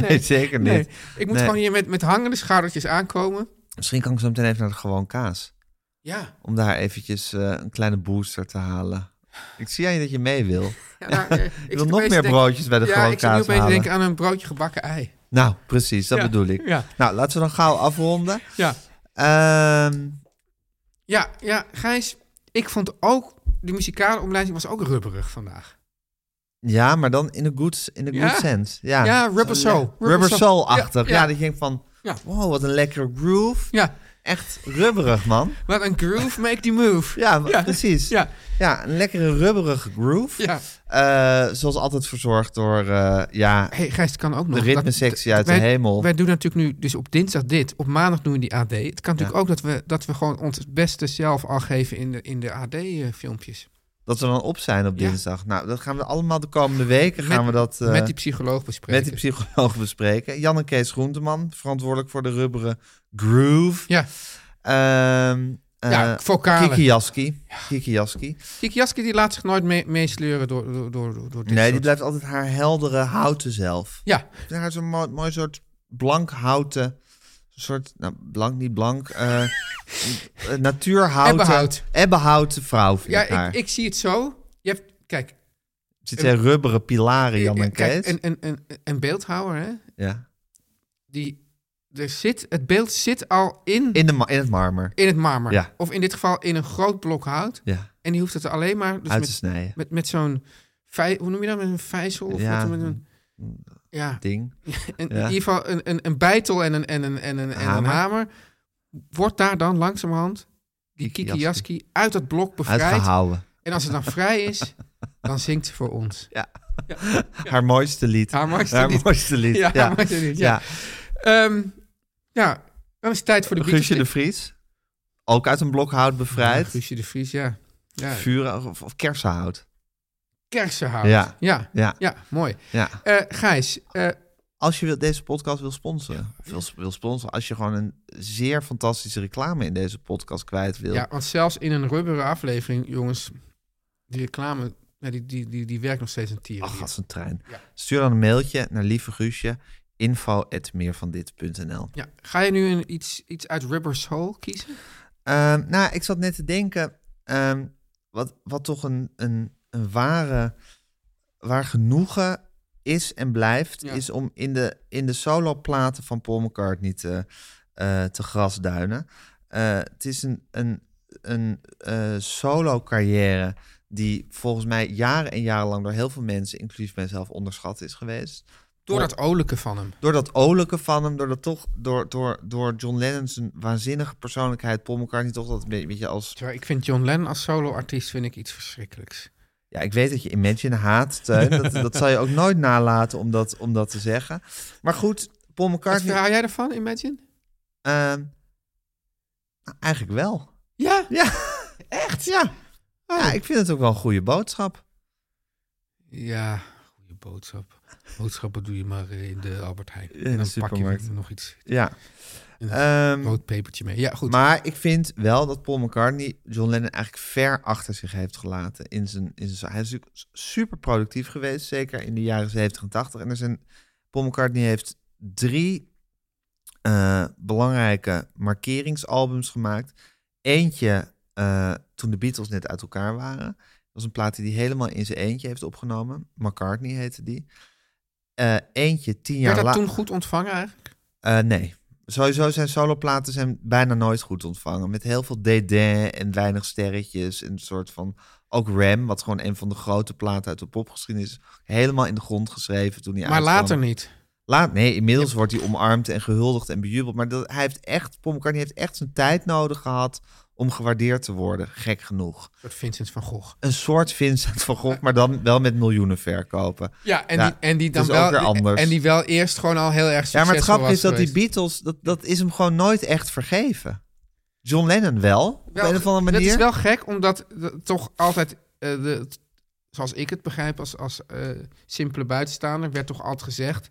S2: nee, zeker
S1: (laughs)
S2: niet.
S1: Nee, ik moet
S2: Nee.
S1: gewoon hier met, met hangende schoudertjes aankomen.
S2: Misschien kan ik zo meteen even naar de gewoon kaas.
S1: Ja,
S2: Om daar eventjes eh, een kleine booster te halen. Ik zie aan je dat je mee wil.
S1: ja, nou, eh,
S2: Ik
S1: zit
S2: wil
S1: opeens
S2: nog meer
S1: te denken-
S2: broodjes bij de
S1: Ja,
S2: gewoon
S1: ik zit nu
S2: kaas
S1: opeens te
S2: halen.
S1: denken aan een broodje gebakken ei.
S2: Nou, precies, dat
S1: Ja,
S2: bedoel ik.
S1: ja.
S2: Nou, laten we dan gauw afronden.
S1: Ja.
S2: Ehm,
S1: Ja, ja, Gijs, ik vond ook... De muzikale omlijsting was ook rubberig vandaag.
S2: ja, maar dan in de good, in the
S1: Ja.
S2: good sense. Ja,
S1: Ja, Rubber
S2: Zo,
S1: Soul.
S2: le-
S1: Rubber
S2: Rubber
S1: Soul.
S2: Soul-achtig.
S1: Ja,
S2: Ja,
S1: ja.
S2: dat je denkt van,
S1: Ja.
S2: wow, wat een lekkere groove.
S1: Ja,
S2: Echt rubberig, man.
S1: wat een groove, make the move.
S2: (laughs) Ja, precies.
S1: Ja,
S2: Ja, een lekkere rubberige groove.
S1: ja.
S2: Eh, zoals altijd verzorgd door, eh, ja,
S1: Hey, Gijs, het kan ook nog.
S2: de ritmesectie uit de
S1: wij-
S2: hemel.
S1: Wij doen natuurlijk nu, dus op dinsdag dit, op maandag doen we die AD. Het kan natuurlijk
S2: Ja.
S1: ook dat we, dat we gewoon ons beste zelf al geven in de, in de eh, AD-filmpjes.
S2: Dat we dan op zijn op
S1: Ja.
S2: dinsdag. Nou, dat gaan we allemaal de komende weken gaan we dat... eh,
S1: met die psycholoog bespreken.
S2: met die psycholoog (laughs) bespreken. Jan en Kees Groenteman, verantwoordelijk voor de rubberen groove.
S1: Ja.
S2: Ehm, eh,
S1: Ja, vocalen.
S2: Kiki Jaski. Kiki Jaski.
S1: Kiki Jaski die laat zich nooit mee- meesleuren door, door, door, door, door dit
S2: Nee, die
S1: soort-
S2: blijft altijd haar heldere houten zelf.
S1: Ja,
S2: Ik vind haar zo'n mooi, mooi soort blank houten... soort, nou, blank, niet
S1: (laughs)
S2: blank... eh, eh, natuurhouten...
S1: Ebbenhout.
S2: Ebbenhouten vrouw vind
S1: ja
S2: ik haar.
S1: ik, ik zie het zo. Je hebt, kijk...
S2: Zit zijn rubberen pilaren, Jan en Kees.
S1: kijk, een, een, een, een beeldhouwer, hè?
S2: ja.
S1: Die, er zit, het beeld zit al in, in,
S2: in, de ma- in het marmer.
S1: het marmer.
S2: Ja.
S1: Of in dit geval in een groot blok hout.
S2: Ja,
S1: En die hoeft het alleen maar... Dus
S2: uit
S1: met-
S2: te snijden.
S1: Met, met zo'n... vij- Hoe noem je dat? Met een vijzel? Of
S2: Ja.
S1: wat, met een, ja.
S2: Ding.
S1: En
S2: Ja.
S1: In ieder geval een, een, een bijtel en een, en een, en een, en een
S2: Hamer.
S1: hamer. Wordt daar dan langzamerhand die
S2: Kiki
S1: Kiki Jaski uit dat blok bevrijd.
S2: Uitgehouden.
S1: En als het dan vrij
S2: (laughs)
S1: is, dan zingt ze voor ons.
S2: Haar mooiste lied.
S1: Haar mooiste
S2: Haar
S1: lied.
S2: mooiste lied.
S1: Ja,
S2: Ja,
S1: haar mooiste lied, ja. Ehm, ja, dan is het tijd voor de
S2: Guusje de
S1: Beatles.
S2: Vries. Ook uit een blokhout
S1: Ja,
S2: bevrijd.
S1: Guusje de Vries, ja. ja.
S2: Vuren of, of kersenhout.
S1: Kersenhout.
S2: Ja.
S1: Ja.
S2: Ja,
S1: ja, mooi.
S2: ja.
S1: Eh, Gijs, eh,
S2: Als je wil, deze podcast wil sponsoren. of Wil, wil sponsoren. Als je gewoon een zeer fantastische reclame in deze podcast kwijt wil.
S1: Ja, want zelfs in een rubberen aflevering, jongens, die reclame, ja, die, die, die, die werkt nog steeds een tier.
S2: Ach, als een trein.
S1: Ja.
S2: Stuur dan een mailtje naar lieve Guusje. info.meervandit.nl
S1: ja. Ga je nu een, iets, iets uit Rubber Soul kiezen?
S2: Ehm, nou, ik zat net te denken, ehm, wat, wat toch een, een, een ware, waar genoegen is en blijft,
S1: Ja.
S2: is om in de, in de soloplaten van Paul McCartney te, eh, te grasduinen. Eh, het is een, een, een eh, solo-carrière die volgens mij jaren en jarenlang door heel veel mensen, inclusief mijzelf, onderschat is geweest.
S1: Door dat olijke van hem.
S2: Door dat olijke van hem, door, dat toch, door, door, door John Lennon zijn waanzinnige persoonlijkheid, Paul McCartney toch dat een beetje- beetje als...
S1: Terwijl ik vind John Lennon als solo-artiest vind ik iets verschrikkelijks.
S2: Ja, ik weet dat je Imagine haat, Teun. Dat, dat zal je ook nooit nalaten om dat, om dat te zeggen. Maar goed, Paul
S1: Wat
S2: McCartney...
S1: hou jij ervan, Imagine?
S2: ehm, nou, eigenlijk wel.
S1: Ja,
S2: Ja,
S1: echt? Oh.
S2: ja. ja, ik vind het ook wel een goede boodschap.
S1: Ja, goede boodschap. Boodschappen doe je maar in de Albert Heijn.
S2: In
S1: en
S2: de
S1: dan pak
S2: supermarkt.
S1: je nog iets,
S2: Ja.
S1: een
S2: Ehm,
S1: rood pepertje mee. Ja, goed.
S2: Maar ik vind wel dat Paul McCartney John Lennon eigenlijk ver achter zich heeft gelaten. In zijn, in zijn, hij is natuurlijk super productief geweest, zeker in de jaren 70 en 80. En er zijn, Paul McCartney heeft drie eh, belangrijke markeringsalbums gemaakt. Eentje eh, toen de Beatles net uit elkaar waren. Dat was een plaat die hij helemaal in zijn eentje heeft opgenomen. McCartney heette die. Eh, eentje tien jaar
S1: Werd dat
S2: later.
S1: toen goed ontvangen eigenlijk?
S2: Eh, nee. Sowieso zijn soloplaten zijn bijna nooit goed ontvangen. Met heel veel dédain en weinig sterretjes. En een soort van... Ook Ram, wat gewoon een van de grote platen uit de popgeschiedenis is. Helemaal in de grond geschreven toen hij
S1: maar
S2: uitkwam.
S1: later niet.
S2: Laat, nee, inmiddels wordt hij omarmd en gehuldigd en bejubeld. Maar dat, hij heeft echt, Paul McCartney heeft echt zijn tijd nodig gehad om gewaardeerd te worden. Gek genoeg.
S1: Dat Vincent van Gogh.
S2: Een soort Vincent van Gogh, maar dan wel met miljoenen verkopen.
S1: Ja, en
S2: Ja,
S1: die, en die
S2: het
S1: dan
S2: is
S1: wel
S2: ook weer anders.
S1: En die wel eerst gewoon al heel erg succesvol
S2: Ja, maar het grappige
S1: was
S2: is dat
S1: geweest.
S2: die Beatles, dat, dat is hem gewoon nooit echt vergeven. John Lennon wel, op
S1: Wel,
S2: een of andere manier.
S1: Dat is wel gek, omdat de- toch altijd, eh, de, zoals ik het begrijp als, als eh, simpele buitenstaander, werd toch altijd gezegd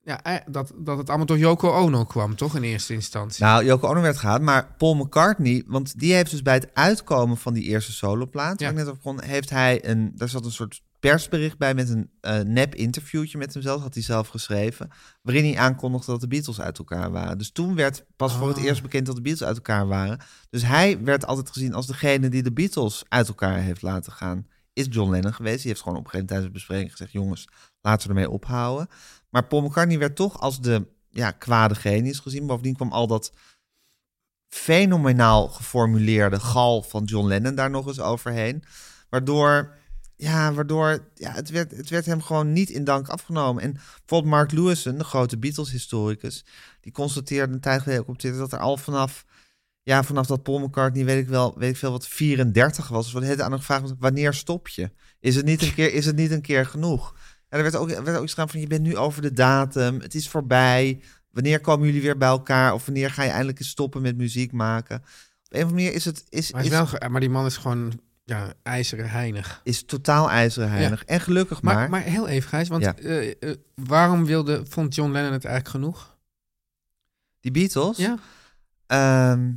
S1: ja, eh, dat, dat het allemaal door Yoko Ono kwam, toch in eerste instantie?
S2: Nou, Joko Ono werd gehaald, maar Paul McCartney, want die heeft dus bij het uitkomen van die eerste soloplaat, waar
S1: Ja.
S2: ik net op begon, heeft hij een, daar zat een soort persbericht bij met een eh, nep interviewtje met hemzelf, had hij zelf geschreven, waarin hij aankondigde dat de Beatles uit elkaar waren. Dus toen werd pas voor het eerst bekend dat de Beatles uit elkaar waren. Dus hij werd altijd gezien als degene die de Beatles uit elkaar heeft laten gaan. Is John Lennon geweest. Die heeft gewoon op een gegeven moment tijdens de bespreking gezegd: jongens, laten we ermee ophouden. Maar Paul McCartney werd toch als de ja, kwade genius gezien. Bovendien kwam al dat fenomenaal geformuleerde gal van John Lennon daar nog eens overheen. Waardoor, ja, waardoor ja, het, werd, het werd hem gewoon niet in dank afgenomen. En bijvoorbeeld Mark Lewison, de grote Beatles-historicus, die constateerde een tijd geleden ook op Twitter dat er al vanaf, ja, vanaf dat Paul McCartney, weet ik wel, weet ik veel wat, 34 was. Dus wat het aan hem gevraagd was, wanneer stop je? Is het niet een keer, is het niet een keer genoeg? En er werd ook, er werd ook iets gedaan van, je bent nu over de datum, het is voorbij. Wanneer komen jullie weer bij elkaar? Of wanneer ga je eindelijk eens stoppen met muziek maken? Op een of andere manier is het... Is,
S1: maar, hij
S2: is,
S1: is wel, ge- maar die man is gewoon ja, ijzeren heinig.
S2: is totaal ijzeren heilig. En gelukkig maar.
S1: Maar, maar, heel even, Gijs, want
S2: Ja.
S1: eh, eh, waarom wilde, vond John Lennon het eigenlijk genoeg?
S2: Die Beatles,
S1: Ja?
S2: ehm,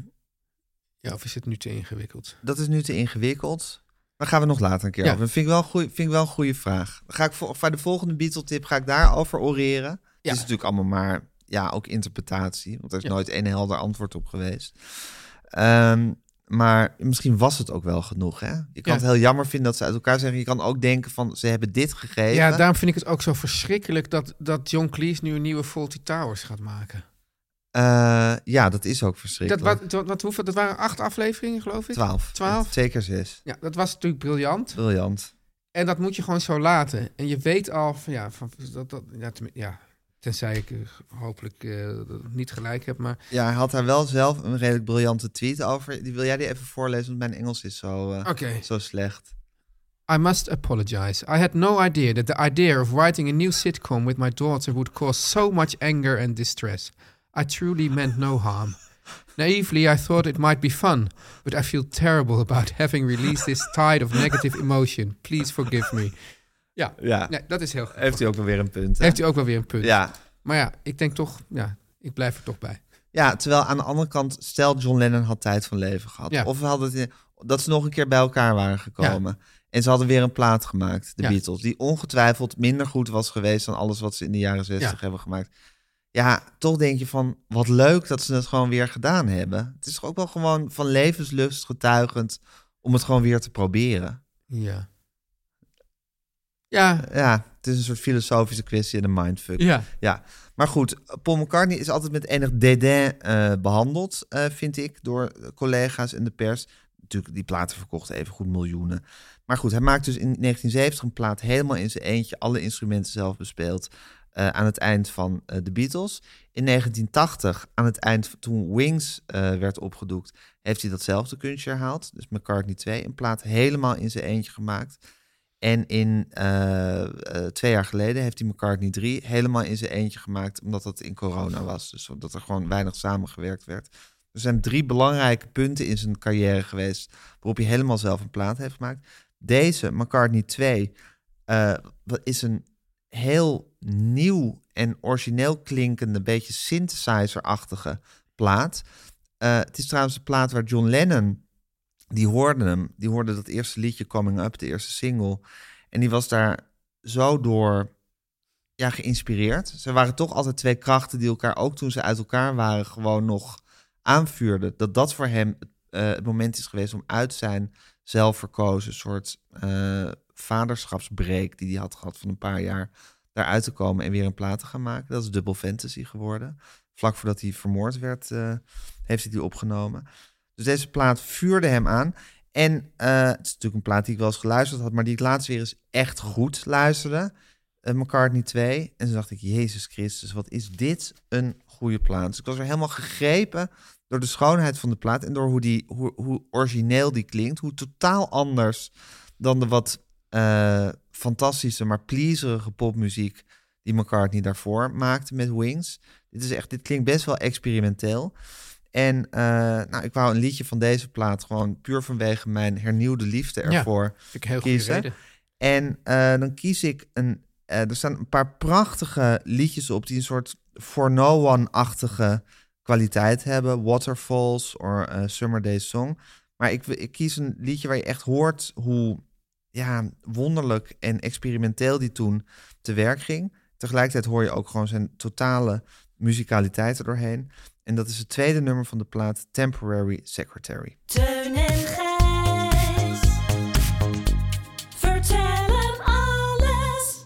S1: ja, of is het nu te ingewikkeld?
S2: dat is nu te ingewikkeld. Daar gaan we nog later een keer
S1: Ja.
S2: over. Vind ik wel een goeie- vind ik wel een goede vraag. Dan Ga ik voor, voor de volgende Beatle-tip ga ik daarover oreren. Het
S1: Ja.
S2: is natuurlijk allemaal maar, ja, ook interpretatie. Want er is
S1: Ja.
S2: nooit één helder antwoord op geweest. Ehm, maar misschien was het ook wel genoeg, hè? Je
S1: Ja.
S2: kan het heel jammer vinden dat ze uit elkaar zeggen. Je kan ook denken van, ze hebben dit gegeven.
S1: Ja, daarom vind ik het ook zo verschrikkelijk dat, dat John Cleese nu een nieuwe Faulty Towers gaat maken.
S2: Eh, ja, dat is ook
S1: Dat,
S2: verschrikkelijk.
S1: wat, wat, wat hoeveel, dat waren acht afleveringen, geloof ik?
S2: Twaalf.
S1: Twaalf.
S2: Zeker zes.
S1: Ja, dat was natuurlijk briljant.
S2: Briljant.
S1: En dat moet je gewoon zo laten. En je weet al van ja, van, dat, dat, ja, tenmin- ja, tenzij ik eh, hopelijk eh, niet gelijk heb, maar
S2: Ja, hij had daar wel zelf een redelijk briljante tweet over. Die wil jij die even voorlezen, want mijn Engels is zo, eh,
S1: oké.
S2: zo slecht.
S1: I must apologize. I had no idea that the idea of writing a new sitcom with my daughter would cause so much anger and distress. I truly meant no harm. Naively, I thought it might be fun, but I feel terrible about (laughs) having released this tide of negative emotion. Please forgive me. Ja,
S2: Ja,
S1: nee, dat is heel goed.
S2: heeft hij ook wel weer een punt. hè?
S1: Heeft hij ook wel weer een punt.
S2: Ja.
S1: Maar ja, ik denk toch, ja, ik blijf er toch bij.
S2: ja, terwijl aan de andere kant, stel John Lennon had tijd van leven gehad.
S1: Ja.
S2: Of we hadden het, dat ze nog een keer bij elkaar waren gekomen. En ze hadden weer een plaat gemaakt, de
S1: Ja.
S2: Beatles. Die ongetwijfeld minder goed was geweest dan alles wat ze in de jaren 60
S1: Ja.
S2: hebben gemaakt. Ja, toch denk je van, wat leuk dat ze het gewoon weer gedaan hebben. Het is ook wel gewoon van levenslust getuigend om het gewoon weer te proberen.
S1: Ja. Ja,
S2: Ja, het is een soort filosofische kwestie en een mindfuck.
S1: ja.
S2: Ja, maar goed, Paul McCartney is altijd met enig dédain eh, behandeld, eh, vind ik, door collega's en de pers. Natuurlijk, die platen verkochten even goed miljoenen. Maar goed, hij maakt dus in 1970 een plaat helemaal in zijn eentje, alle instrumenten zelf bespeeld. eh, aan het eind van eh, de Beatles. In 1980, aan het eind van- toen Wings eh, werd opgedoekt, heeft hij datzelfde kunstje herhaald. Dus McCartney 2, een plaat helemaal in zijn eentje gemaakt. En in eh, eh, twee jaar geleden heeft hij McCartney 3 helemaal in zijn eentje gemaakt, omdat dat in corona was. Dus omdat er gewoon weinig samengewerkt werd. Er zijn drie belangrijke punten in zijn carrière geweest waarop hij helemaal zelf een plaat heeft gemaakt. Deze, McCartney 2, eh, wat is een heel nieuw en origineel klinkende, beetje synthesizer-achtige plaat. Eh, het is trouwens de plaat waar John Lennon die hoorde hem. Die hoorde dat eerste liedje Coming Up, de eerste single. En die was daar zo door ja, geïnspireerd. Ze waren toch altijd twee krachten die elkaar, ook toen ze uit elkaar waren, gewoon nog aanvuurden. Dat dat voor hem eh, het moment is geweest om uit zijn zelfverkozen soort eh, vaderschapsbreek die hij had gehad van een paar jaar, daaruit te komen en weer een plaat te gaan maken. Dat is Double Fantasy geworden. Vlak voordat hij vermoord werd, eh, heeft hij die opgenomen. Dus deze plaat vuurde hem aan. En eh, het is natuurlijk een plaat die ik wel eens geluisterd had, maar die ik laatst weer eens echt goed luisterde. Eh, McCartney 2. En toen dacht ik, Jezus Christus, wat is dit een goede plaat. Dus ik was er helemaal gegrepen door de schoonheid van de plaat en door hoe, die, hoe, hoe origineel die klinkt. Hoe totaal anders dan de wat eh, fantastische, maar pleaserige popmuziek die McCartney daarvoor maakte met Wings. Dit, is echt, dit klinkt best wel experimenteel. En eh, nou, ik wou een liedje van deze plaat gewoon puur vanwege mijn hernieuwde liefde
S1: Ja,
S2: ervoor
S1: vind ik heel goede
S2: kiezen.
S1: reden.
S2: En eh, dan kies ik een. eh, er staan een paar prachtige liedjes op die een soort For No One-achtige kwaliteit hebben. Waterfalls of eh, Summer Day Song. Maar ik, ik kies een liedje waar je echt hoort hoe ja, wonderlijk en experimenteel die toen te werk ging. Tegelijkertijd hoor je ook gewoon zijn totale muzikaliteit erdoorheen. En dat is het tweede nummer van de plaat Temporary Secretary.
S5: Teun en Gijs. Vertel hem alles.